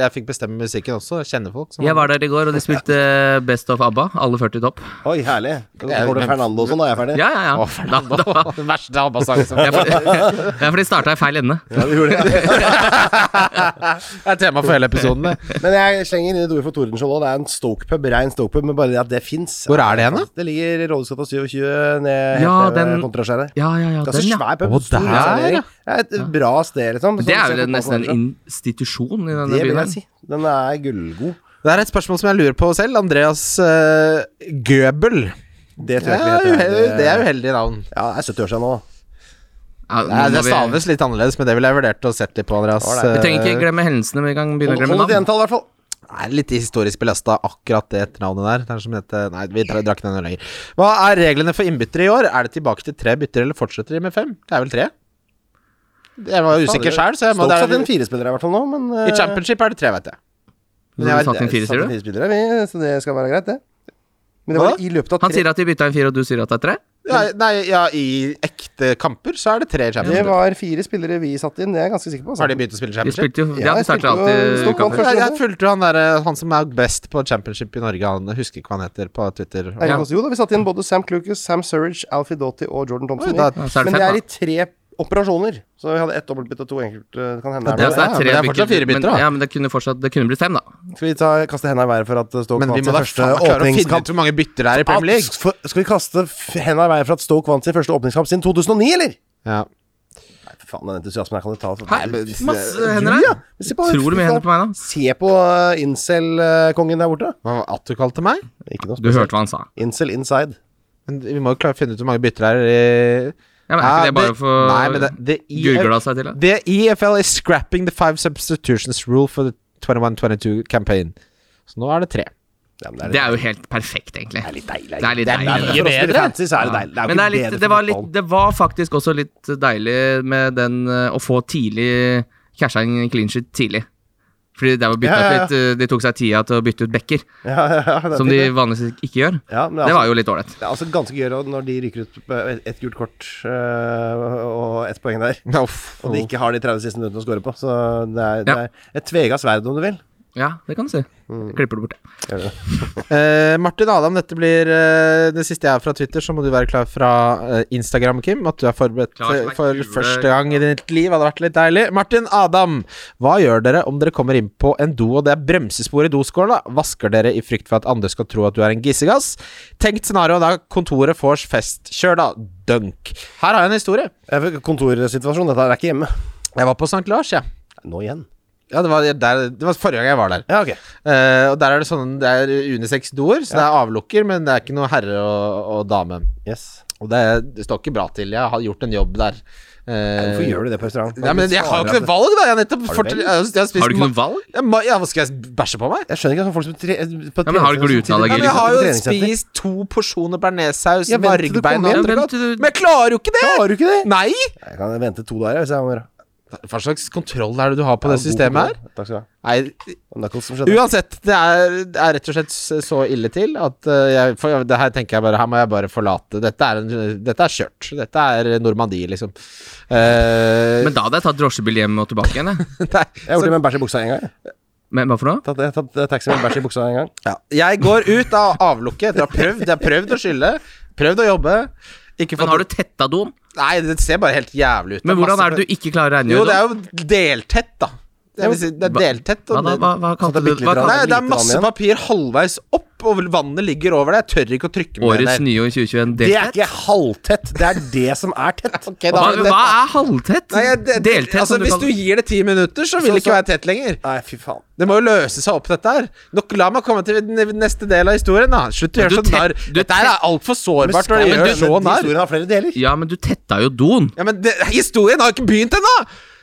Jeg fikk bestemme musikken også. Kjenner folk. som- Jeg var der i går, og de spilte eh, Best of ABBA. Alle 40 topp. Oi, herlig. Da Jeg- går det Fernando og sånn, da er jeg ferdig. Ja, ja, ja. Å, Da, Fernando. da, Den verste ABBA-sangen som Det er fordi, det er fordi de starta i feil ende. Ja, du gjorde det. Det er tema for hele episoden, det. Men jeg slenger inn et ord for Tordenskjold òg. Det er en Stoke-pub, rein Stoke-pub, men bare det at det fins Hvor er det hen, da? Det ligger i Rådhusgata 27, ned Ja, helt ned den- ved Kontraskjæret. Ja, ja, ja. Ganske Den, ja. svær pub. Å, stor der, servering. ja. Det er et bra sted, liksom. Det er Sånn vel ser nesten en fotballen institusjon i ut. Det denne vil byen. jeg si. Den er gullgod. Det er et spørsmål som jeg lurer på selv. Andreas eh, Gøbel. Det tror Ja, jeg ikke det heter. uhe- det er uheldig navn. Ja, det er 70 år siden nå. Ja, Nei, nå det eh, må vi- staves litt annerledes, men det ville jeg vurdert å sette litt på, Andreas. Ålreit. Vi trenger ikke glemme hendelsene, men vi kan begynne å Hold glemme hold et navn. entall, i hvert fall. Det er litt historisk belasta, akkurat det etternavnet der. Det er som dette, nei, vi dra- drakk den lenger. Hva er reglene for innbyttere i år? Er det tilbake til tre bytter, eller fortsetter de med fem? Det er vel tre? Jeg var usikker sjøl, så jeg må Stoke satte inn det er, fire spillere i hvert fall nå, men eh, I championship er det tre, vet jeg. Så vi satte inn fire, satte sier du? inn fire spillere, vi, så det skal være greit, det. Men det Hva var da? i løpet av Han tre sier at de bytta en fire, og du sier at det er tre? Ja, nei, ja, i ekte kamper så er det tre i Det championship. var fire spillere vi satte inn, det er jeg ganske sikker på. altså. Har de begynt å spille De championship? spilte jo Ja, Ja, de jeg starter spilte jo- alltid Stoke vant kamper. først. Jeg, jeg fulgte jo han der, eh, han som er best på championship i Norge, han jeg husker ikke hva han heter på Twitter. Eirik Ja. Foss- Jo da, vi satte inn både Sam Clucas, Sam Surridge, Alfie Doughty og Jordan Thompson. Oi, da- i. Ja, så er det Men det fem, er i tre operasjoner. Så vi hadde ett dobbeltbytte og to enkelt. eh, Det kan hende. Ja, er så noe. Ja, men det er det er tre fortsatt fire bytter, men, bytter, da. ja, men det kunne fortsatt Det kunne blitt fem, da. Skal vi ta, kaste hendene i været for at eh, Stoke Men vi må vant sin da første faen meg klare å finne åpningskamp? ut hvor mange bytter det er i At- Premier League. for- Skal vi kaste f- hendene i været for at Stoke vant sin første åpningskamp siden 2009, eller? Ja. Nei, for faen, den entusiasmen her kan du ta. for- Hæ? Du, Masse hender her. ja. Se på- Tror du mye hender på meg, da? Se på eh, incel-kongen der borte. Hva var at du kalte meg? Ikke noe Du spesielt. hørte hva han sa. Incel inside. Men vi må jo klare å finne ut hvor mange bytter det er i Ja, men er Ja, ikke det bare Nei, men det, for det, E Gurgla seg til, da? The EFL E is scrapping the five substitutions rule for the 21-22 campaign. Så nå er det tre. Ja, men Det er jo helt perfekt, egentlig. litt deilig. Det er litt deilig. For å Ikke spille bedre. fantasy, så er det deilig. Det er jo Men det, er ikke litt, det, bedre for var fotballen. litt, det var faktisk også litt deilig med den eh, å få tidlig casha en clean sheet tidlig. Fordi det var byttet Ja, ja, ja. litt, eh, De tok seg tida til å bytte ut backer, Ja, ja, ja, det er som fint, de det. vanligvis ikke gjør. ja, men Det altså, var jo litt ålreit. det er altså ganske gøy da, når de ryker ut på et- ett gult kort øh, og ett poeng der, Uff. og de ikke har de 30 siste minuttene å score på. Så det er, det Ja. er et tvega sverd, om du vil. Ja, det kan du si. Mm. Klipper det bort. det. Eh, Martin Adam, dette blir eh, det siste jeg har fra Twitter, så må du være klar fra eh, Instagram, Kim. At du er forberedt Klar som for, for ei kule. første gang i ditt liv hadde vært litt deilig. Martin Adam, hva gjør dere om dere kommer inn på en do og det er bremsespor i doskåla? Vasker dere i frykt for at andre skal tro at du er en gissegass? Tenkt scenario da kontoret får fest. Kjør da, dunk. Her har jeg en historie. Jeg fikk Kontorsituasjon. Dette er ikke hjemme. Jeg var på St. Lars, jeg. Ja. Nå igjen. Ja, det var, der, det var forrige gang jeg var der. Ja, ok. Eh, og der er det sånne Det er unisex-doer, så det er avlukker, men det er ikke noe herre og, og dame. Yes. Og det, det står ikke bra til. Jeg har gjort en jobb der. Eh, Hvorfor gjør du det på restaurant? Nei, men jeg har jo ikke noe valg, da! Jeg har nettopp Har du fortalt jeg, vel? har- jeg har spist Har du ikke noe ma- valg? Ja, ma- Ja, hva skal jeg bæsje på meg? Jeg skjønner ikke sånne folk som tre, eh, på Ja, men har du treningssenter som sitter- Ja, men glutenallergi, jeg liksom? har på jo treningssenter. spist to porsjoner bearnéssaus, Ja, vent vargbein til du kommer og hjem. Ja, entrecôte. vent til du- Men jeg klarer jo ikke det! Har du ikke det? Nei! Jeg kan vente to dager jeg, hvis jeg må gjøre Hva slags kontroll er det du har på det God systemet her? kontroll. Takk skal du ha. Nei, Og Knuckles som skjedde. Uansett, det er, det er rett og slett så ille til at eh, jeg, for det her tenker jeg bare Her må jeg bare forlate. Dette er, en, dette er kjørt. Dette er Normandie, liksom. Eh, Men da hadde jeg tatt drosjebil hjem og tilbake igjen. jeg. nei, Jeg gjorde så, det med en bæsj i buksa en gang. jeg. Men hva for noe? Tatt, jeg tatt eh, taxi med en bæsj i buksa en gang. ja. Jeg går ut av avlukket etter å ha prøvd. Jeg har prøvd å skylle, prøvd å jobbe. Ikke Men fått har du tetta doen? Nei, det ser bare helt jævlig ut. Men hvordan er det du ikke klarer å Jo, det regne ut? er jo deltett, da. Det, vil si, det er Hva- deltett. Hva, Og sånn da? det, hva, hva kalte du det? bitte litt Hva rann. Nei, kalte det lite er masse vann igjen? papir halvveis opp, og vannet ligger over det. Jeg tør ikke å trykke med årets nyord 2021? Det Deltett? er ikke halvtett, det er det som er tett. Ok, da Hva, har vi det. hva er halvtett? Nei, jeg- det- det- Deltett, altså, som du Hvis du kaller det. gir det ti minutter, så vil det ikke så- være tett lenger. Nei, fy faen. Det må jo løse seg opp, dette her. Nok, la meg komme til den neste del av historien, da. Slutt å Men gjøre du sånn narr. tett- du Dette her er tett- altfor sårbart når Men du skal- gjør men så den narr. Historien har flere deler. Ja, men du tetta jo doen. Ja, men det, historien har ikke begynt ennå!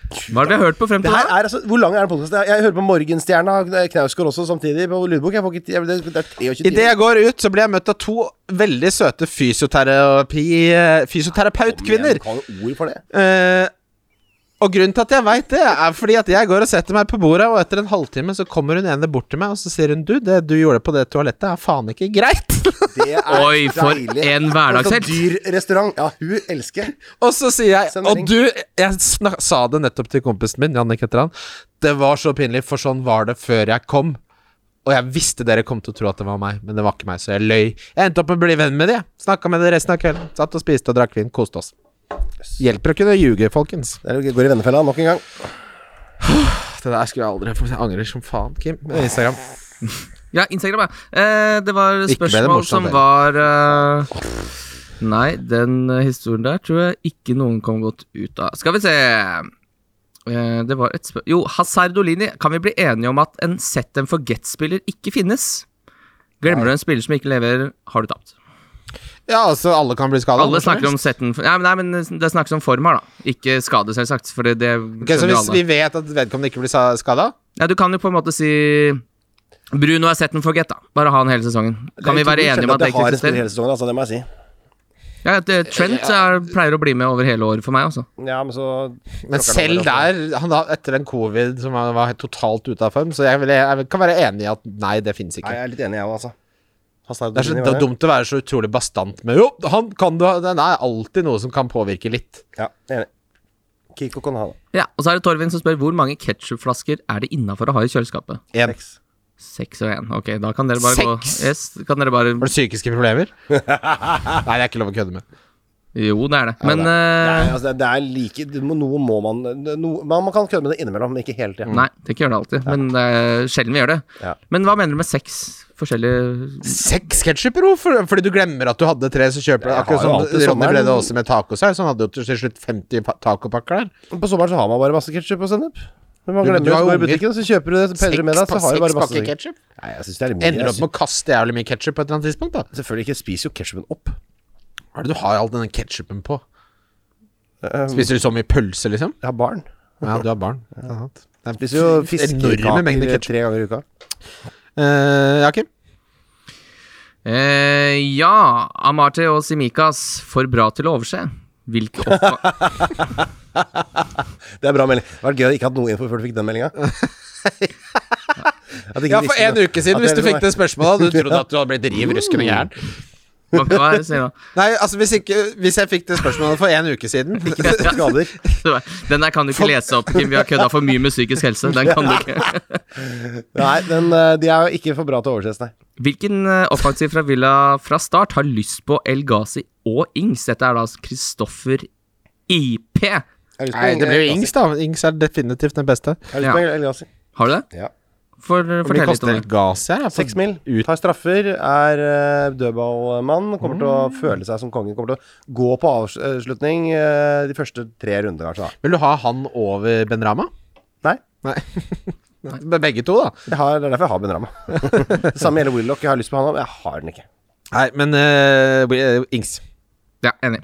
Hva har dere hørt på frem Det til her da? er altså, Hvor lang er den podkasten? Jeg hører på Morgenstjerna og Knausgård også samtidig på lydbok. Jeg får ikke, jeg, det, det er 23 Idet jeg går ut, så blir jeg møtt av to veldig søte fysioterapi, fysioterapeutkvinner. Du kan jo ord for det. Eh, og grunnen til at jeg veit det, er fordi at jeg går og setter meg på bordet, og etter en halvtime så kommer hun ene bort til meg, og så sier hun Du, det du gjorde på det toalettet, er faen ikke greit. Det er Oi, for deilig. en Sånn hverdagshelt. dyr restaurant. Ja, hun elsker. og så sier jeg Send melding. Og du, jeg snak, sa det nettopp til kompisen min, Jannik heter han. Det var så pinlig, for sånn var det før jeg kom. Og jeg visste dere kom til å tro at det var meg, men det var ikke meg, så jeg løy. Jeg endte opp med å bli venn med de. Snakka med det resten av kvelden. Satt og spiste og drakk vin. Koste oss. Hjelper å kunne ljuge, folkens. Det er- går i vennefella nok en gang. Det der skulle jeg aldri Jeg angrer som faen, Kim. Instagram. Ja, Instagram, ja. Eh, det var Ikke ble det spørsmål morsomt, som det. var eh, Nei, den eh, historien der tror jeg ikke noen kom godt ut av. Skal vi se Eh, Det var et spør... Jo, Hazardolini. Kan vi bli enige om at en set and forget-spiller ikke finnes? Glemmer du en spiller som ikke leverer, har du tapt. Ja, altså, alle kan bli skada. Alle snakker om set and for... Nei, men- nei, men det snakkes om form her, da. Ikke skade, selvsagt. For det, det Ok, Så skjønner jo hvis alle. vi vet at vedkommende ikke blir skada Ja, du kan jo på en måte si Bruno er set and forget, da. Bare ha han hele sesongen. Kan vi være enige om at det ikke eksisterer? Hele sesongen, altså, det må jeg si. Ja, det, Trent er, pleier å bli med over hele året for meg, altså. Ja, men så Men selv der, han da, etter en covid som han var helt totalt ute av form, så jeg, vil, jeg kan være enig i at nei, det fins Nei, ikke. jeg er litt enig, jeg òg, altså. Det er så det er dumt å være så utrolig bastant med Jo, han kan du ha Det er alltid noe som kan påvirke litt. Ja, enig. Kiko kan ha det. Ja, Og så er det Torvin som spør hvor mange ketsjupflasker er det innafor å ha i kjøleskapet. En. Seks. Seks og én. Ok, da kan dere bare Seks? gå Yes, kan dere bare Har du psykiske problemer? nei, det er ikke lov å kødde med. Jo, det er det. Men Nei, eh, altså, det, det er like det må- Noe må man noe, Man man kan kødde med det innimellom, men ikke hele tida. Nei, det ikke gjør det alltid. Men det er sjelden vi gjør det. Ja. Men hva mener du med seks forskjellige Seks ketsjuper, jo! For, fordi du glemmer at du hadde tre, så kjøper du Jeg akkurat har jo sånn. alltid Ronny ble sommeren. det også med tacosaus. Han hadde jo til slutt 50 pa- tacopakker der. På sommeren så har man bare masse ketsjup og sennep. Men man Du- glemmer du har jo jo å gå i unger. butikken, så kjøper du det, så peller du med deg, så pa- har du bare seks masse pakker ketsjup. Nei, jeg syns det er mye. Ender opp med å kaste jævlig mye ketsjup på et eller annet tidspunkt, da. Selvfølgelig ikke. Spiser jo ketsjupen opp. Hva er det du har all denne ketsjupen på? Eh, um. Spiser du så mye pølse, liksom? Jeg har barn. Ja, du har barn. Ja. Det er Spiser jo enorme mengder fiskekaker ketsjup. tre ganger i uka. Eh, ja, Kim? eh, Ja, Amarte og Simikas, for bra til å overse. Hvilke oppga- Det er bra melding. Det hadde vært gøy å ikke hatt noe info før du fikk den meldinga. liksom Ja, for en uke siden, hvis du fikk det spørsmålet, hadde du trodd at du hadde blitt riv ruskende gæren. hva, hva er det, Sina? Nei, altså, hvis, ikke, hvis jeg fikk det spørsmålet for en uke siden Skader. Den der kan du ikke lese opp, Kim. Vi har kødda for mye med psykisk helse. Den kan du ikke. Nei, den, eh, de er jo ikke for bra til å overses, nei. Hvilken eh, offensiv fra Villa fra start har lyst på El Ghazi og Ings? Dette er da Kristoffer IP. Jeg har lyst på Nei, en- det blir jo El Gassi. Ings, da. Ings er definitivt den beste. Jeg har lyst på en El Gassi. Har du det? Ja. For, eh, Hvor mye fortell litt koster om El det. Gazi her? da? For- Seks mil. Tar straffer, er eh, dødballmann. Kommer til å føle seg som kongen. Kommer til å gå på avslutning eh, de første tre rundene, kanskje. da. Vil du ha han over Ben Rama? Nei. Nei. Men Begge to, da. Jeg har, det er derfor jeg har Ben Rama. Samme gjelder Willoch. Jeg har lyst på han òg, men jeg har den ikke. Nei, men eh, Wi- eh, Ings. Ja, enig.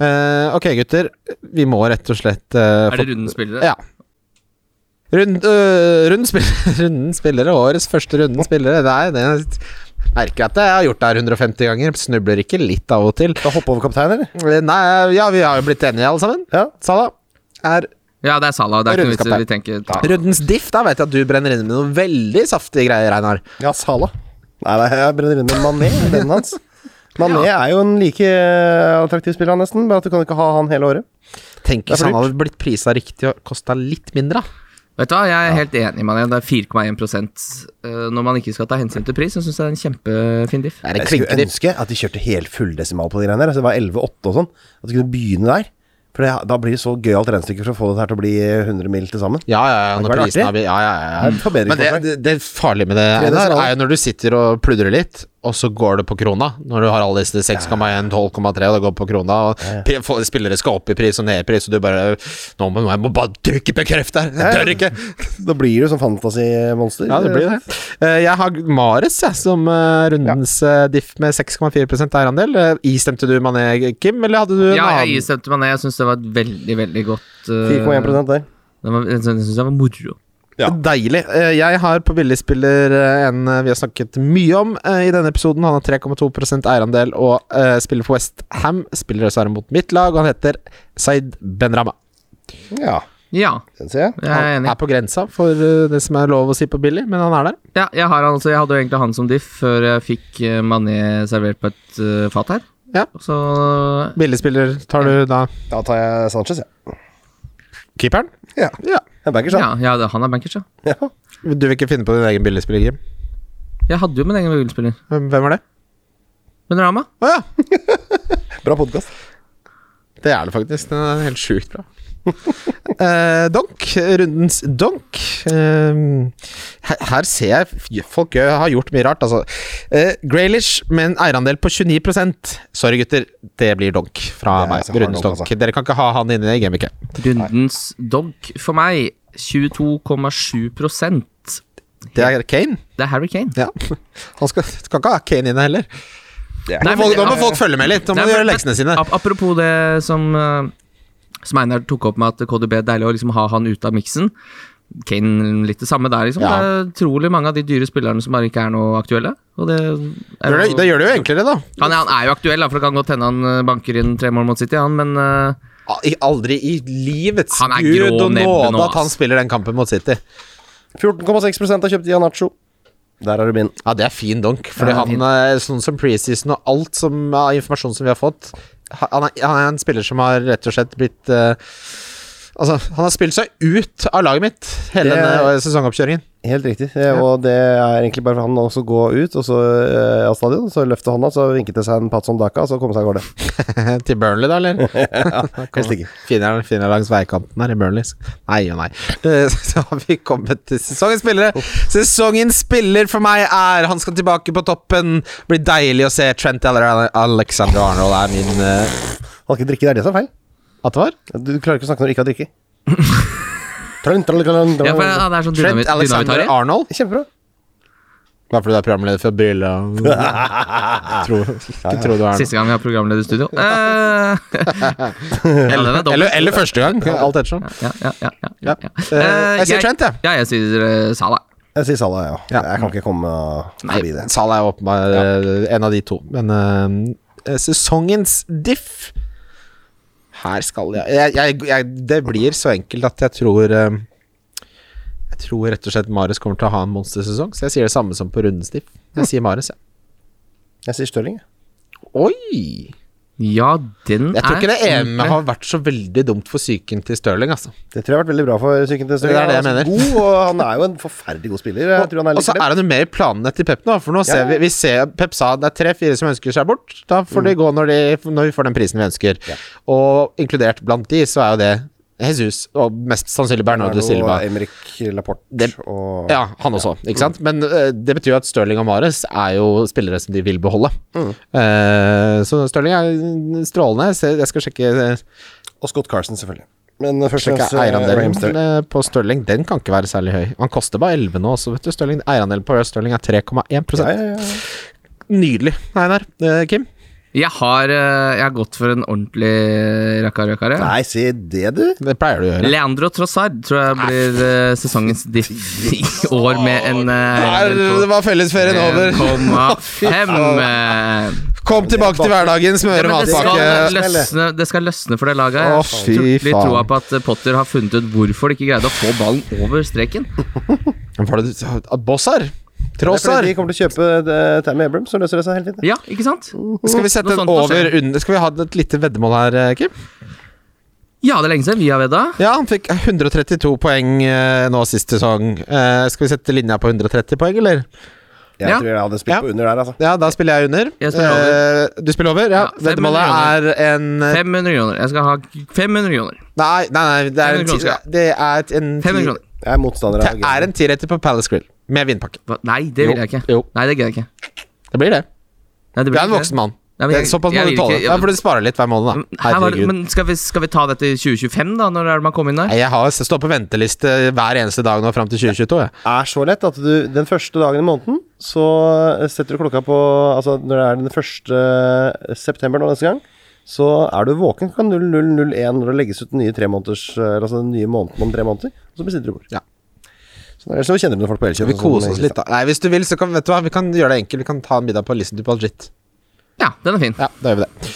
Eh, ok, gutter. Vi må rett og slett eh, Er få- det rundens spillere? Ja. Rund, øh, rund spill, runden spillere, årets første runden spillere. Nei, det merker jeg at jeg har gjort det her 150 ganger. Snubler ikke litt av og til. Eh, Skal jeg hoppe over kaptein, eller? Nei, ja, vi har jo blitt enige alle sammen. Ja. Sala er Ja, det er Salah. Det er ikke noe vits i Rundens vi tenker ta. rundens diff. Da vet jeg at du brenner inne med noen veldig saftige greier, Einar. Ja, Sala. Nei, nei, jeg brenner inn med Mané, vennen hans. Mané er jo en like eh, attraktiv spiller, han nesten, bare at du kan ikke ha han hele året. Tenk Det er hvis han for hadde blitt prisa riktig og kosta litt mindre, da. Vet du hva, jeg er helt enig med deg. Det er 4,1 eh, når man ikke skal ta hensyn til pris. Jeg syns det er en kjempefin diff. Det er en Jeg skulle klinkediff. ønske at de kjørte helt fulldesimal på de greiene der. Altså det var 11-8 og sånn. At de kunne begynne der. For det, da blir det så gøyalt regnestykke for å få det her til å bli 100 mil til sammen. Ja, ja, ja. Det Når hadde vært prisen artig. har blitt Ja, ja, ja. ja. Men Det er et det, forbedringsforslag. det, det farlige med det Tredje Einar, sal. er jo når du sitter og pludrer litt, og så går det på krona. Når du har alle disse 6,1, 12,3, og det går på krona, og pri- få- spillere skal opp i pris og ned i pris, og du bare Nå må nå- jeg må bare trykke på kreft her! Jeg tør ikke! Da blir det jo sånn fantasymonster. Ja, det blir det. Eh, Jeg har Mares jeg, som eh, rundens eh, diff med 6,4 eierandel. Eh, Istemte du Mané, Kim, eller hadde du en Ja, annen? jeg istemte meg ned. Jeg syns det var et veldig, veldig godt eh, 4,1 der. det var- Jeg syns det var moro. Deilig. Eh, Jeg har på billigspiller eh, en eh, vi har snakket mye om eh, i denne episoden. Han har 3,2 eierandel og eh, spiller for West Ham. Spiller dessverre mot mitt lag, og han heter Zaid Benrama. Ja, Ja, den ser jeg. jeg er Han enig. er på grensa for eh, det som er lov å si på billig, men han er der. Ja, jeg, har, altså, jeg hadde jo egentlig han som diff før jeg fikk eh, Mané servert på et eh, fat her. Ja. Så Billigspiller tar du da Da tar jeg Sanchez, jeg. keeperen? Ja. Ja. Jeg backer sånn. ja, ja, det- han er bankers, ja. Ja. Du vil ikke finne på din egen billigspiller, Kim? Jeg hadde jo min egen Google-spiller. Hvem hvem var det? Men Rama? Å ja! Bra podkast. Det er det faktisk. Den er helt sjukt bra. Eh, donk, rundens donk. Eh, her, her ser jeg f- folk gjør- har gjort mye rart, altså. Uh, Graylish med en eierandel på 29 Sorry, gutter. Det blir donk fra Det er meg. altså hard Rundens donk. donk, altså. Dere kan ikke ha han inne i gameweeket. Rundens dog for meg 22,7 Det er Kane. Det er Harry Kane. Ja. Han skal, skal ikke ha Kane inne heller. Nå Nei, må folk, men- da må folk følge med litt. Da må Nei, de men- gjøre leksene sine. Ap apropos det som, eh, som Einar tok opp med at KDB er deilig å liksom ha han ute av miksen. Kane litt det samme der, liksom. Ja. Det er utrolig mange av de dyre spillerne som bare ikke er noe aktuelle. Og det, er Gjør det, jo- det gjør det jo enklere, da. han, er- han er jo aktuell, da, for det kan godt hende han eh, banker inn tre mål mot City, han, men eh, Al- Aldri i livets Han er gud grå og nebbe nå, nåde at han ass. spiller den kampen mot City. 14,6 har kjøpt Ianacho. Der har du min. Ja, det er fin donk. Fordi Ja, det er fin. han er sånn som preseason og alt som av informasjon som vi har fått Han er, han er en spiller som har rett og slett blitt eh, Altså, han har spilt seg ut av laget mitt hele Det- denne eh, sesongoppkjøringen. Helt riktig. Eh, Og det er egentlig bare for han å også gå ut og så, eh, av stadion, så løfte hånda, så vinke til seg en Patson Daka, og så komme seg av gårde. Til Burnley, da, eller? Helst ikke. Finner han finner langs veikanten her i Burnley. Nei og nei. Eh, Så har vi kommet til sesongens spillere. Sesongens spiller for meg er Han skal tilbake på toppen. Blir deilig å se Trent eller Alexander Arnold er min uh, Han skal ikke drikke, det er det som er feil. At det var? Du klarer ikke å snakke når du ikke har drikke. ja, for, ja, det er sånn dynamitt, Trent Alexander dynamitari. Arnold. Kjempebra. Bare fordi du er programleder for Brilla Tro- Ikke tro du er Siste gang vi har programleder i studio. Eh, ja, den er noe. dobbelt. Eller, eller første gang, alt ettersom. ja, ja, ja, ja, Ja. ja. Eh, Eh, jeg sier Trent, jeg. Ja, jeg sier eh, Salah. Jeg sier Salah, ja. Ja. Jeg kan ikke komme Nei, forbi det. Salah er jo åpenbart eh, en av de to. Men eh, sesongens diff Her skal jeg, jeg, jeg, jeg Det blir så enkelt at jeg tror eh, Jeg tror rett og slett Mares kommer til å ha en monstersesong, så jeg sier det samme som på rundens diff. Jeg sier Mares, jeg. Jeg sier Stirling. jeg. Oi! Mm, Ja, den Jeg tror er ikke det EM ordentlig. har vært så veldig dumt for psyken til Stirling, altså. Det tror jeg har vært veldig bra for psyken til Stirling. Det er det Han jeg så God, og han er jo en forferdelig god spiller. Jeg tror han er Og litt så er han jo med i planene til Pep nå, for nå ser ja. vi, vi ser Pep sa det er tre-fire som ønsker seg bort. Da får Mm. de gå når, de, når vi får den prisen vi ønsker. Og inkludert blant de, så er jo det Jesus og mest sannsynlig Bernardo Silva. Emrik Laporte Det- og Ja, han også, ikke sant? Men eh, det betyr jo at Stirling og Mares er jo spillere som de vil beholde. Mm. Eh, så Stirling er strålende. Jeg ser- Jeg skal sjekke eh, Og Scott Carson, selvfølgelig. Men først og Sjekka fremst eh, eierandelen Ramsdale. eh, på Stirling. Den kan ikke være særlig høy. Han koster bare 11 nå også, vet du. Stirling. Eierandelen på Stirling er 3,1 Ja, ja, ja. Nydelig, Einar. Eh, Kim? Jeg har, eh, jeg har gått for en ordentlig rakkarakkare. Nei, si det, du. Det pleier du å gjøre. Leandro Trossard tror jeg blir eh, sesongens diff i år med en eh, Der var fellesferien over. 1,5. Kom tilbake til hverdagen, Ja, smøre men det, skal matpakke. løsne, det skal løsne for det laget. Å, her. Jeg har fy fryktelig faen. troa på at eh, Potter har funnet ut hvorfor de ikke greide å få ballen over streken. Var det du- Ah, Bossar? Det er fordi Trossar? de kommer til å kjøpe eh, Tammy Abrams, så løser det seg helt fint. det. Ja, ikke sant? Skal vi sette Noe en sånt må over under Skal vi ha et lite veddemål her, eh, Kim? Ja, det er lenge siden vi har vedda. Ja, han fikk 132 poeng eh, nå sist sesong. Eh, skal vi sette linja på 130 poeng, eller? Jeg Ja. tror jeg hadde spilt Ja. på under der, altså. Ja, da spiller jeg under. Jeg spiller over. Eh, du spiller over? Ja. Ja, fem Veddemålet er en eh, 500 kroner. Jeg skal ha 500 kroner. Nei, nei, nei det er en, 500 kroner ti, skal jeg det er et- en, 500 kroner. Jeg er motstander ti, av det er en tiretter på Palace Grill med vinpakke. Hva? Nei, det vil jeg ikke. Jo, jo, Nei, det gidder jeg ikke. det blir det. Nei, det Du blir er en ikke voksen mann. Nei, men Det er jeg- Såpass må du jeg vil tåle. ikke- jeg- Da får du spare litt hver måned, da. Her var det, Herregud. men skal vi, skal vi ta dette i 2025, da, når er det man kommer inn der? Nei, Jeg har står på venteliste eh, hver eneste dag nå fram til 2022. Jeg. Det er så lett at du den første dagen i måneden så eh, setter du klokka på Altså når det er den første eh, september nå neste gang, så er du våken klokka 00.01 når det legges ut den nye, tre måneders, eh, altså den nye måneden om tre måneder, og så bestiller du bord. Ja. Så det er sånn vi kjenner noen folk på Elkjøp. Vi koser oss litt, da. Nei, hvis du vil, så kan vet du hva, vi kan gjøre det enkelt. Vi kan ta en middag på Listen to Palgit. Ja, den er fin. Ja, da gjør vi det.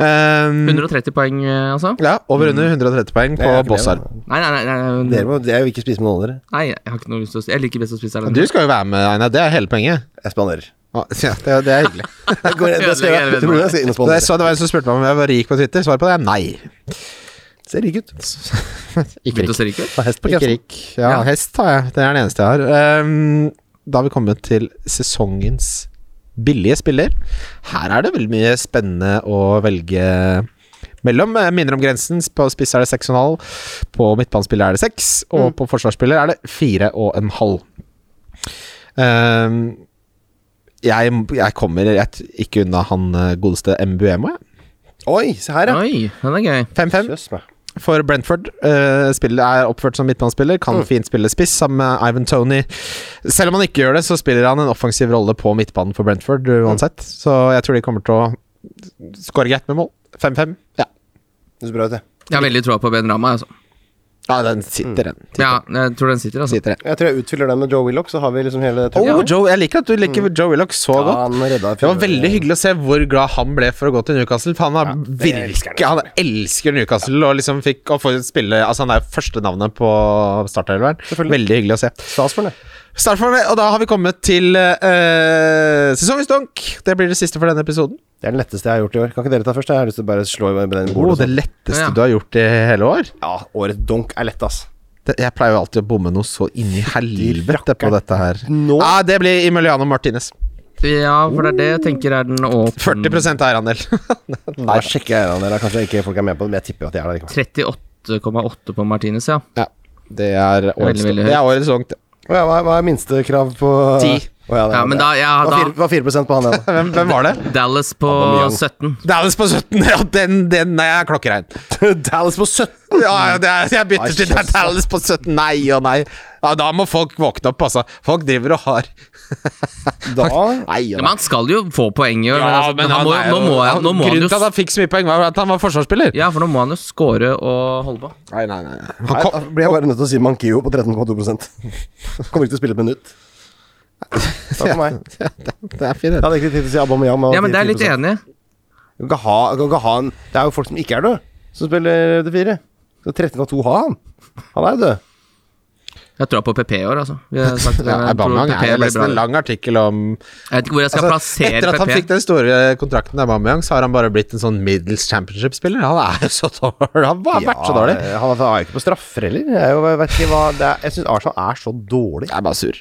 Ehm, 130 poeng, eh, altså? ja, over under 130 poeng på Jeg er ikke med, Bossar. Nei, nei, nei, nei, Dere må jeg vil ikke spise med noen av dere. nei jeg har ikke noe lyst til å Jeg liker best å spise Du alene. skal jo være med, Einar. Det er hele poenget. Jeg spanderer. Å, ja, det, er- det er hyggelig. Jeg går ned, jeg skal, Ødelegger jeg tror jeg skal inn og Da jeg spandere. så det var en som spurte meg om jeg var rik på Twitter. Svaret på det er nei. Ser rik ut. Ikke Begynte rik. å se rik ut? Har hest på Ikke kjeften. rik. Ja, Ja. hest har jeg. Det er den eneste jeg har. Ehm, da har vi kommet til sesongens billige spiller. Her er det veldig mye spennende å velge mellom. Jeg Minner om grensen. På spiss er det 6,5. På midtbanespiller er det 6. Og på forsvarsspiller er det 4,5. Ehm, jeg, jeg kommer jeg, t- ikke unna han eh, godeste Mbuemo, jeg. Oi, se her, ja. Oi, den er gøy. 5-5 Jøss meg. for Brentford. Eh, spillet er oppført som midtbanespiller, Mm. kan fint spille spiss sammen med Ivan Tony. Selv om han ikke gjør det, så spiller han en offensiv rolle på midtbanen for Brentford eh, uansett. Mm. Så jeg tror de kommer til å skåre greit med mål. 5-5. Ja. Det ser bra ut, det. Jeg har veldig troa på Ben Rama. Altså. ja, den sitter, den. Mm. Sitter, Ja, jeg tror den sitter, altså. sitter den. Jeg tror jeg utfyller den med Joe Willoch, så har vi liksom hele Oh, trøbbelen. Joe, jeg liker at du liker Joe Willoch så Mm. Ja, godt. han redda Det var veldig hyggelig å se hvor glad han ble for å gå til Newcastle. For han, har virke, han elsker Newcastle og liksom fikk å få spille Altså Han er jo første navnet på starterelveren. Selvfølgelig. Veldig hyggelig å se. Stas for den, det. Start for det, og da har vi kommet til eh, sesongens donk. Det blir det siste for denne episoden. Det er den letteste jeg har gjort i år. Kan ikke dere ta først? Jeg har lyst til å bare slå i den Oh, bordet. og det sånn. letteste Ja. du har gjort i hele år. Ja, årets donk er lett, ass. Det, jeg pleier jo alltid å bomme noe så inn i helvete på dette her. Nå- Ah, det blir Emiliano Martinez. Ja, for det er det jeg tenker er den åpne 40 eierandel. Da sjekker jeg en av dere. Kanskje ikke folk er med på det, men jeg tipper at de er der likevel. 38,8 på Martinez, ja. ja, det er årets, Veldig, veldig høyt. det er årets donk. det. Å ja, hva, er- hva er minstekrav på Ti. Å ja, det Ja, var men det. da, ja, Det var fire- da det var 4 på han igjen. Hvem, hvem var det? Dallas på Aubameyang. 17. Dallas på 17. Ja, den, den er klokkerein. Dallas på 17! Ja, ja, det er, jeg bytter til Nei, kjøss. Dallas på 17. Nei og nei. Ja, da må folk våkne opp, altså. Folk driver og har Da Nei og Ja, nei. men han skal jo få poeng i år. men altså, han må, er nå jo- må, jeg, nå må han Grunnen til at jo han fikk så mye poeng, var at han var forsvarsspiller. Ja, for nå må han jo score og holde på. Nei, nei, nei. nei. Nei, Han da kom, blir jeg bare nødt til å si Mankio på 13,2 Kommer ikke til å spille et minutt. Takk for meg. Jeg det er fint. det. hadde egentlig tid til å si Aubameyang. men Ja, men det er jeg litt 10%. enig. i. Du kan ikke ha, du kan ikke ha en, det er jo folk som ikke er død, som spiller det fire. Så 13,2 har han. Han er jo død. Jeg tror på PP i år, altså. Vi har sagt det, Ja, jeg tror Aubameyang PP er jo blir nesten bra. en lang artikkel om Jeg vet ikke hvor jeg skal altså, Etter plassere at han fikk PP. den store kontrakten av Aubameyang, så har han bare blitt en sånn middels championship-spiller. Han er jo så dårlig. Han har vært så dårlig. Ja, Han er jo ikke på straffer heller. Jeg, er jo- jeg, vet ikke hva, det er, jeg syns Arsenal er så dårlig. Jeg er bare sur.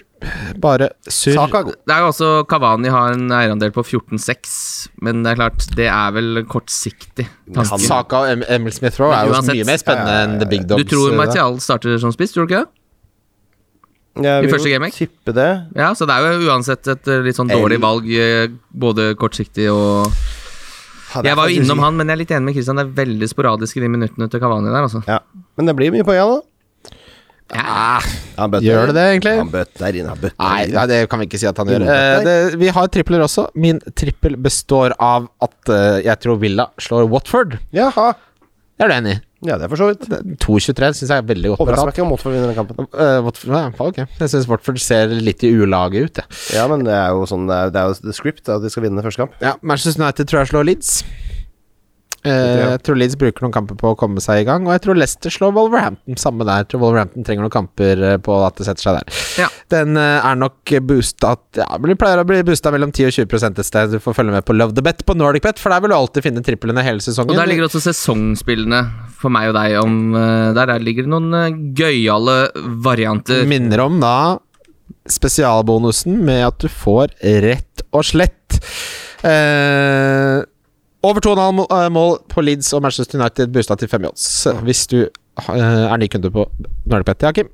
Bare sur. Saka er god. Det er jo også Kavani har en eierandel på 14,6, men det er klart, det er vel kortsiktig. tanke. Saka og Em- Emil Smith Rowe er jo Uansett, mye mer spennende enn The Big Du Dogs. tror eh, Martial starter som spiss, tror du ikke det? Jeg I vil første jo gameik? Tippe det. Ja, så det er jo uansett et eh, litt sånn dårlig El- valg, eh, både kortsiktig og Ja, det er Jeg var jo faktisk- innom han, men jeg er litt enig med Christian, det er veldig sporadisk i de minuttene til Kavani der, altså. Ja. Men det blir mye poeng nå. Ah, Han bøtter Gjør det det, inn. egentlig? Han bøtter inn. Han bøtter Nei, inn. nei, det kan vi ikke si at han gjør. Jo, Eh, nei. det, vi har tripler også. Min trippel består av at eh, jeg tror Villa slår Watford. Jaha. Det er du enig i? Ja, det er for så vidt. Det- 2-23 syns jeg er veldig godt Overrasker betalt. meg ikke om Watford vinner den kampen. Eh, Watford, ja, ok. Jeg syns Watford ser litt i ulaget ut, jeg. Ja, men det er jo sånn Det er, det er jo the script at de skal vinne første kamp. Ja, Manchester United tror jeg slår Leeds. Eh, ja. jeg tror Leeds bruker noen kamper på å komme seg i gang, og jeg tror Leicester slår Wolverhampton. Samme der. Jeg tror Wolverhampton trenger noen kamper eh, på at det setter seg der. Ja. Den eh, er nok boosta ja, blir- pleier å bli boosta mellom 10 og 20 et sted. Du får følge med på Love the Bet på Nordic Bet, for der vil du alltid finne triplene hele sesongen. Og der ligger også sesongspillene for meg og deg om eh, Der, der ligger det noen eh, gøyale varianter. Minner om da spesialbonusen med at du får rett og slett eh, over 2,5 mål- eh, mål på Leeds og Manchester United boosta til 5 i odds. Hvis du eh, er ny kunde på Nordicbet. Ja, Kim.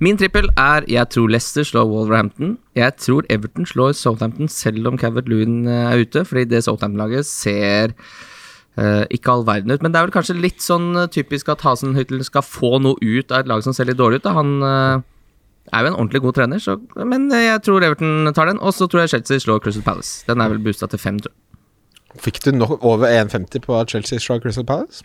Min trippel er jeg tror Leicester slår Wolverhampton. Jeg tror Everton slår Southampton selv om Cavert Lewin eh, er ute, fordi det Southampton-laget ser eh, ikke all verden ut. Men det er vel kanskje litt sånn eh, typisk at Hasenhüttel skal få noe ut av et lag som ser litt dårlig ut. Da. Han eh, er jo en ordentlig god trener, så, men eh, jeg tror Everton tar den. Og så tror jeg Chelsea slår Crystal Palace. Den er vel boosta til fem, tror jeg. Fikk du nok over 1,50 på at Chelsea slår Crystal Palace?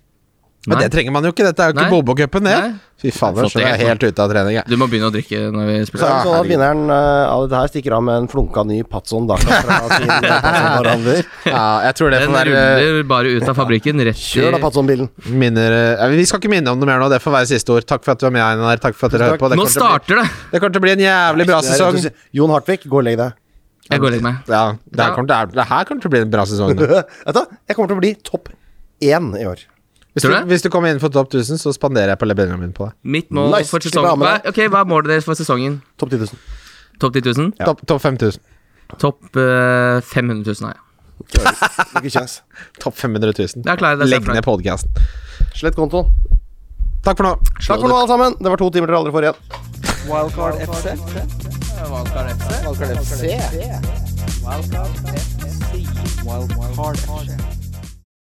Men Nei. det trenger man jo ikke, dette er jo ikke Nei. Bobo-cupen, det. Nei. Fy fader, Flott, så jeg er det. helt ute av trening, jeg. Du må begynne å drikke når vi Så spiller. er det sånn at herregud. vinneren eh, av dette her stikker av med en flunka ny Patson Daka fra sin eh, Patson-forhandler. Ja, jeg tror det sånn Den får være ruller bare ut av fabrikken, rett i Kjør da Patson-bilen. minner eh, Vi skal ikke minne om noe mer nå, det får være siste ord. Takk for at du var med, Einar. Takk for at dere hører Tusen på. Det Nå kommer til å bli- starter det! Det kommer til å bli en jævlig bra Det er sesong. rett og slett- Jon Hartvig, gå og legg deg. Jeg går og legger meg. Ja, det her Ja. kommer til, det her kommer til å bli en bra sesong. da. Vet du, hva? jeg kommer til å bli topp én i år. Hvis Tror du, du det? hvis du kommer innenfor topp 1000, så spanderer jeg på Benjamin på deg. Mitt mål Nice, for slipper sesongen av hva, med Ok, hva er målet deres for sesongen? Topp 10 000. Topp 10 000? Ja. Topp topp 5000. Topp eh, 500 000 har jeg. Ikke kjangs. Topp 500 000. Det er klart, det er Legg ned podkasten. Slett kontoen. Takk for nå. Takk for nå, alle sammen. Det var to timer dere aldri får igjen. Uh, Wildcard FC. Wildcard FC.